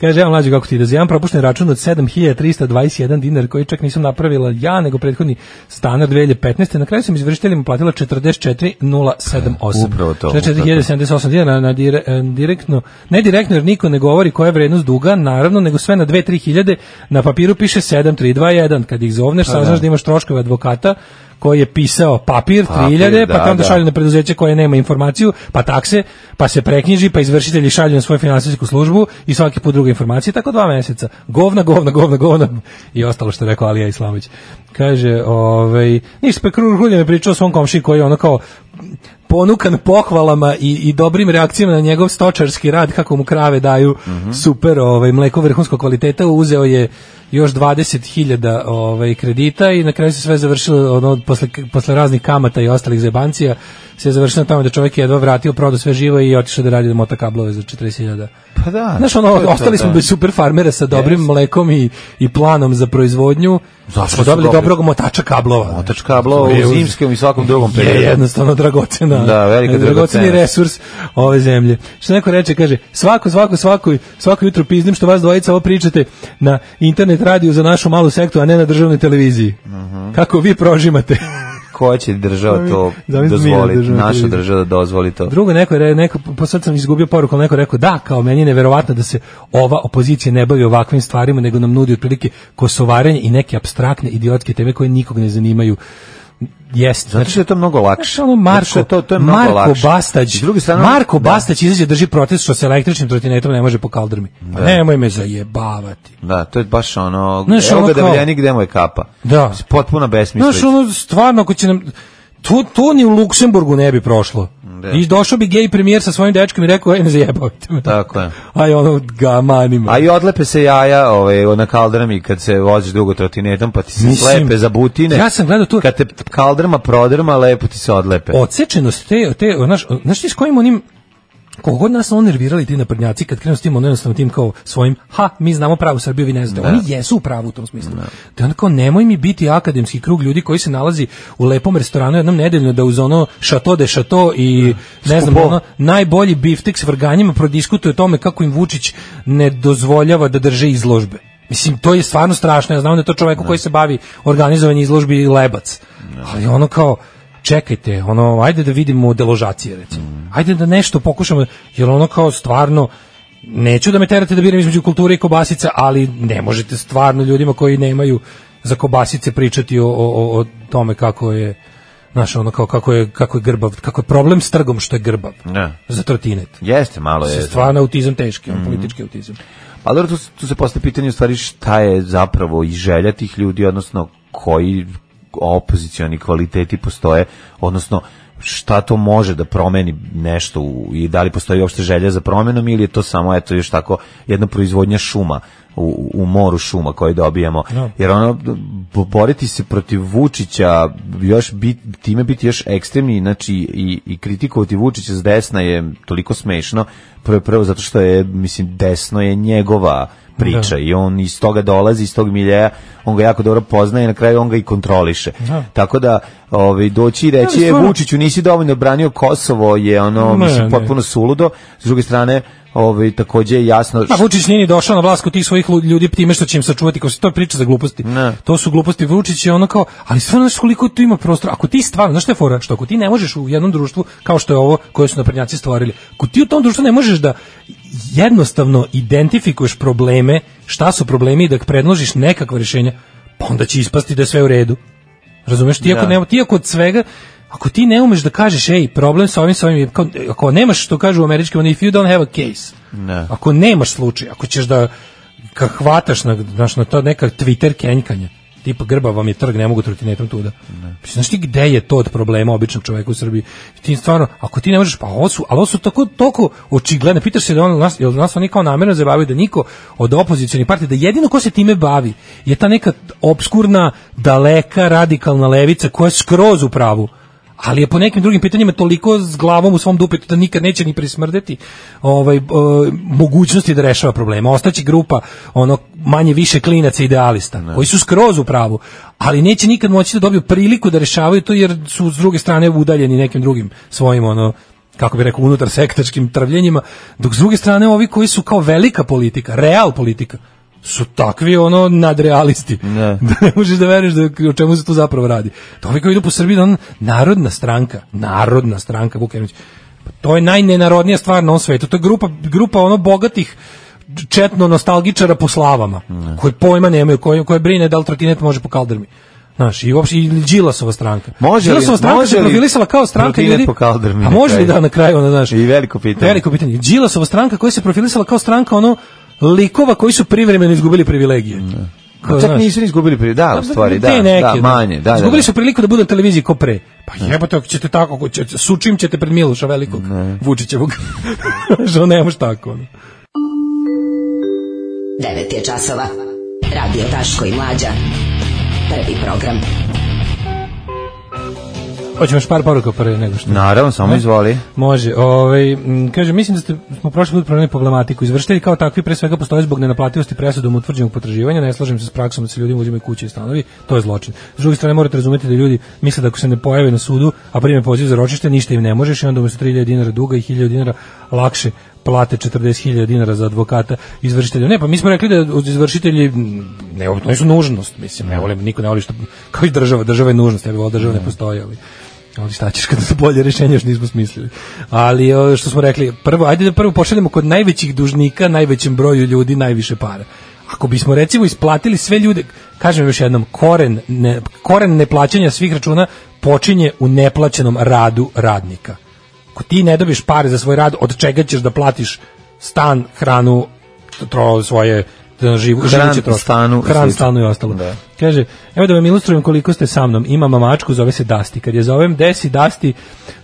S6: Kaže, ja mlađi kako ti ide, za jedan propušten račun od 7321 dinar koji čak nisam napravila ja, nego prethodni stanar 2015. Na kraju sam izvršiteljima platila 44,078.
S5: Upravo to, upravo
S6: Znači,
S5: to.
S6: 44,078 dinara na dire, e, direktno, ne direktno jer niko ne govori koja je vrednost duga, naravno, nego sve na 2-3 hiljade, na papiru piše 7321. Kad ih zovneš, saznaš da imaš troškove advokata, koji je pisao papir,
S5: Papir,
S6: 3000,
S5: da,
S6: pa tamo da
S5: da.
S6: šalju na preduzeće koje nema informaciju, pa takse, pa se preknjiži, pa izvršitelji šalju na svoju finansijsku službu i svaki put druga informacija, tako dva meseca. Govna, govna, govna, govna i ostalo što je rekao Alija Islamić. Kaže, ovaj, ništa, pa Krur Huljan je pričao o svom komši koji je ono kao ponukan pohvalama i, i dobrim reakcijama na njegov stočarski rad, kako mu krave daju
S5: Mhm.
S6: super ovaj, mleko vrhunskog kvaliteta, uzeo je još 20.000 ovaj, kredita i na kraju se sve završilo ono, posle, posle raznih kamata i ostalih zebancija, se je završilo tamo da čovjek je jedva vratio, prodao sve živo i otišao da radi da mota kablove za 40.000.
S5: Pa da.
S6: Znaš, ono,
S5: to je to,
S6: ostali smo
S5: da.
S6: bez super farmera sa dobrim mlekom i, i planom za proizvodnju.
S5: Zašto
S6: smo
S5: su
S6: dobili
S5: dobri?
S6: dobrog motača kablova.
S5: Otač kablova
S6: Je,
S5: u
S6: uz-
S5: zimskom i svakom drugom
S6: je
S5: periodu.
S6: jednostavno dragocena.
S5: Da, velika
S6: dragoceni
S5: dragocenost.
S6: resurs ove zemlje. Što neko reče, kaže, svako, svako, svako, svako jutro pizdim što vas dvojica ovo pričate na internet radiju za našu malu sektu, a ne na državnoj televiziji.
S5: Mhm.
S6: Kako vi prožimate.
S5: Ko će država to
S6: Zamisli mi na
S5: dozvoliti?
S6: državnoj
S5: Naša
S6: televiziji.
S5: država da dozvoli to.
S6: Drugo, neko je re- neko, po sad sam izgubio poruku, ali neko je rekao, da, kao meni je neverovatno da se ova opozicija ne bavi ovakvim stvarima, nego nam nudi otprilike kosovaranje i neke abstraktne idiotske teme koje nikog ne zanimaju. Jeste.
S5: Zato što je to mnogo lakše.
S6: Znaš, ono Marko,
S5: Zato što je to, to je mnogo
S6: Marko
S5: lakše.
S6: Bastać,
S5: S druge strane,
S6: Marko
S5: da.
S6: Bastać izađe drži protest što se električnim trotinetom ne može po kaldrmi. Pa nemoj me zajebavati.
S5: Da, to je baš ono,
S6: Znaš,
S5: evo
S6: ono
S5: ga
S6: kao-
S5: davljenik gde mu je kapa.
S6: Da.
S5: Potpuna besmislica.
S6: Znaš, ono, stvarno, ako će nam... To, to ni u Luksemburgu ne bi prošlo.
S5: Da.
S6: I došao bi gej premijer sa svojim dečkom i rekao, ej, ne zajebavajte me.
S5: Tako je.
S6: Aj, ono, ga manimo.
S5: A i odlepe se jaja ovaj, na kaldrami kad se voziš dugo trotinetom, pa ti se
S6: Mislim,
S5: slepe za butine.
S6: ja sam gledao tu-
S5: Kad te kaldrma prodrma, lepo ti se odlepe.
S6: odsečenost te, te znaš, znaš ti s kojim onim koliko god nas on nervirali ti naprednjaci kad krenu s tim ono jednostavno tim kao svojim ha, mi znamo pravu Srbiju, vi ne znate. Oni jesu u pravu u tom smislu. Da onda kao nemoj mi biti akademski krug ljudi koji se nalazi u lepom restoranu jednom nedeljno da uz ono šato de šato i ne znam,
S5: Skupo.
S6: ono, najbolji biftek s vrganjima prodiskutuje o tome kako im Vučić ne dozvoljava da drže izložbe. Mislim, to je stvarno strašno. Ja znam da je to čoveku koji se bavi organizovanjem izložbi i lebac. Ali ono kao, čekajte, ono, ajde da vidimo deložacije, recimo. Ajde da nešto pokušamo, jer ono kao stvarno, neću da me terate da biram između kulture i kobasica, ali ne možete stvarno ljudima koji nemaju za kobasice pričati o, o, o- o tome kako je znaš, ono kao kako je, kako je grbav, kako je problem s trgom što je grbav.
S5: Da.
S6: Za trotinet.
S5: Jeste, malo
S6: Se
S5: je.
S6: stvarno autizam teški, on politički autizam.
S5: Ali dobro, tu, se- tu se postoje pitanje u stvari šta je zapravo i želja tih ljudi, odnosno koji opozicioni kvaliteti postoje, odnosno šta to može da promeni nešto u, i da li postoji uopšte želja za promenom ili je to samo eto još tako jedna proizvodnja šuma u, u moru šuma koje dobijamo
S6: Da.
S5: jer ono b- boriti se protiv Vučića još bit, time biti još ekstremni znači i, i kritikovati Vučića s desna je toliko smešno prvo prvo zato što je mislim desno je njegova priča
S6: Da.
S5: i on iz toga dolazi iz tog miljeja on ga jako dobro poznaje i na kraju on ga i kontroliše
S6: Da.
S5: tako da ovaj doći i reći
S6: ali
S5: je
S6: stvarno-
S5: Vučiću nisi dovoljno branio Kosovo je ono
S6: Ne,
S5: mislim
S6: ne.
S5: potpuno suludo s druge strane ovaj takođe je jasno
S6: A Vučić nije ni došao na vlast kod tih svojih lu- ljudi time što će im sačuvati, kao se to je priča za gluposti.
S5: Ne.
S6: To su gluposti Vučić je ono kao, ali stvarno znaš koliko tu ima prostora. Ako ti stvarno, znaš što je fora, što ako ti ne možeš u jednom društvu kao što je ovo koje su naprednjaci stvorili, ako ti u tom društvu ne možeš da jednostavno identifikuješ probleme, šta su problemi i da predložiš nekakva rješenja, pa onda će ispasti da je sve u redu. Razumeš, ti ako,
S5: Da.
S6: ne, ti ako od svega, ako ti ne umeš da kažeš, ej, problem sa ovim, sa ovim, je, kao, ako nemaš, što kažu u američkim, ono, if you don't have a case,
S5: Ne.
S6: ako nemaš slučaj, ako ćeš da ka hvataš na, znaš, na to neka Twitter kenjkanja, tipa grba vam je trg, ne mogu trotinetom tuda. Ne. Znaš ti gde je to od problema običnog čoveka u Srbiji? Ti stvarno, ako ti ne možeš, pa ovo su, ali ovo su tako, toliko očigledne, pitaš se da on, nas, jel nas oni kao namjerno zabavaju da niko od opozicijalnih partija, da jedino ko se time bavi je ta neka obskurna, daleka, radikalna levica koja je skroz u pravu ali je po nekim drugim pitanjima toliko s glavom u svom dupetu da nikad neće ni prismrdeti ovaj, e, mogućnosti da rešava problema. Ostaće grupa ono manje više klinaca idealista koji su skroz u pravu, ali neće nikad moći da dobiju priliku da rešavaju to jer su s druge strane udaljeni nekim drugim svojim ono kako bi rekao, unutar sektačkim trvljenjima, dok s druge strane ovi koji su kao velika politika, real politika, su takvi ono nadrealisti.
S5: Ne.
S6: *laughs* Da ne možeš da veruješ da o čemu se tu zapravo radi. To ovi koji idu po Srbiji da on narodna stranka, narodna stranka Vukajinović. Pa to je najnenarodnija stvar na ovom svetu. To je grupa grupa ono bogatih četno nostalgičara po slavama, koji pojma nemaju, koji koji brine da li trotinet može po kaldrmi. Znaš, i uopšte i Đilasova stranka.
S5: Može li-
S6: Đilasova stranka
S5: može
S6: se
S5: li
S6: profilisala kao stranka
S5: trotinet
S6: ljudi.
S5: po kaldrmi
S6: A
S5: na
S6: može li
S5: kraju?
S6: da na kraju ona, znaš?
S5: I veliko pitanje.
S6: Veliko pitanje. Đilasova stranka koja se profilisala kao stranka ono likova koji su privremeno izgubili privilegije. Kao,
S5: Čak
S6: znaš,
S5: nisu ni izgubili pri... Da, u stvari, da,
S6: te neke,
S5: da, manje. Da, da, da.
S6: Izgubili su priliku da budu na televiziji ko pre. Pa jebote, ako ćete tako, ako ćete, sučim ćete pred Miloša velikog, Vučićevog. *laughs* Što ne može tako. Ono.
S4: 9 je časova. Radio Daško i Mlađa. Prvi program.
S6: Hoćemo još par poruka pre nego što...
S5: Naravno,
S6: Da.
S5: samo izvoli.
S6: Može. Ovaj m, kaže mislim da ste, smo prošli put promenili problematiku. Izvršitelji kao takvi pre svega postoje zbog nenaplativosti presudom utvrđenog potraživanja. Ne slažem se s praksom da se ljudima uzimaju kuće i stanovi. To je zločin. S druge strane morate razumeti da ljudi misle da ako se ne pojave na sudu, a prime poziv za ročište, ništa im ne možeš i onda umesto 3000 dinara duga i 1000 dinara lakše plate 40.000 dinara za advokata izvršitelja. Ne, pa mi smo rekli da uz- izvršitelji m, ne, to nisu nužnost, mislim, ne volim, niko ne voli što, kao i država, država je nužnost, ja bih volao da država ne postoji, ali ali šta ćeš kada su bolje rešenje još nismo smislili. Ali o, što smo rekli, prvo, ajde da prvo pošaljemo kod najvećih dužnika, najvećem broju ljudi, najviše para. Ako bismo recimo isplatili sve ljude, kažem još jednom, koren, ne, koren neplaćanja svih računa počinje u neplaćenom radu radnika. Ako ti ne dobiješ pare za svoj rad, od čega ćeš da platiš stan, hranu, tro, svoje da, živu,
S5: Hran,
S6: živuće troškove?
S5: stanu i
S6: hran,
S5: slično.
S6: stanu i ostalo.
S5: Da.
S6: Kaže, evo da vam ilustrujem koliko ste sa mnom. Imam mamačku, zove se Dasti. Kad je zovem Desi, Dasti,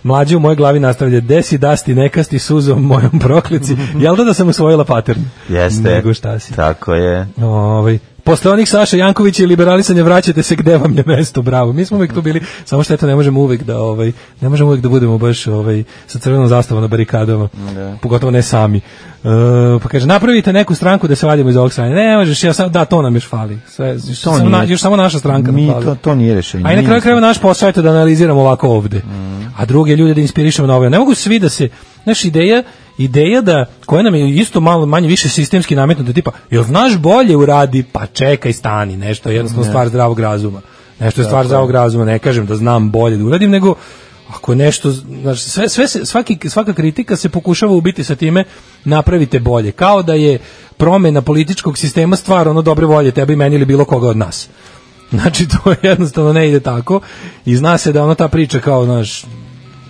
S6: mlađe u mojoj glavi nastavlja Desi, Dasti, nekasti suzom mojom proklici. Jel da da sam usvojila pattern?
S5: Jeste.
S6: Nego šta si.
S5: Tako je.
S6: Ovaj, posle onih Saša Jankovića i liberalisanja vraćate se gde vam je mesto, bravo. Mi smo uvek tu bili, samo što eto ne možemo uvek da ovaj ne možemo uvek da budemo baš ovaj sa crvenom zastavom na barikadama.
S5: Da.
S6: Pogotovo ne sami. E, pa kaže napravite neku stranku da se vadimo iz ovog strane. Ne možeš, ja sam da to nam još fali. Sve još,
S5: To
S6: samo, na,
S5: nije-
S6: još samo naša stranka
S5: Mi
S6: nam fali.
S5: to, to nije rešenje.
S6: A i na
S5: Nije
S6: kraju krajeva naš posao je to da analiziramo ovako ovde. A druge ljude da inspirišemo na ovo. Ne mogu svi da se, znaš, ideja, ideja da, koja nam je isto malo manje više sistemski nametnuta, tipa, jel znaš bolje uradi, pa čekaj, stani, nešto je jednostavno stvar zdravog razuma. Nešto je stvar zdravog razuma, ne kažem da znam bolje da uradim, nego ako nešto, znaš, sve, sve se, svaki, svaka kritika se pokušava ubiti sa time napravite bolje. Kao da je promena političkog sistema stvar ono dobre volje tebe i meni ili bilo koga od nas. Znači, to jednostavno ne ide tako i zna se da ono ta priča kao, znaš,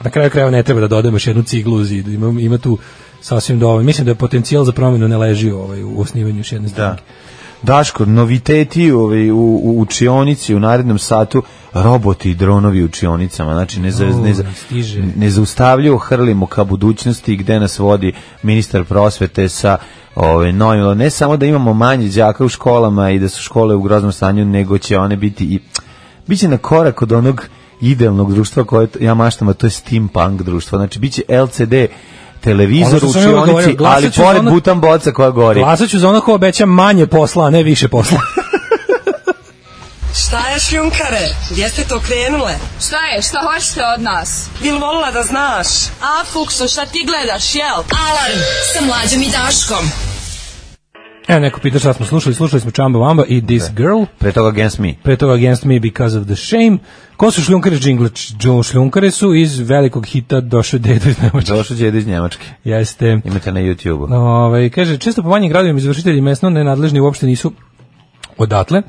S6: na kraju krajeva ne treba da dodamo još jednu ciglu u zidu, ima, ima tu sasvim dovoljno. Mislim da je potencijal za promjenu ne leži ovaj, u osnivanju još jedne
S5: Da.
S6: stranke.
S5: Daško, noviteti ovaj, u, u učionici u narednom satu, roboti i dronovi u učionicama, znači ne, za,
S6: U,
S5: ne, za,
S6: stiže.
S5: ne zaustavljaju, hrlimo ka budućnosti gde nas vodi ministar prosvete sa ovaj, novim, ne samo da imamo manje đaka u školama i da su škole u groznom stanju, nego će one biti i biće na korak od onog idealnog društva koje t- ja maštam, a to je steampunk društvo, znači biće LCD
S6: Ono
S5: televizor
S6: što
S5: u
S6: sam ja govorio,
S5: učionici,
S6: glasat
S5: ali
S6: ću za
S5: pored
S6: ono-
S5: butan boca koja gori.
S6: Glasat ću za ono ko obeća manje posla, a ne više posla.
S11: Šta je šljunkare? Gdje ste to krenule?
S12: Šta je? Šta hoćete od nas?
S11: Bil volila da znaš? A, Fukso, šta ti gledaš, jel?
S4: Alarm sa Mlađom i Daškom.
S6: Evo neko pita šta smo slušali, slušali smo Chamba Wamba i This Girl.
S5: Pre toga Against Me.
S6: pre toga Against Me Because of the Shame. Ko su šljunkari džingle? Joe šljunkare su iz velikog hita Došao dedo iz Nemačke.
S5: Došao Đedo iz Njemačke.
S6: Jeste. Da.
S5: Imate na YouTube-u.
S6: Ovaj kaže, često po manjim gradovima izvršitelji mesno nenadležni uopšte nisu odatle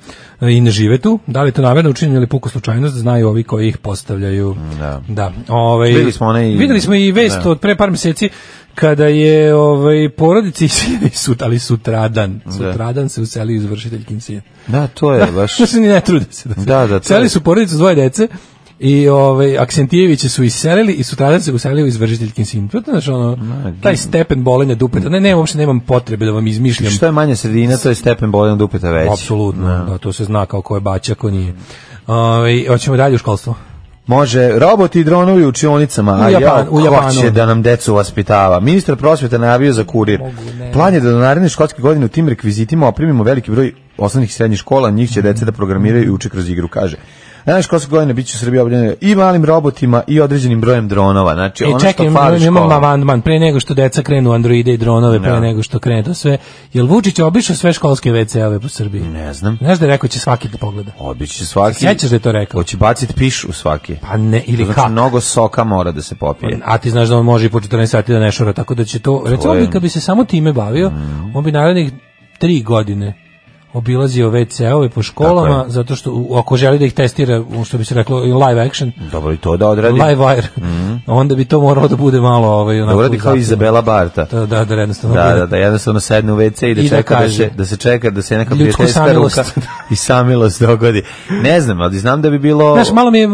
S6: e, i ne žive tu. Da li je to namerno učinjeno ili puko slučajnost, znaju ovi koji ih postavljaju. Da. da. Ovaj,
S5: Videli smo onaj-
S6: videli smo i vest
S5: Da.
S6: od pre par meseci kada je ovaj, porodici *laughs* sin sut, ali sutradan. Sutradan se uselio izvršitelj Kim sin.
S5: Da, to je baš...
S6: Da se ni ne trude se. Da, se-
S5: Da, da, to
S6: Seli
S5: je-
S6: su porodicu s dvoje dece i ovaj Aksentijevići su iselili i sutradan se uselio izvršiteljkin sin. To je znaš, ono, taj stepen bolenja dupeta. Ne, ne, uopšte nemam potrebe da vam izmišljam.
S5: Što je manja sredina, to je stepen bolja od upeta veći.
S6: Apsolutno, da, to se zna kao ko je baća, ko nije. Ovaj hoćemo dalje u školstvo.
S5: Može, roboti i dronovi u učionicama, a
S6: U Japan-
S5: ja
S6: u Japanu.
S5: hoće da nam decu vaspitava. Ministar prosvjeta najavio za kurir. Plan je da do naredne školske godine u tim rekvizitima oprimimo veliki broj osnovnih i srednjih škola, njih će deca da programiraju i uče kroz igru, kaže. Naravno, školske godine bit će u Srbiji obljene i malim robotima i određenim brojem dronova. Znači,
S6: e,
S5: ono
S6: čekaj,
S5: što fali
S6: imam, imam
S5: školama.
S6: amandman, pre nego što deca krenu androide i dronove, pre
S5: Ja.
S6: nego što krene to sve. Jel Vučić obišao sve školske WC-ove po Srbiji?
S5: Ne znam.
S6: Znaš da je rekao će svaki da pogleda?
S5: Obići svaki.
S6: Sjećaš da je to rekao?
S5: Hoće baciti piš u svaki.
S6: Pa ne, ili
S5: znači,
S6: kap.
S5: mnogo soka mora da se popije.
S6: A ti znaš da on može i po 14 sati da ne šora, tako da će to... Recimo,
S5: je-
S6: bi, kad bi se samo time bavio,
S5: Mm.
S6: on bi narednih tri godine obilazio WC-ove po školama,
S5: Tako je.
S6: zato što u- ako želi da ih testira, u što bi se reklo, in live action,
S5: Dobro i to da odradi.
S6: live wire, *laughs* onda bi to moralo da bude malo... Ovaj,
S5: Mm. Da
S6: onako,
S5: uradi kao
S6: zahtevno.
S5: Izabela Barta.
S6: Da, da, da, jednostavno
S5: Da,
S6: bude.
S5: da, da, jednostavno sedne u WC i da
S6: I da
S5: čeka da,
S6: kaže.
S5: se, da se čeka da se neka
S6: Ljudsku
S5: prijateljska
S6: samilost.
S5: ruka *laughs* i samilost dogodi. Ne znam, ali znam da bi bilo...
S6: Znaš, malo mi je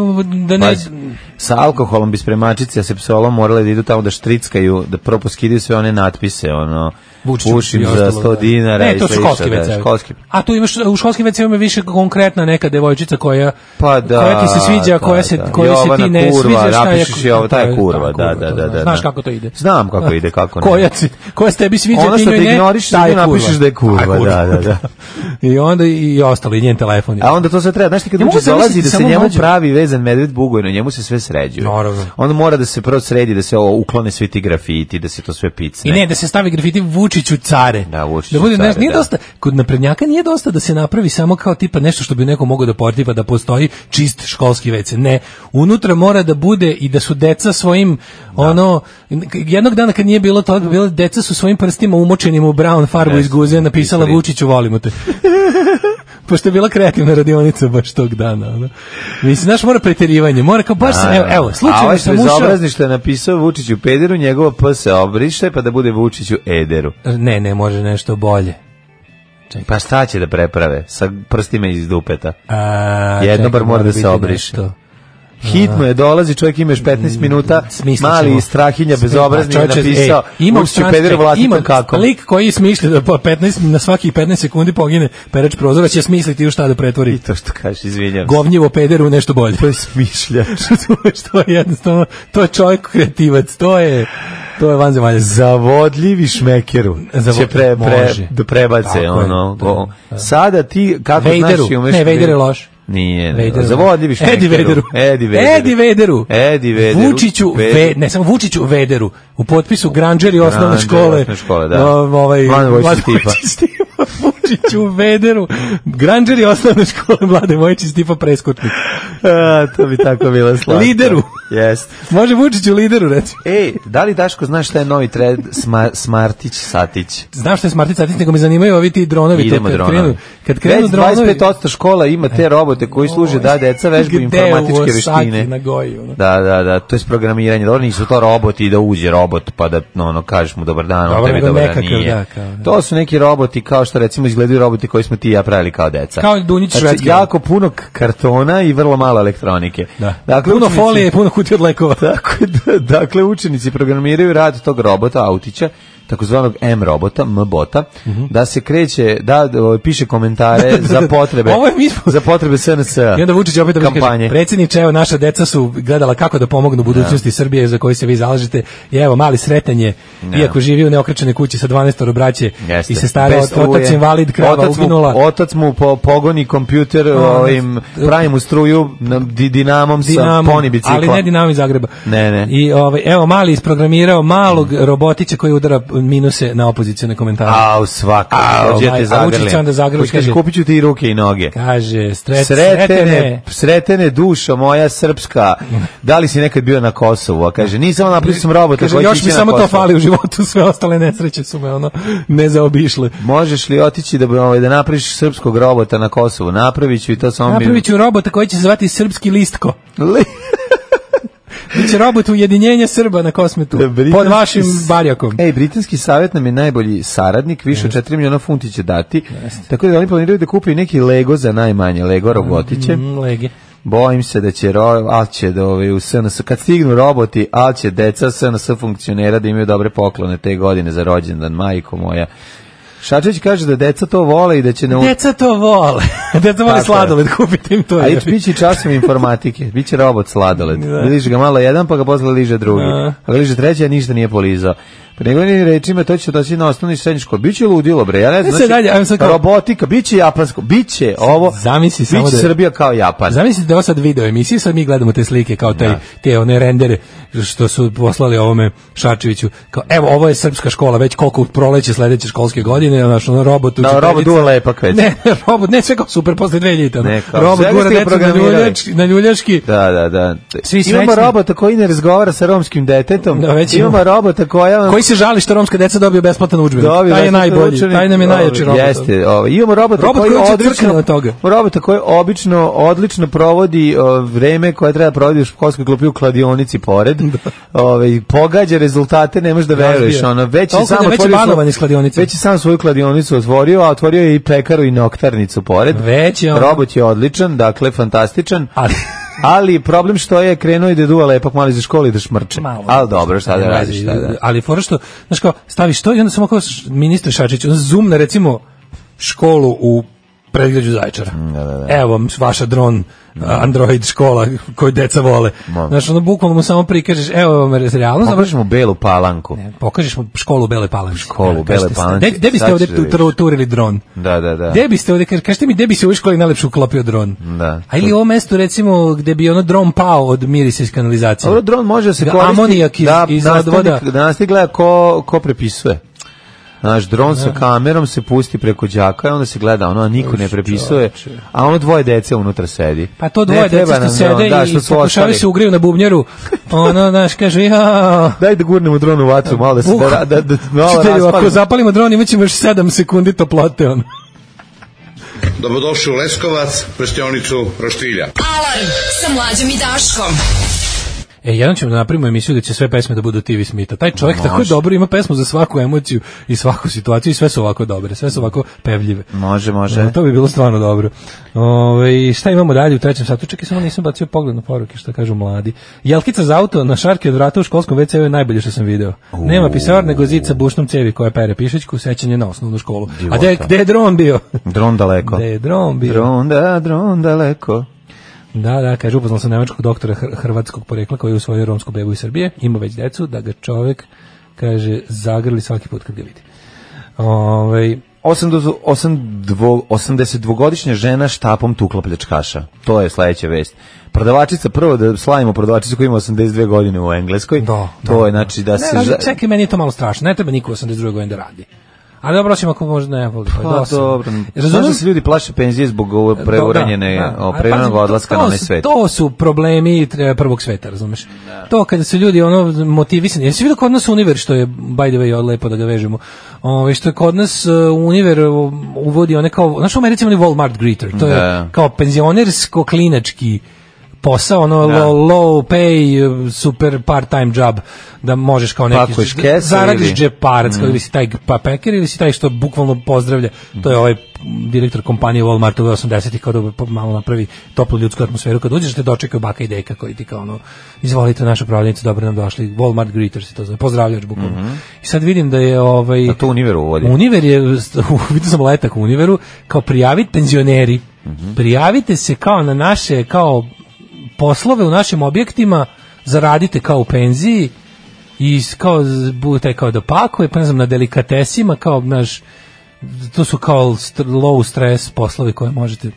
S6: da ne...
S5: Pazi, sa alkoholom bi spremačice, a se psolom morale da idu tamo da štrickaju, da propuskidaju sve one natpise, ono,
S6: Vučiću
S5: pušim
S6: i
S5: za
S6: ostalo,
S5: 100
S6: da.
S5: dinara
S6: Ne,
S5: i
S6: to su
S5: slično,
S6: školski
S5: da,
S6: WC-ovi.
S5: školski.
S6: A tu imaš u školskim WC-ovima ima više konkretna neka devojčica koja
S5: Pa da,
S6: koja ti se sviđa,
S5: da,
S6: a koja se
S5: da.
S6: koja se
S5: Jovana
S6: ti ne
S5: kurva,
S6: sviđa, šta je
S5: napišeš je ovo, ta je kurva, da, da, da, da.
S6: Znaš kako to ide? Da.
S5: Znam kako ide, kako ne.
S6: Koja ti koja se tebi sviđa,
S5: Ono
S6: ti
S5: što
S6: njoj
S5: te
S6: ne,
S5: ignoriš,
S6: ta je
S5: ti napišeš da je kurva,
S6: Ta
S5: da, da, da.
S6: I onda i i ostalo i njen telefon. i-
S5: A onda to sve treba, znaš ti kad
S6: Ne mogu
S5: Vučić dolazi
S6: zamisliti
S5: da se
S6: samo
S5: njemu
S6: mlađu.
S5: pravi vezan medved bugoj, na njemu se sve sređuje.
S6: Naravno.
S5: On mora da se prvo sredi, da se ovo uklone svi ti grafiti, da se to sve picne.
S6: I ne, da se stavi grafiti Vučiću care.
S5: Da, Vučiću
S6: Da bude, znaš,
S5: care,
S6: nije
S5: da.
S6: dosta, kod naprednjaka nije dosta da se napravi samo kao tipa nešto što bi neko mogao da portipa, da postoji čist školski WC. Ne, unutra mora da bude i da su deca svojim,
S5: Da.
S6: ono, jednog dana kad nije bilo toga, bilo, deca su svojim prstima umočenim u brown farbu
S5: Ne,
S6: iz guze napisala
S5: istorije.
S6: Vučiću volimo te. *laughs* Pošto je bila kreativna radionica baš tog dana. Ono. Mislim, znaš, mora preterivanje, mora kao baš,
S5: A,
S6: evo, evo,
S5: A ovaj
S6: slučajno sam ušao.
S5: bezobrazni što je napisao Vučiću Pederu, njegovo P se obriše, pa da bude Vučiću Ederu.
S6: Ne, ne, može nešto bolje.
S5: Pa šta će da preprave sa prstima iz dupeta?
S6: A,
S5: Jedno
S6: čekaj,
S5: bar mora da
S6: biti
S5: se obriše.
S6: nešto.
S5: Hitno je, dolazi, čovjek ima još 15 minuta,
S6: Mm, Smislit ćemo.
S5: mali strahinja bezobrazni je
S6: Čovječe,
S5: napisao
S6: ej, imam
S5: Vučiću
S6: strans-
S5: Pederu
S6: čekaj,
S5: vlastitom
S6: imam
S5: kakom.
S6: Lik koji smišlja da po 15, na svakih 15 sekundi pogine perač prozora će smisliti u šta da pretvori.
S5: I to što kažeš, izvinjam. se.
S6: Govnjivo pederu u nešto bolje.
S5: *laughs* To je
S6: *laughs*
S5: smišljač.
S6: što je jednostavno, to je čovjek kreativac, to je, to je vanzemaljac.
S5: zavodljivi šmekeru
S6: Zavo-
S5: će pre, pre,
S6: Može.
S5: da prebace
S6: Tako je,
S5: ono
S6: da,
S5: go-
S6: da.
S5: sada ti kako
S6: Vaderu.
S5: znaš i umeš
S6: Ne, Vader je loš.
S5: nije, ne,
S6: Vaderu.
S5: zavodljivi šmekeru
S6: Eddie Vaderu.
S5: Edi Vaderu
S6: Eddie Vaderu.
S5: Eddie Vaderu.
S6: Vučiću,
S5: Vaderu.
S6: Ve, ne samo Vučiću, Vederu. U potpisu Granđeri osnovne
S5: Grandžeri
S6: škole.
S5: osnovne škole, da.
S6: O, ovaj,
S5: Mladen Vojčić
S6: Mladen
S5: Stipa.
S6: Vojčić Stipa, *laughs* Vučiću, Vederu. Granđeri osnovne škole, Mlade Vojčić, tipa preskutnik.
S5: *laughs* A, to bi tako bilo slatko
S6: Lideru.
S5: Jest.
S6: Može Vučiću lideru, recimo.
S5: Ej, da li Daško znaš šta je novi trend Sma- Smartić Satić?
S6: Znam što je Smartic Satis, nego me zanimaju ovi ti dronovi. to
S5: Idemo
S6: kad
S5: dronovi.
S6: krenu- Kad krenu
S5: Već
S6: dronovi... E.
S5: 25% škola ima te robote koji služe da deca vežbaju
S6: Gde u
S5: informatičke
S6: Osaki,
S5: veštine.
S6: Na goji, ono.
S5: Da, da, da, to je programiranje. Dobro, nisu to roboti da uđe robot pa da no, ono kažeš mu dobar dan, on
S6: Dobro,
S5: tebi
S6: nego
S5: dobar dan
S6: nekakav,
S5: nije.
S6: da, kao, da.
S5: To su neki roboti kao što recimo izgledaju roboti koji smo ti i ja pravili kao deca.
S6: Kao Dunjić
S5: znači,
S6: švedski.
S5: jako puno k- kartona i vrlo malo elektronike.
S6: Da.
S5: Dakle,
S6: puno
S5: učenici-
S6: folije, puno kutije od lekova.
S5: *laughs* Tako je, da, dakle, učenici programiraju rad tog robota, autića, takozvanog M robota, M bota,
S6: Mhm.
S5: da se kreće, da, da, ovaj, piše
S6: *laughs*
S5: komentare za potrebe,
S6: Da, Ovo je mi smo-
S5: za potrebe SNS
S6: I onda Vučić opet da
S5: kampanje.
S6: kaže, predsjedniče, evo naša deca su gledala kako da pomognu budućnosti Srbije za koju se vi zalažete. I evo, mali sretanje, iako živi u neokrečenoj kući sa 12 braće
S5: Da. Jeste.
S6: i se stara
S5: Bez struje.
S6: otac invalid krava
S5: otac mu,
S6: uginula.
S5: Otac mu po, pogoni kompjuter, ovim, pravi mu struju na- di- dinamom,
S6: Dinamo,
S5: sa poni bicikla.
S6: ali ne Dinamo iz Zagreba.
S5: Ne, Mm. ne.
S6: I ovaj evo mali isprogramirao malog robotića koji udara minuse na opozicijone komentare.
S5: Au, svaka.
S6: Au,
S5: Au, ja
S6: maj-
S5: te
S6: a Vučić
S5: zagrlim.
S6: onda zagrli,
S5: Hoćeš,
S6: kaže-
S5: kupit ću ti i ruke i noge.
S6: Kaže, sret,
S5: sretene,
S6: sretene.
S5: sretene, dušo moja srpska, da li si nekad bio na Kosovu? A kaže, nisam ali napravio sam robota
S6: Kaže,
S5: koji će
S6: još
S5: ići
S6: mi
S5: na
S6: samo to
S5: Kosovo.
S6: fali u životu, sve ostale nesreće su me ono ne zaobišle.
S5: Možeš li otići da, ovaj, da napraviš srpskog robota na Kosovu? Napravit ću i to samo... bi-
S6: Napravit ću robota koji će se zvati Srpski listko. Biće robot ujedinjenja Srba na kosmetu.
S5: Da,
S6: Pod vašim barjakom.
S5: Ej, britanski savjet nam je najbolji saradnik, više od 4 miliona funti će dati. Tako da oni planiraju da kupe i neki Lego za najmanje, Lego robotiće.
S6: Mm, lege.
S5: Bojim se da će, ro, al će da ovaj, u SNS, kad stignu roboti, al će deca SNS funkcionera da imaju dobre poklone te godine za rođendan, majko moja. Šačević kaže da deca to vole i da će na...
S6: Deca to
S5: *laughs*
S6: vole. Deca vole
S5: Tako je.
S6: sladoled, kupite im to.
S5: A i biće i časom informatike, biće robot sladoled.
S6: *laughs* Da.
S5: Liže ga malo jedan, pa ga posle liže drugi.
S6: Da.
S5: A ga liže treći, a ništa nije polizao. Po njegovim rečima, to će doći na osnovni srednji škol. Biće ludilo, bre, ja ne znam. znači
S6: E, sad dalje, ajmo sad kao-
S5: robotika, biće japansko, biće ovo,
S6: Zamisli samo
S5: biće
S6: da je-
S5: Srbija kao Japan.
S6: Zamislite da je ovo sad video emisije, sad mi gledamo te slike kao taj,
S5: Da.
S6: te one rendere što su poslali ovome Šačeviću. Kao, evo, ovo je srpska škola, već koliko u proleće sledeće školske godine, znaš, ono robot u
S5: Da,
S6: četverici. *laughs*
S5: robot duva lepak već.
S6: Ne, robot, ne, sve kao super, posle dve ljita.
S5: Ne, kao,
S6: robot
S5: sve
S6: gura
S5: ste ga
S6: decu na,
S5: programirali.
S6: ljuljački, na ljuljaški.
S5: Da, da, da.
S6: Svi
S5: imamo
S6: srećni.
S5: robota koji ne razgovara sa romskim detetom.
S6: Da, već
S5: imamo robota koja vam
S6: Koji se žali što romska deca dobiju besplatan udžbenik?
S5: Dobio
S6: Taj je
S5: besplatno
S6: najbolji,
S5: učenik.
S6: taj nam je
S5: Ovaj,
S6: najjači robot.
S5: Jeste, ovaj, imamo robota
S6: Robot
S5: koji,
S6: koji uči
S5: odlično
S6: crkne od toga.
S5: Robota koji obično odlično provodi o, vreme koje treba provodi u školskoj klupi u kladionici pored. Ovaj pogađa rezultate, ne možeš da
S6: Da. Razbija.
S5: veruješ, ono već je
S6: Toliko da
S5: samo
S6: je već
S5: otvorio svoju-
S6: banovan iz kladionice.
S5: Već je sam svoju kladionicu otvorio, a otvorio je i pekaru i noktarnicu pored.
S6: Već je on-
S5: Robot je odličan, dakle fantastičan. *laughs*
S6: Ali-
S5: Ali problem što je krenuo i da duva lepak malo iz škole i da šmrče.
S6: Malo.
S5: Ali dobro, šta da radiš, šta da.
S6: Ali fora što, znaš kao, staviš to i onda samo kao š- ministar Šačić, on zoom na recimo školu u predgrađu Zaječara.
S5: Mm, da,
S6: Evo vam vaša dron a, Android škola koju deca vole. Znaš, ono bukvalno mu samo prikažeš, evo vam re- realnost,
S5: Pokažeš mu belu palanku.
S6: pokažeš mu školu u Bele Palanci.
S5: Školu u
S6: Evo,
S5: Beloj
S6: kažete, sta-
S5: Palanci,
S6: gde- Gde biste
S5: sad
S6: ovde
S5: ćeš da
S6: tu- tu- turili dron?
S5: Da, da, da.
S6: Gde biste ovde, kaž- kažete mi, gde bi se u ovoj školi najlepše uklopio dron?
S5: Da.
S6: A ili ovo mesto, recimo, gde bi ono dron pao od mirisa iz kanalizacije?
S5: Dobro, dron može da se
S6: Ga-
S5: koristi.
S6: Amonijak iz,
S5: da,
S6: iz
S5: nastavnik-
S6: odvoda.
S5: Da nastavnik gleda ko, ko prepisuje. Znaš, dron sa kamerom se pusti preko đaka i onda se gleda ono, a niko ne prepisuje, a ono dvoje dece unutra sedi.
S6: Pa to
S5: Ne
S6: dvoje
S5: treba
S6: dece što
S5: nam
S6: sede
S5: dron, da,
S6: i
S5: što su
S6: pokušavaju
S5: ostali.
S6: se ugriju na bubnjeru. Ono, znaš, kaže, ja...
S5: Daj da gurnemo dron u vatru, malo da se
S6: Uh,
S5: da, da, da, malo
S6: čitelju, ako
S5: raspali.
S6: zapalimo dron, imat ćemo još 7 sekundi toplote. Ono.
S13: Dobrodošli u Leskovac, prštionicu Roštilja.
S4: Alarm sa mlađom i Daškom.
S6: E, jednom ćemo da napravimo emisiju da će sve pesme da budu TV Smitha. Taj čovjek
S5: Može.
S6: tako dobro ima pesmu za svaku emociju i svaku situaciju i sve su ovako dobre, sve su ovako pevljive.
S5: Može, može.
S6: E, to bi bilo stvarno dobro. Ove, šta imamo dalje u trećem satu? Čekaj, samo nisam bacio pogled na poruke što kažu mladi. Jelkica za auto na šarki od vrata u školskom WC je najbolje što sam video. Nema pisar nego zica bušnom cevi koja pere pišećku, sećanje na osnovnu školu. A gde,
S5: Divota.
S6: gde je dron bio?
S5: Dron daleko.
S6: Gde je dron bio?
S5: Dron, da, dron daleko.
S6: Da, da, kaže, upoznala sam nemačkog doktora hr- hrvatskog porekla koji je usvojio romsku bebu iz Srbije, ima već decu, da ga čovek, kaže, zagrli svaki put kad ga vidi. Ovaj, Ove,
S5: 82-godišnja žena štapom tukla pljačkaša. To je sledeća vest. Prodavačica, prvo da slavimo prodavačicu koja ima 82 godine u Engleskoj.
S6: Da,
S5: to je, znači, da
S6: ne,
S5: se...
S6: znaš,
S5: za-
S6: čekaj, meni je to malo strašno, ne treba niko u 82. godine da radi. A dobro, osim ako možda ne voli. Pa,
S5: Pa
S6: dosadno.
S5: dobro. Znaš da
S6: Razumem,
S5: se ljudi plaše penzije zbog ove preuranjene,
S6: Da, da.
S5: o,
S6: A,
S5: preuranjenog
S6: pazi, to-
S5: odlaska
S6: to
S5: na onaj
S6: su-
S5: svet. Da.
S6: To su problemi tre- prvog sveta, razumeš? To kada su ljudi ono motivisani. Jesi vidio kod nas univer što je by the way lepo da ga vežemo. Ovaj što je kod nas e, univer o, uvodi one kao, znaš u Americi imali Walmart greeter, to je
S5: Da.
S6: kao penzionersko klinački posao, ono
S5: Da.
S6: low, low pay, e, super part-time job, da možeš kao neki...
S5: Pakuješ kese
S6: zaradiš
S5: ili-
S6: džeparac,
S5: Mm.
S6: kao ili si taj pa peker ili si taj što bukvalno pozdravlja. To je ovaj direktor kompanije Walmart u 80-ih kao da po- malo napravi toplu ljudsku atmosferu kad uđeš da te dočekaju baka i deka koji ti kao ono izvolite naša prodavnica, dobro nam došli. Walmart greeters se to zove, pozdravljač bukvalno. I sad vidim da je ovaj
S5: Da Mhm. to univer uvodi.
S6: Univer je, *laughs* vidio sam letak u Univeru, kao prijaviti penzioneri. Prijavite se kao na naše, kao poslove u našim objektima, zaradite kao u penziji i s- kao z- budete kao da pakuje, pa ne znam, na delikatesima, kao, znaš, to su kao st- low stress poslovi koje možete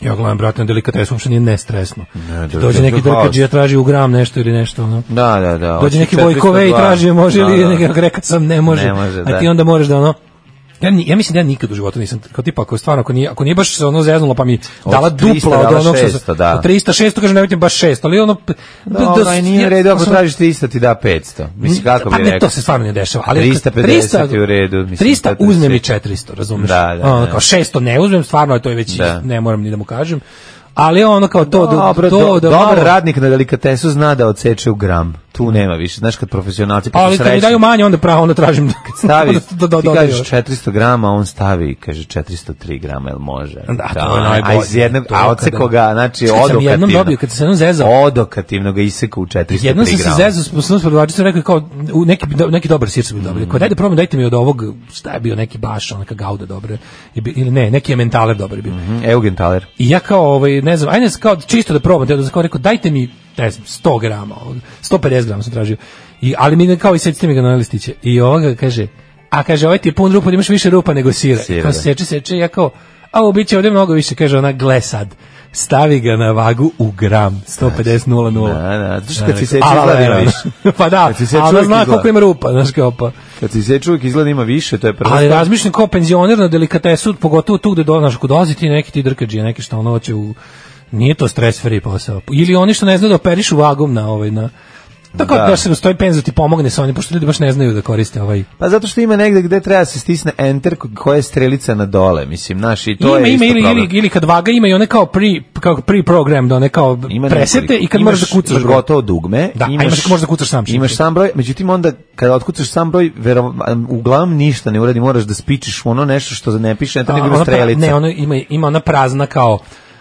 S6: Ja gledam, brate, na delikates, uopšte nije nestresno.
S5: Ne, da,
S6: Dođe
S5: da,
S6: neki
S5: da,
S6: delikađija, traži u gram nešto ili nešto, ono.
S5: Da, da, da.
S6: Dođe
S5: hoće
S6: neki Vojkove i
S5: 402.
S6: traži može li,
S5: Da, da.
S6: nekako rekao sam ne može,
S5: Ne može,
S6: a ti
S5: da.
S6: onda moraš da ono, Ja, ni- ja mislim da ja nikad u životu nisam, kao tipa, ako je stvarno, ako nije, ako nije baš se ono zeznula, pa mi
S5: Od
S6: dala
S5: 300
S6: dupla od
S5: dala
S6: onog što
S5: 600,
S6: sam,
S5: da.
S6: od 300, 600, kažem, nemojte baš 600, ali ono...
S5: Da, da, da, nije u redu, ako
S6: sam-
S5: tražiš 300 ti da 500. Mislim, kako
S6: pa
S5: bi
S6: ne,
S5: rekao.
S6: to se stvarno ne dešava. Ali
S5: 350
S6: 300
S5: je u redu. Mislim,
S6: 300
S5: to je
S6: uzmem
S5: sve.
S6: i 400, razumeš?
S5: Da, da,
S6: Ono,
S5: da.
S6: kao 600 ne uzmem, stvarno je to je već,
S5: Da.
S6: ne moram ni da mu kažem. Ali ono kao to, da,
S5: Dobro,
S6: to,
S5: do-
S6: da
S5: dobar
S6: malo-
S5: radnik na delikatesu zna da odseče u gram. Tu nema više. Znaš kad profesionalci pa su
S6: ali kad mi *laughs*
S5: srećni.
S6: daju manje, onda pravo, onda tražim da
S5: stavi,
S6: *laughs* da, da, da,
S5: ti
S6: da,
S5: kažeš 400 grama, a on stavi, kaže 403 grama, jel može? Da,
S6: to je najbolje.
S5: A iz jednog,
S6: To je
S5: a
S6: kada-
S5: odseko ga, znači,
S6: Čekaj, sam
S5: odokativno.
S6: jednom dobio, kad se jednom zezao.
S5: Odokativno ga isekao u 403 grama.
S6: Jednom sam se zezao s poslovnom prodavačicom, rekao je kao u neki do- neki dobar sir sam mi dobili. Kao dajte probam, dajte mi od ovog šta je bio neki baš, onaka gauda dobre je bi- ili ne, neki ementaler dobar je bio.
S5: Mhm. Mm, Eugen Thaler.
S6: I ja kao ovaj ne znam, ajde kao čisto da probam, da sam kao rekao dajte mi ne znam 100 g, 150 g sam tražio. I ali mi ne- kao i secite mi ga na listiće. I ovoga kaže, a kaže ovaj ti je pun rupa, da imaš više rupa nego sira.
S5: Sira,
S6: sira kao
S5: da.
S6: seče, seče, ja kao, a ovo biće ovdje mnogo više, kaže ona, gle sad, stavi ga na vagu u gram, 150, 0, 0.
S5: Da, da, zato što kad si seče
S6: A,
S5: izgleda
S6: evo,
S5: ima
S6: viš. *laughs* pa da,
S5: Kad si seče
S6: a ona
S5: uvijek
S6: zna
S5: izgleda.
S6: koliko ima rupa, znaš kao pa.
S5: Kad si se čovjek izgleda ima više, to je prvo.
S6: Ali razmišljam kao penzioner na delikatesu, pogotovo tu gde dolaziš, ako dolazi ti neki ti drkađije, neki što ono hoće u... Nije to stres free posao. Ili oni što ne znaju da operišu vagom na ovaj, na... Tako
S5: Da.
S6: da, se stoji penzo ti pomogne sa onim, pošto ljudi baš ne znaju da koriste ovaj...
S5: Pa zato što ima negde gde treba da se stisne enter ko- koja je strelica na dole, mislim, naš i to
S6: ima,
S5: je
S6: ima,
S5: isto
S6: ili,
S5: problem.
S6: ili, ili kad vaga ima i one kao pre, kao pre-program, da one kao
S5: Ima
S6: presete
S5: nekoliko.
S6: i kad
S5: Imaš-
S6: moraš da kucaš.
S5: imaš
S6: broj.
S5: gotovo dugme,
S6: Da, a imaš- možeš da kucaš sam šifru.
S5: Imaš sam broj, međutim onda kada otkucaš sam broj, vero, uglavnom ništa ne uradi, moraš da spičiš u ono nešto što ne piše, ne to
S6: A,
S5: nego
S6: ona
S5: ima
S6: pra-
S5: strelica.
S6: Ne, Da, ono ima, ima ona prazna kao...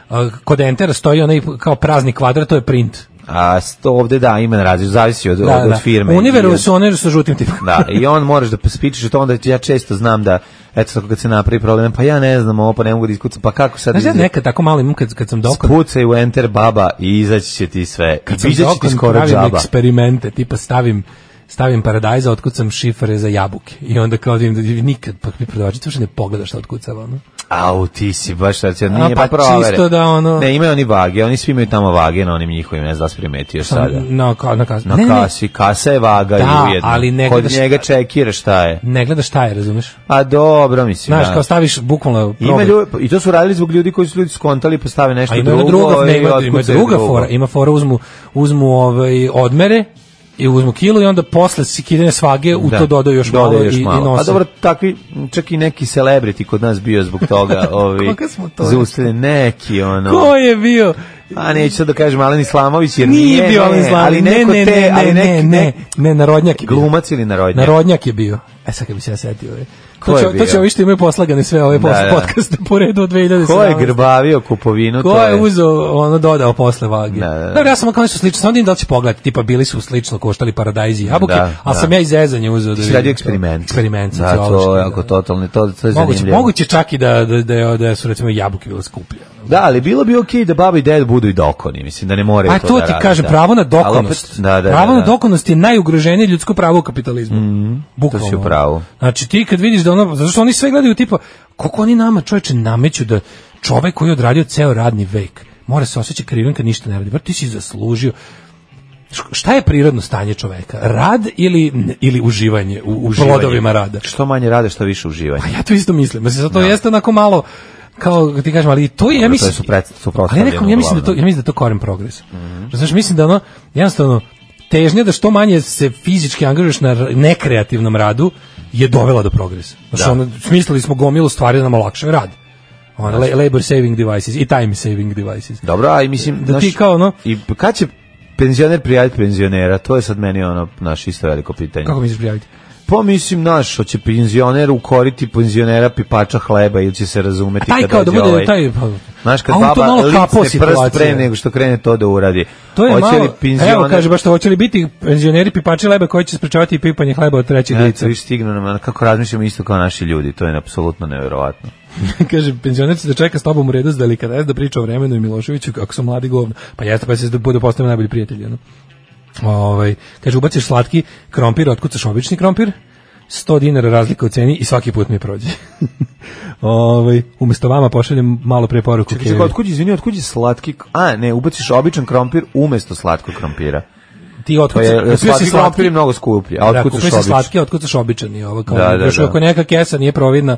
S6: a, Kod entera stoji onaj kao prazni kvadrat, to je print.
S5: A sto ovde da, ima različit, zavisi od, od, od firme.
S6: Da, Univeru
S5: I-
S6: su one sa žutim tipkom.
S5: Da, i on moraš da spičiš to, onda ja često znam da, eto tako kad se napravi problem, pa ja ne znam ovo, pa ne mogu da iskucam, pa kako sad...
S6: *laughs* Znaš, ja
S5: izgleda?
S6: nekad tako malo imam kad, kad sam dokon,
S5: Spucaj u enter baba i izaći će ti sve.
S6: kad
S5: I
S6: sam
S5: izaći ti
S6: dokon
S5: skoro
S6: pravim
S5: džaba.
S6: eksperimente, tipa stavim stavim paradajza, otkucam šifre za jabuke. I onda kao da im da nikad, pa mi prodavačica uopšte ne pogleda šta otkucava. No?
S5: Au, ti si baš racion, nije
S6: A,
S5: pa,
S6: pa
S5: provere.
S6: čisto da ono-
S5: Ne, imaju oni vage, oni svi imaju tamo vage na onim njihovim, ne znam da li si primetio sada.
S6: Na, ka, na, kas-
S5: da. Na
S6: ne, ne,
S5: kasi, kasa je vaga
S6: Da,
S5: i ujedno.
S6: ali ne
S5: Kod
S6: gledaš-
S5: njega čekira šta je.
S6: Ne gledaš šta je, razumeš?
S5: A dobro, mislim.
S6: Znaš,
S5: da.
S6: kao staviš bukvalno
S5: Ima
S6: probaj.
S5: ljudi, I to su radili zbog ljudi koji su ljudi skontali i postave nešto
S6: A ima
S5: drugo.
S6: drugo, druga,
S5: i
S6: ne, ima, ima
S5: otkucaju
S6: druga
S5: drugo.
S6: fora, ima fora uzmu, uzmu ovaj, odmere i uzmu kilo i onda posle sikidene svage u to dodaju još
S5: Da. dodaju
S6: malo,
S5: još
S6: i, i
S5: malo.
S6: nose.
S5: Pa dobro, takvi, čak i neki celebrity kod nas bio zbog toga.
S6: *laughs*
S5: ovi,
S6: Koga smo to?
S5: Zaustavljeni neki, ono.
S6: Ko je bio?
S5: A neću sad da kažem Alen Islamović, jer
S6: Nije,
S5: nije,
S6: bio
S5: ne,
S6: Alen Slavić.
S5: ali neko
S6: ne, ne,
S5: te,
S6: ne,
S5: ali
S6: ne,
S5: neki,
S6: ne, ne, narodnjak je bio.
S5: Glumac ili narodnjak?
S6: Narodnjak je bio. E sad kad bi se ja setio. e.
S5: Ko
S6: To
S5: je
S6: će, to
S5: bio?
S6: će ovi što imaju poslagane sve ove pos,
S5: Da, da.
S6: podcaste po redu od 2017.
S5: Ko je grbavio kupovinu?
S6: Ko
S5: to
S6: je uzeo, ono, dodao posle vage?
S5: Da, da, da.
S6: Dobro, ja sam kao su slično, sam vidim da li će pogledati, tipa bili su slično, koštali paradajzi i jabuke,
S5: Da,
S6: ali
S5: da.
S6: sam ja i zezanje uzeo.
S5: Ti
S6: da
S5: si
S6: vidim
S5: radio
S6: to.
S5: eksperiment.
S6: Eksperiment,
S5: Da, to je
S6: sociološki,
S5: ako
S6: da.
S5: totalni, to, to je
S6: Moguće,
S5: zanimljivo.
S6: moguće čak i da, da, da, da su recimo jabuke bile skuplje.
S5: Da, ali bilo bi okej da baba i ded budu i dokoni, mislim da ne moraju
S6: Pa
S5: to,
S6: to
S5: da
S6: ti
S5: rade,
S6: kaže,
S5: da.
S6: pravo na
S5: Ali opet,
S6: dokonost.
S5: da, da,
S6: pravo
S5: da,
S6: na
S5: da. Mhm,
S6: dokonost je najugroženije ljudsko pravo u kapitalizmu. Bukvalno.
S5: To si u pravu.
S6: Znači ti kad vidiš da ono, zato što oni sve gledaju tipa, koliko oni nama čoveče nameću da čovek koji je odradio ceo radni vek mora se osjećati krivim kad ništa ne radi. Bar ti si zaslužio. Š- Šta je prirodno stanje čoveka? Rad ili, ili uživanje u, u
S5: Uživanje.
S6: plodovima rada?
S5: Što manje rade, što više uživanja.
S6: Ja to isto mislim. Mislim, zato jeste onako malo kao kako ti kažem, ali to je, ja
S5: Da. Dobro,
S6: mislim,
S5: to je supret-
S6: ali
S5: suprotstavljeno
S6: ja, nekom, ja mislim da to,
S5: uglavnom.
S6: ja mislim da je to koren progres.
S5: Mhm.
S6: Znaš, mislim da ono, jednostavno, težnja da što manje se fizički angažuješ na r- nekreativnom radu je dovela do progresa. Znaš,
S5: Da.
S6: ono, smislili smo gomilu stvari da nam olakšaju rad. Ono, la- labor saving devices i time saving devices.
S5: Dobro, a i mislim...
S6: Da ti
S5: znaš,
S6: kao ono-
S5: I kad će penzioner prijaviti penzionera, to je sad meni ono, naš isto veliko pitanje.
S6: Kako misliš prijaviti?
S5: Pa mislim, naš, hoće penzioner ukoriti penzionera pipača hleba ili će se razumeti
S6: A taj
S5: kad
S6: kao da
S5: dođe
S6: bude
S5: ovaj.
S6: taj- pa-
S5: Znaš, kad
S6: A on to
S5: baba
S6: malo kapao
S5: lipne prst
S6: situacija.
S5: pre nego što krene to da uradi.
S6: To je
S5: hoće
S6: malo,
S5: li penzioner...
S6: evo kaže baš to, hoće li biti penzioneri pipači leba koji će sprečavati i pipanje hleba od trećeg
S5: Ja,
S6: lica?
S5: to više stignu nam, ono, kako razmišljamo isto kao naši ljudi, to je apsolutno neverovatno.
S6: *laughs* kaže penzioner će da čeka s tobom u redu s delikates da priča o vremenu i Miloševiću kako su mladi govno. Pa jeste pa se da bude postavio najbolji prijatelj, no. Ovaj kaže ubaciš slatki krompir, otkucaš obični krompir 100 dinara razlika u ceni i svaki put mi prođe. *laughs* ovaj umesto vama pošaljem malo pre poruku.
S5: Čekaj, čekaj, otkud izvini, otkud je slatki? k- A, ne, ubaciš običan krompir umesto slatkog krompira.
S6: Ti otkud
S5: Pa je,
S6: si-
S5: e,
S6: kupio si
S5: slatki
S6: slatki?
S5: krompir je mnogo skuplji, a
S6: da,
S5: otkud
S6: kupio
S5: ćeš
S6: si
S5: običan?
S6: slatki, otkucaš običani, ovo kao.
S5: Da, da,
S6: još
S5: da.
S6: ako neka kesa nije providna,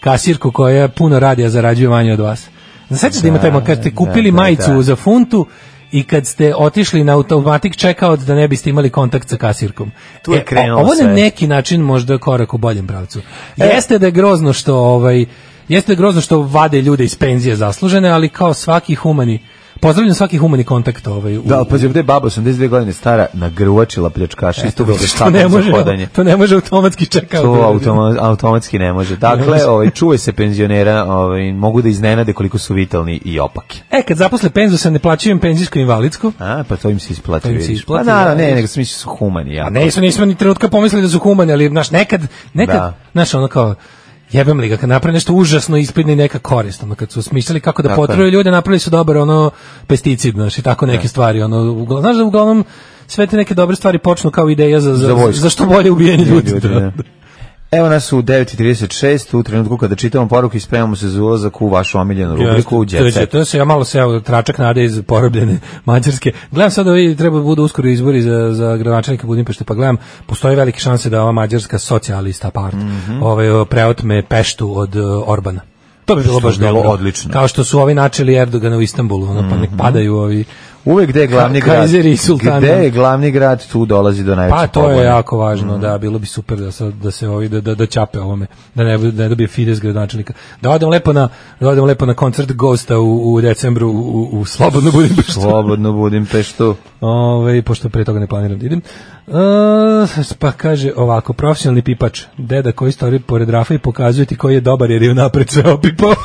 S6: kasirku koja puno radi, a zarađuje manje od vas. Sećaš da, ima taj, mo- kad ste kupili
S5: da, da.
S6: majicu za funtu i kad ste otišli na automatic checkout da ne biste imali kontakt sa kasirkom. E,
S5: Tu je
S6: o-
S5: krenulo
S6: Ovo na
S5: sve.
S6: neki način možda korak u boljem pravcu.
S5: E.
S6: Jeste da je grozno što ovaj jeste da je grozno što vade ljude iz penzije zaslužene, ali kao svaki humani Pozdravljam svaki humani kontakt ovaj. u-
S5: Da, ali pazi, ovde je baba 82 godine stara nagrvačila pljačkaša, isto bilo
S6: *laughs* to da, ne može,
S5: za hodanje.
S6: to ne može automatski čekati.
S5: To automa, automatski ne može. Dakle, ovaj, čuvaj se penzionera, ovaj, mogu da iznenade koliko su vitalni i opaki.
S6: E, kad zaposle penzu se ne plaćujem penzijsko i invalidsko.
S5: A, pa to im se isplati.
S6: To im se
S5: vidiš.
S6: isplati,
S5: Pa
S6: da,
S5: naravno, ne,
S6: vidiš.
S5: nego su mislim su humani. Jako.
S6: A ne, su, nismo ni trenutka pomislili da su humani, ali znaš, nekad, nekad,
S5: Da.
S6: znaš, ono kao, jebem li ga, kad napravi nešto užasno ispadne i neka korist, ono, kad su smislili kako da
S5: Tako je. Da.
S6: potruju ljude, napravili su dobar, ono, pesticid, znaš, i tako neke stvari, ono, uglavnom, znaš da uglavnom sve te neke dobre stvari počnu kao ideja za, za,
S5: Za
S6: za,
S5: vojsku.
S6: što bolje ubijanje ljudi.
S5: Ljudi,
S6: da.
S5: da. Evo nas u 9.36, u trenutku kada čitamo poruku i spremamo se za ulazak u vašu omiljenu rubriku u
S6: Jeste, to je-
S5: Jet
S6: To se ja malo se evo, tračak nade iz porobljene *laughs* Mađarske. Gledam sad ovi treba da budu uskoro izbori za za gradonačelnika Budimpešte, pa gledam postoje velike šanse da ova mađarska socijalista part
S5: Mhm.
S6: ovaj preotme Peštu od eh, Orbana. To bi bilo
S5: Što
S6: baš
S5: bi bilo
S6: dobro.
S5: odlično. Mhm.
S6: Kao što su ovi načeli Erdogana u Istanbulu, ono, pa nek padaju ovi
S5: Uvek gde je glavni
S6: Ka-
S5: grad,
S6: kajzeri i sultani.
S5: gde je glavni grad, tu dolazi do najveće
S6: pa to je
S5: pobune.
S6: jako važno,
S5: Mhm.
S6: da, bilo bi super da se da se ovi da da, da ćape ovome, da ne da ne dobije Fides gradonačelnika. Da odem lepo na da odem lepo na koncert Ghosta u, u decembru u, u slobodno budem
S5: Slobodno budim peštu.
S6: Ove, Ovaj, pošto pre toga ne planiram da idem. E, pa kaže ovako, profesionalni pipač, deda koji stori pored Rafa i pokazuje ti koji je dobar jer je unapred sve opipao. *laughs*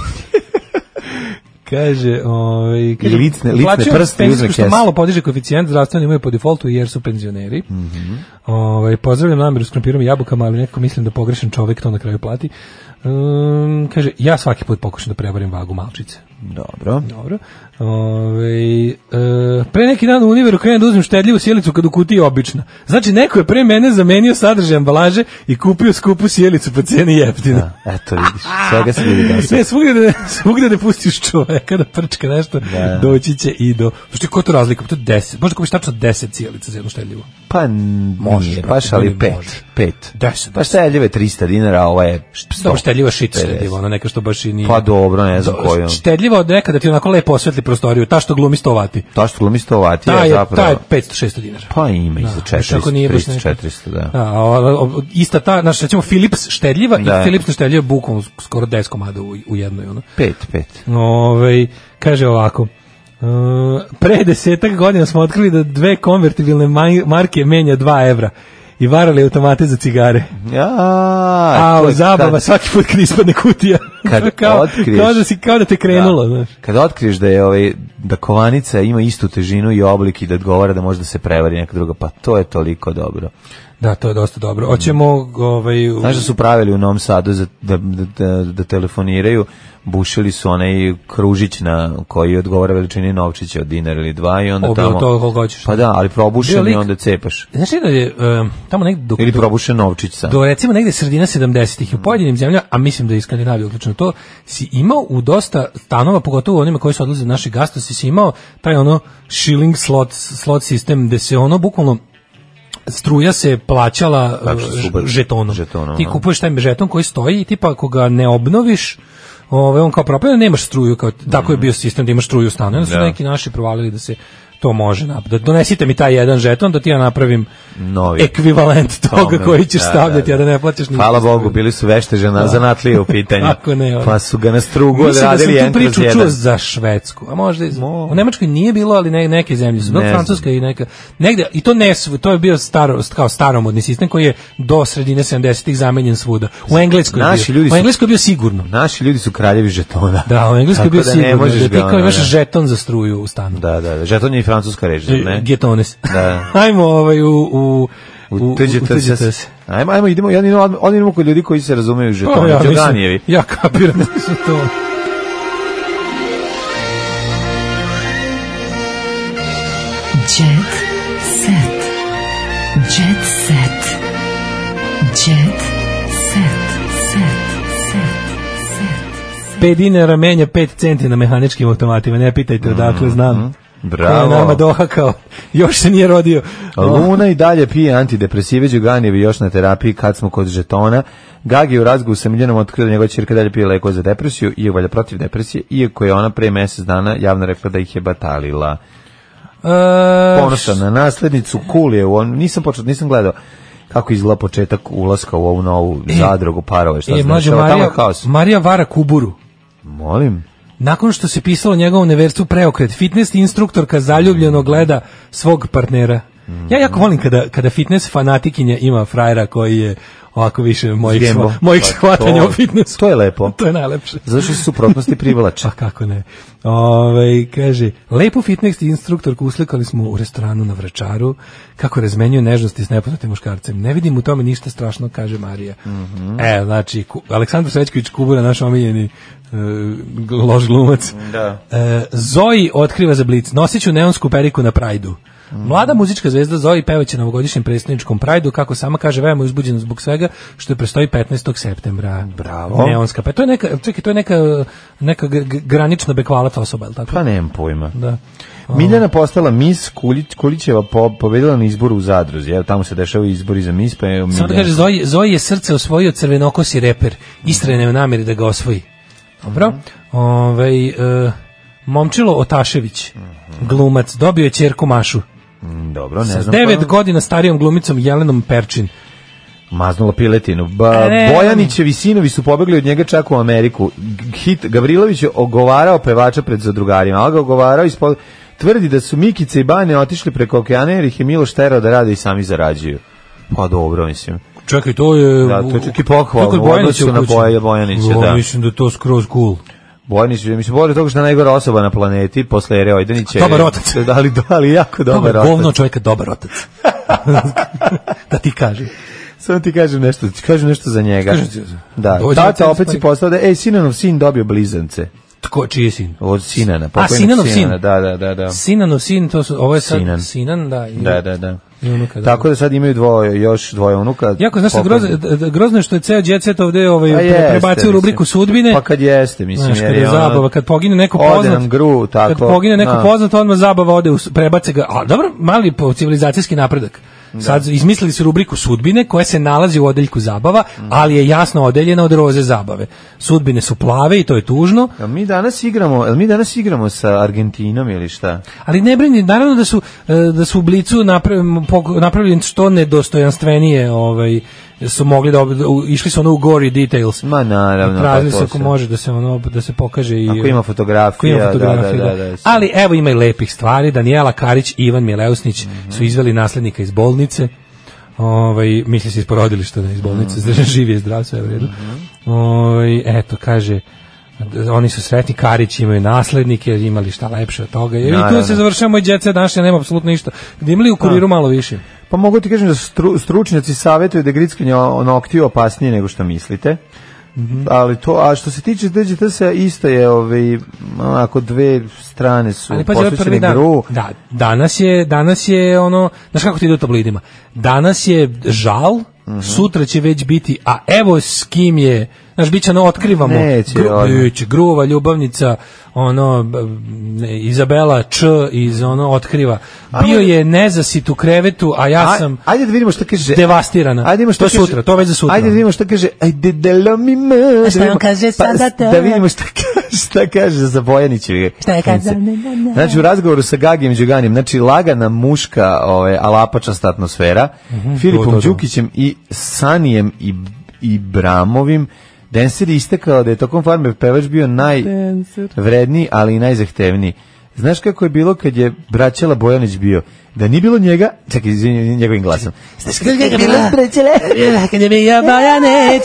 S6: kaže, ovaj kaže,
S5: I licne- licne
S6: plaćaju
S5: prste i uzme
S6: penzijsku što
S5: kesu.
S6: malo podiže koeficijent, zdravstveni imaju po defoltu jer su penzioneri.
S5: Mhm.
S6: Ovaj, pozdravljam nameru s krompirom i jabukama, ali nekako mislim da pogrešan čovek to na kraju plati. Ehm, kaže, ja svaki put pokušam da prevarim vagu malčice.
S5: Dobro.
S6: Dobro. Ove, e, pre neki dan u Univeru krenem da uzmem štedljivu sjelicu kad u kutiji je obična. Znači, neko je pre mene zamenio sadržaj ambalaže i kupio skupu sjelicu po ceni *laughs* jeftina.
S5: Eto vidiš, svega se vidi danas.
S6: Ne, svugde da, svugde da pustiš čoveka da prčka nešto,
S5: Da.
S6: doći će i do... Znači, ko je to razlika? To je 10. Možda kupiš tačno 10 sjelica za jednu štedljivu.
S5: Pa n-
S6: Može,
S5: nije,
S6: brate,
S5: baš ali
S6: ljudi,
S5: pet,
S6: može.
S5: pet.
S6: Deset,
S5: Pa šteljiva je 300 dinara, a ova je 100.
S6: Dobro, štedljiva shit
S5: 50.
S6: štedljiva, ona neka što baš i nije.
S5: Pa dobro, ne znam koju.
S6: Štedljiva od nekada ti onako lepo osvetli prostoriju, ta što glumi 100 vati.
S5: To što glumi 100 vati,
S6: Ta
S5: je
S6: je, ta je
S5: zapravo...
S6: 500-600 dinara.
S5: Pa ima i za
S6: Baš ako
S5: 400,
S6: nije baš
S5: 300,
S6: nešto.
S5: 400, da.
S6: Da, a, a, a, ista ta, znači recimo Philips štedljiva
S5: Da.
S6: i Philips štedljiva bukvalno skoro 10 komada u, u jednoj ono.
S5: Pet, pet.
S6: Ovaj kaže ovako. e, pre desetak godina smo otkrili da dve konvertibilne maj- marke menja 2 evra i varali automate za cigare.
S5: Ja,
S6: A,
S5: to je
S6: zabava
S5: kad-
S6: svaki put kad ispadne kutija. *laughs*
S5: Kad
S6: kao,
S5: otkriješ-
S6: kao da, si, kao da te krenulo.
S5: Da.
S6: znaš.
S5: Kad otkriješ da je ovaj da kovanica ima istu težinu i oblik i da odgovara da može da se prevari neka druga, pa to je toliko dobro.
S6: Da, to je dosta dobro. Hoćemo ovaj, u-
S5: Znaš da su pravili u Novom Sadu za, da, da, da, da telefoniraju, bušili su onaj kružić na koji odgovara veličini novčića od dinara ili dva i onda
S6: Ovo je
S5: tamo...
S6: to koliko hoćeš.
S5: Pa da, ali
S6: Bio
S5: probušen
S6: lik-
S5: i onda cepaš.
S6: Znaš li da je em, tamo negdje do,
S5: Ili
S6: do-
S5: probušen novčić sam.
S6: do recimo negde sredina 70-ih u
S5: Mm.
S6: pojedinim zemljama, a mislim da je i Skandinavija uključeno to, si imao u dosta stanova, pogotovo u onima koji su odlaze na naši gastosi, si imao taj ono shilling slot, slot sistem gde se ono bukvalno struja se plaćala
S5: Tako što
S6: eh,
S5: su ubac-
S6: žetonom.
S5: žetonom, da.
S6: Ti
S5: aha.
S6: kupuješ taj žeton koji stoji i tipa ako ga ne obnoviš, ovaj on kao propada, nemaš struju kao tako je bio sistem da imaš struju u stanu. Onda su
S5: Mm. Da.
S6: neki naši provalili da se to može napraviti. Da donesite mi taj jedan žeton da ti ja napravim
S5: Novi.
S6: E, ekvivalent toga
S5: Tome,
S6: koji ćeš
S5: da,
S6: stavljati,
S5: da,
S6: a da ne plaćaš ništa.
S5: Hvala Bogu, bili su vešte žena,
S6: Da. *laughs*
S5: zanatlije u pitanju.
S6: Kako ne, ono.
S5: Pa su ga na strugu odradili
S6: Mislim da sam
S5: jedan
S6: tu
S5: kroz
S6: priču
S5: jedan.
S6: čuo za Švedsku, a možda i za- u Nemačkoj nije bilo, ali ne, neke zemlje su, bilo
S5: Ne znam.
S6: Francuska i neka, negde, i to ne, sv- to je bio staro, kao staromodni sistem koji je do sredine 70-ih zamenjen svuda. U Engleskoj je
S5: Naši
S6: bio,
S5: ljudi
S6: u
S5: su-
S6: Engleskoj je bio sigurno.
S5: Naši ljudi su kraljevi žetona.
S6: Da, u Engleskoj je
S5: Tako
S6: bio
S5: da ne
S6: sigurno,
S5: možeš
S6: da ti
S5: ga,
S6: kao
S5: ono,
S6: imaš
S5: da.
S6: žeton za struju u stanu.
S5: Da, da, da. Žeton je i francuska reč, zar da,
S6: E,
S5: ne?
S6: Getones.
S5: Da.
S6: *laughs* Ajmo ovaj u... u
S5: U tuđe
S6: u
S5: trs.
S6: tuđe trs.
S5: Ajmo, ajmo, idemo, jedan idemo, odmah- odmah idemo kod ljudi koji se razumeju u
S6: Pa,
S5: žetone.
S6: ja mislim-
S5: Đoganijevi.
S6: Ja kapiram da su to.
S4: Jet set. Jet set. Jet set. Set. Set.
S6: Pet dinara menja pet centi na mehaničkim automatima, ne pitajte odakle znam.
S5: Mhm. Bravo.
S6: Ko je nama dohakao, *laughs* još se nije rodio. E,
S5: Luna i dalje pije antidepresive, Đuganijevi još na terapiji kad smo kod žetona. Gagi je u razgovoru sa Miljanom otkrio da njegova čirka dalje pije lekove za depresiju i valja protiv depresije, iako je ona pre mesec dana javno rekla da ih je batalila.
S6: E,
S5: Ponosan na naslednicu, cool je, on, nisam počeo, nisam gledao kako izgleda početak ulaska u ovu novu
S6: E.
S5: zadrugu parove, šta
S6: e,
S5: znaš,
S6: mlađe
S5: evo, tamo je
S6: Marija,
S5: kaos.
S6: Marija vara kuburu.
S5: Molim.
S6: Nakon što se pisalo o njegovom neverstvu preokret, fitness instruktorka zaljubljeno
S5: Mhm.
S6: gleda svog partnera. Ja jako volim kada, kada fitness fanatikinja ima frajera koji je ovako više mojih,
S5: Gembo.
S6: shva- mojih
S5: Pa
S6: shvatanja
S5: to-
S6: o fitnessu.
S5: To je lepo.
S6: *laughs* To je najlepše.
S5: Zato što se suprotnosti privlače.
S6: *laughs* Pa kako ne. Ove, kaže, lepu fitness instruktorku uslikali smo u restoranu na Vračaru, kako razmenjuje nežnosti s nepoznatim muškarcem. Ne vidim u tome ništa strašno, kaže Marija. E, znači, Ku- Aleksandar Srećković Kubura, naš omiljeni e, gl- loš glumac.
S5: Da.
S6: E, Zoji otkriva za Blic, nosit ću neonsku periku na Prajdu. Mlada muzička zvezda Zoji pevaće na ovogodišnjem predstavničkom Prajdu, kako sama kaže, veoma je uzbuđena zbog svega što je prestoji 15. septembra.
S5: Bravo.
S6: Neonska. Pa to je neka, čekaj, to je neka, neka gr- gr- granično bekvalata osoba, je li tako?
S5: Pa nemam pojma.
S6: Da.
S5: Miljana postala mis Kulić, Kulićeva po, pobedila na izboru u Zadruzi. Evo, tamo se dešavaju izbori za mis, pa evo
S6: Samo da
S5: Miljana.
S6: kaže, Zoji, Zoji je srce osvojio crvenokosi reper. Istrajna je u namjeri da ga osvoji. Dobro.
S5: Mhm.
S6: Ovaj, e, momčilo Otašević,
S5: Mhm.
S6: glumac, dobio je čerku Mašu.
S5: Mm, Dobro, ne
S6: Sa
S5: znam.
S6: devet
S5: ko je.
S6: godina starijom glumicom Jelenom Perčin.
S5: Maznula piletinu. Ba,
S6: E, ne.
S5: Bojanićevi sinovi su pobegli od njega čak u Ameriku. G- Hit Gavrilović je ogovarao pevača pred zadrugarima, ali ga ogovarao ispod... Tvrdi da su Mikice i Bane otišli preko okeana jer ih je Miloš terao da rade i sami zarađuju. Pa dobro, mislim.
S6: Čekaj, to je...
S5: Da, to je čak i pohvalno
S6: Kako je
S5: u odnosu
S6: Bojanić
S5: na
S6: uključen?
S5: Boja- Bojanića,
S6: Jo,
S5: da.
S6: Mislim da je to skroz cool.
S5: Bojanić, je, mislim, bolje toga što je najgora osoba na planeti posle Ere Ojdenića.
S6: Dobar otac.
S5: Da, ali, da, ali jako dobar,
S6: Dobar, govno
S5: otac.
S6: čovjeka, dobar
S5: *laughs*
S6: otac. da ti kažem.
S5: Samo ti kažem nešto, ti kažem nešto za njega.
S6: Kažem ti-
S5: Da,
S6: Dođe
S5: tata
S6: otac,
S5: opet
S6: pa-
S5: si postao da, ej, sinanov sin dobio blizance.
S6: Tko, čiji je sin?
S5: Od Sinana, pokojnog
S6: Sinanov
S5: Sinana,
S6: sin.
S5: Da, da, da, da.
S6: Sinanov sin, to su, ovo je sad
S5: Sinan.
S6: Sinan, da. i-
S5: Da, da, da.
S6: i unuka, da.
S5: Tako da sad imaju dvoje, još dvoje unuka.
S6: Jako, znaš, šta,
S5: Pokojni.
S6: grozno, d- d- grozno je što je ceo djecet ovde ovaj,
S5: A
S6: pre-
S5: jeste,
S6: prebacio da, u rubriku
S5: mislim.
S6: sudbine.
S5: Pa kad jeste, mislim,
S6: Znaš,
S5: jer
S6: kad je
S5: je ono-
S6: zabava, kad pogine neko
S5: Ode
S6: poznat,
S5: nam gru, tako,
S6: kad pogine neko
S5: da.
S6: poznat, odmah zabava ode, u s- prebace ga, a dobro, mali po civilizacijski napredak.
S5: Da.
S6: Sad izmislili su rubriku sudbine koja se nalazi u odeljku zabava, ali je jasno odeljena od roze zabave. Sudbine su plave i to je tužno,
S5: A mi danas igramo, jel mi danas igramo sa Argentinom ili šta?
S6: ali ne brini, naravno da su e, da su u blicu napravili napravili što nedostojanstvenije, ovaj su mogli da ob- u- išli su ono u gory details.
S5: Ma naravno.
S6: Tražili
S5: pa
S6: su
S5: to
S6: ako
S5: se-
S6: može da se ono da se pokaže i
S5: Ako ima fotografija,
S6: Ako ima
S5: da,
S6: fotografija,
S5: da,
S6: da.
S5: da, da, da.
S6: Ali evo ima i lepih stvari. Danijela Karić i Ivan Mileusnić
S5: Mhm.
S6: su izveli naslednika iz bolnice. Ovaj misli se iz porodilišta, ne iz bolnice,
S5: Mhm.
S6: mm *laughs* živi je zdrav, sve je u redu. Ovaj, eto kaže d- oni su sretni, Karić imaju naslednike, imali šta lepše od toga. I
S5: Naravno.
S6: tu se završava moj djece današnje, nema apsolutno ništa. Gde imali u kuriru malo više?
S5: Pa mogu ti kažem da stru, stručnjaci savjetuju da je grickanje o- noktiju opasnije nego što mislite.
S6: Mhm.
S5: Ali to, a što se tiče DGTS-a, isto je, ovaj, ako dve strane su
S6: Ali pazi, ovo je prvi
S5: posvećene
S6: dan.
S5: gru,
S6: Da, danas je, danas je ono, znaš kako ti ide u tabloidima?
S5: Mhm.
S6: Danas je žal, sutra će već biti, a evo s kim je Znaš, bit će ono, otkrivamo.
S5: Neće, ono.
S6: biće, gruva, ljubavnica, ono, b- ne, Izabela Č iz ono, otkriva. Bio je nezasit u krevetu, a ja
S5: Aj-
S6: sam
S5: ajde da vidimo šta kaže.
S6: devastirana.
S5: Ajde da vidimo šta
S6: to je
S5: kaže-
S6: sutra, to je već za sutra.
S5: Ajde da vidimo šta kaže. Ajde delo mi me. Da
S14: šta on
S5: vidimo-
S14: kaže sada to?
S5: Da vidimo šta kaže, *laughs* šta kaže za Bojanićevi.
S14: Šta je kazao?
S5: Znači u razgovoru sa Gagijem Đuganijem, znači lagana muška, ovaj alapačasta atmosfera,
S6: Mhm, to,
S5: Filipom
S6: to, to.
S5: Đukićem i Sanijem i i Bramovim Denser je istekao da je tokom farme pevač bio
S6: Denser.
S5: najvredniji, ali i najzahtevniji. Znaš kako je bilo kad je braćala Bojanić bio? Da nije bilo njega, čekaj, izvini, njegovim glasom. Znaš kako je bilo
S14: Kad je bio Bojanić,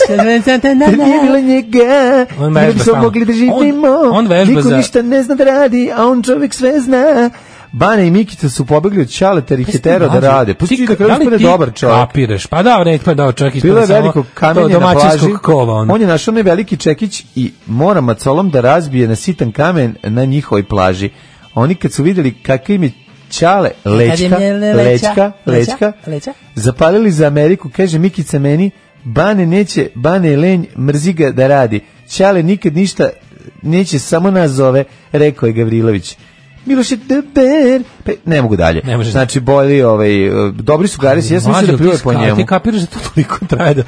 S5: Da nije bilo njega,
S6: On
S5: on
S6: vežba
S5: ne bismo
S6: stalno.
S5: mogli da živimo.
S6: On- on vežba
S5: Niko
S6: za-
S5: ništa ne zna da radi, a on čovjek sve zna. Bane i Mikica su pobegli od Čaleta i Hetero da rade. Pusti
S6: Pa Ti-
S5: da kraju
S6: da li
S5: ispane
S6: ti
S5: dobar čovjek.
S6: Kapiraš, pa da, ne, pa da, čovjek
S5: Bilo je
S6: samo
S5: veliko kamenje
S6: to
S5: na plaži.
S6: domaćinskog kova, ono.
S5: On je našao onaj veliki čekić i mora macolom da razbije na sitan kamen na njihovoj plaži. Oni kad su vidjeli kakve im je Čale, lečka, lečka, lečka,
S14: leća.
S5: zapalili za Ameriku, kaže Mikica meni, Bane neće, Bane je lenj, mrzi ga da radi. Čale nikad ništa neće, samo nas zove, rekao je Gavrilović. Miloš je dobar. Pa, ne mogu dalje.
S6: Ne može.
S5: znači, bolji, ovaj, dobri su garisi, ja sam mislio da pljuje po njemu.
S6: Ti kapiraš da to toliko traje da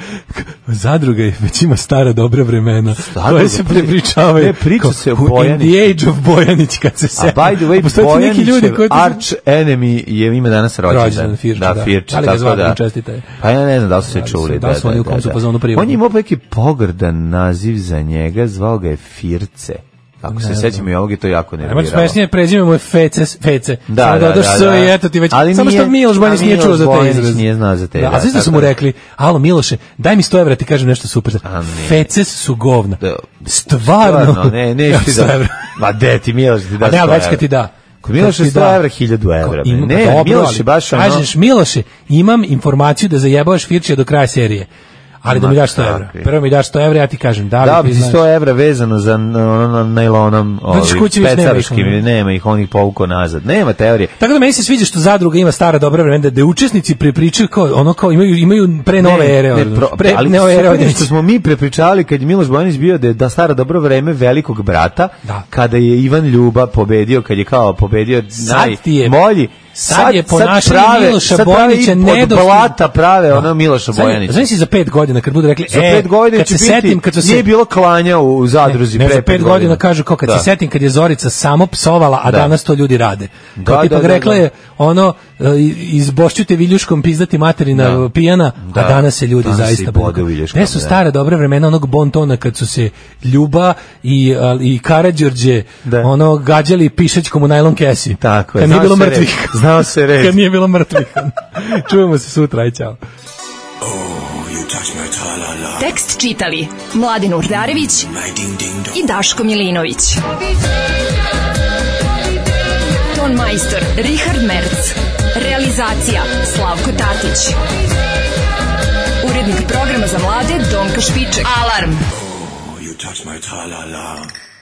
S6: zadruga je već ima stara dobra vremena. Zadruga,
S5: Zadruga,
S6: koje se
S5: pa-
S6: prepričavaju.
S5: Ne, priča
S6: kao
S5: se o
S6: u-
S5: Bojaniću.
S6: In the age of Bojanić kad se
S5: A
S6: se.
S5: by the way,
S6: postoje ti neki ljudi
S5: Bojanićev
S6: koji ti-
S5: arch enemy je ima danas rođendan.
S6: Rođendan, Firča, da.
S5: da. Firča,
S6: Da li ga
S5: tako
S6: zvali,
S5: da.
S6: čestitaj.
S5: Pa ja ne znam da li su se
S6: Da li su-
S5: čuli.
S6: da li su oni u kom su fazonu privatno?
S5: On je imao neki pogrdan naziv za njega, zvao ga je Firce. Ako
S6: Ne
S5: se
S6: znam.
S5: sećam i ovog je to jako
S6: Ajmo
S5: nerviralo.
S6: smešnije prezime mu je Feces, Fece.
S5: Da,
S6: Samo
S5: da,
S6: dodaš
S5: da,
S6: S
S5: da.
S6: i eto ti već.
S5: Ali
S6: Samo što
S5: nije-
S6: Miloš Bojanić
S5: a
S6: nije čuo
S5: Miloš
S6: za te
S5: Bojanić
S6: izraz.
S5: nije znao za te,
S6: Da, a
S5: da,
S6: znaš da su mu
S5: tako je.
S6: rekli, alo Miloše, daj mi 100 evra ti kažem nešto super. Feces su govna. Stvarno.
S5: Da. Stvarno, ne, ne, ti
S6: 100
S5: da.
S6: evra.
S5: Ma de ti Miloš ti da.
S6: A ne, ali
S5: 100
S6: već kad ti
S5: evra.
S6: da.
S5: Kod Miloša
S6: Kad ti
S5: 100 evra, 1000 evra,
S6: Ko-
S5: bre.
S6: ima-
S5: Ne,
S6: dobro,
S5: Miloš
S6: ali
S5: je baš ono-
S6: Kažeš, Miloše, imam informaciju da zajebavaš Firčija do kraja serije. Ali da mi
S5: Ma
S6: daš 100 evra.
S5: kakvi.
S6: Prvo mi daš 100 evra, ja ti kažem. Da,
S5: Da,
S6: li
S5: bi
S6: ti
S5: ti
S6: znaš?
S5: 100 evra vezano za n- ono na najlonom,
S6: Dođeš
S5: ovi,
S6: kući, već nema ih,
S5: pecarskim,
S6: ono.
S5: nema ih, on ih povukao nazad. Nema teorije.
S6: Tako da meni se sviđa što zadruga ima stara dobra vremena, da je učesnici prepričaju kao, ono kao imaju, imaju pre nove ere. ono,
S5: pro-
S6: pre,
S5: ali
S6: nove
S5: super
S6: ere.
S5: je što smo mi prepričali kad je Miloš Bojanić bio da je da stara dobro vreme velikog brata,
S6: Da.
S5: kada je Ivan Ljuba pobedio, kad je kao pobedio
S6: Sad ti je-
S5: najbolji.
S6: sad je ponašanje Miloša
S5: sad prave
S6: Bojanića
S5: i pod
S6: nedostižno.
S5: blata prave ono Miloša
S6: Znaš-
S5: Bojanića.
S6: Znaš si za pet godina kad budu rekli,
S5: Za
S6: e,
S5: pet godina
S6: kad
S5: će
S6: se
S5: biti,
S6: setim, kad su se,
S5: nije bilo klanja u, u zadruzi
S6: E, ne,
S5: pre
S6: za pet godina, kažu kao kad
S5: Da.
S6: se setim kad je Zorica samo psovala, a
S5: Da.
S6: danas to ljudi rade.
S5: Da,
S6: Kao tipa
S5: da, da,
S6: rekla
S5: da.
S6: je ono e, izbošćujte viljuškom pizdati materina
S5: Da.
S6: pijana, a
S5: Da.
S6: danas se ljudi
S5: Danas se
S6: zaista
S5: i bode
S6: budu.
S5: viljuškom,
S6: Ne su
S5: da.
S6: stara dobra vremena onog bontona kad su se Ljuba i al- i Karađorđe ono gađali pišećkom u najlon kesi.
S5: Da. Tako je,
S6: Kad nije
S5: znao
S6: bilo
S5: se red.
S6: mrtvih.
S5: Znao se red.
S6: *laughs* Kad nije bilo mrtvih. *laughs* Čujemo se sutra, aj ćao.
S4: Tekst čitali Mladin Urdarević i Daško Milinović. Ton majstor Richard Merc. Realizacija Slavko Tatić. Urednik programa za mlade Donka Špiček. Alarm!
S15: You touch my tra-la-la.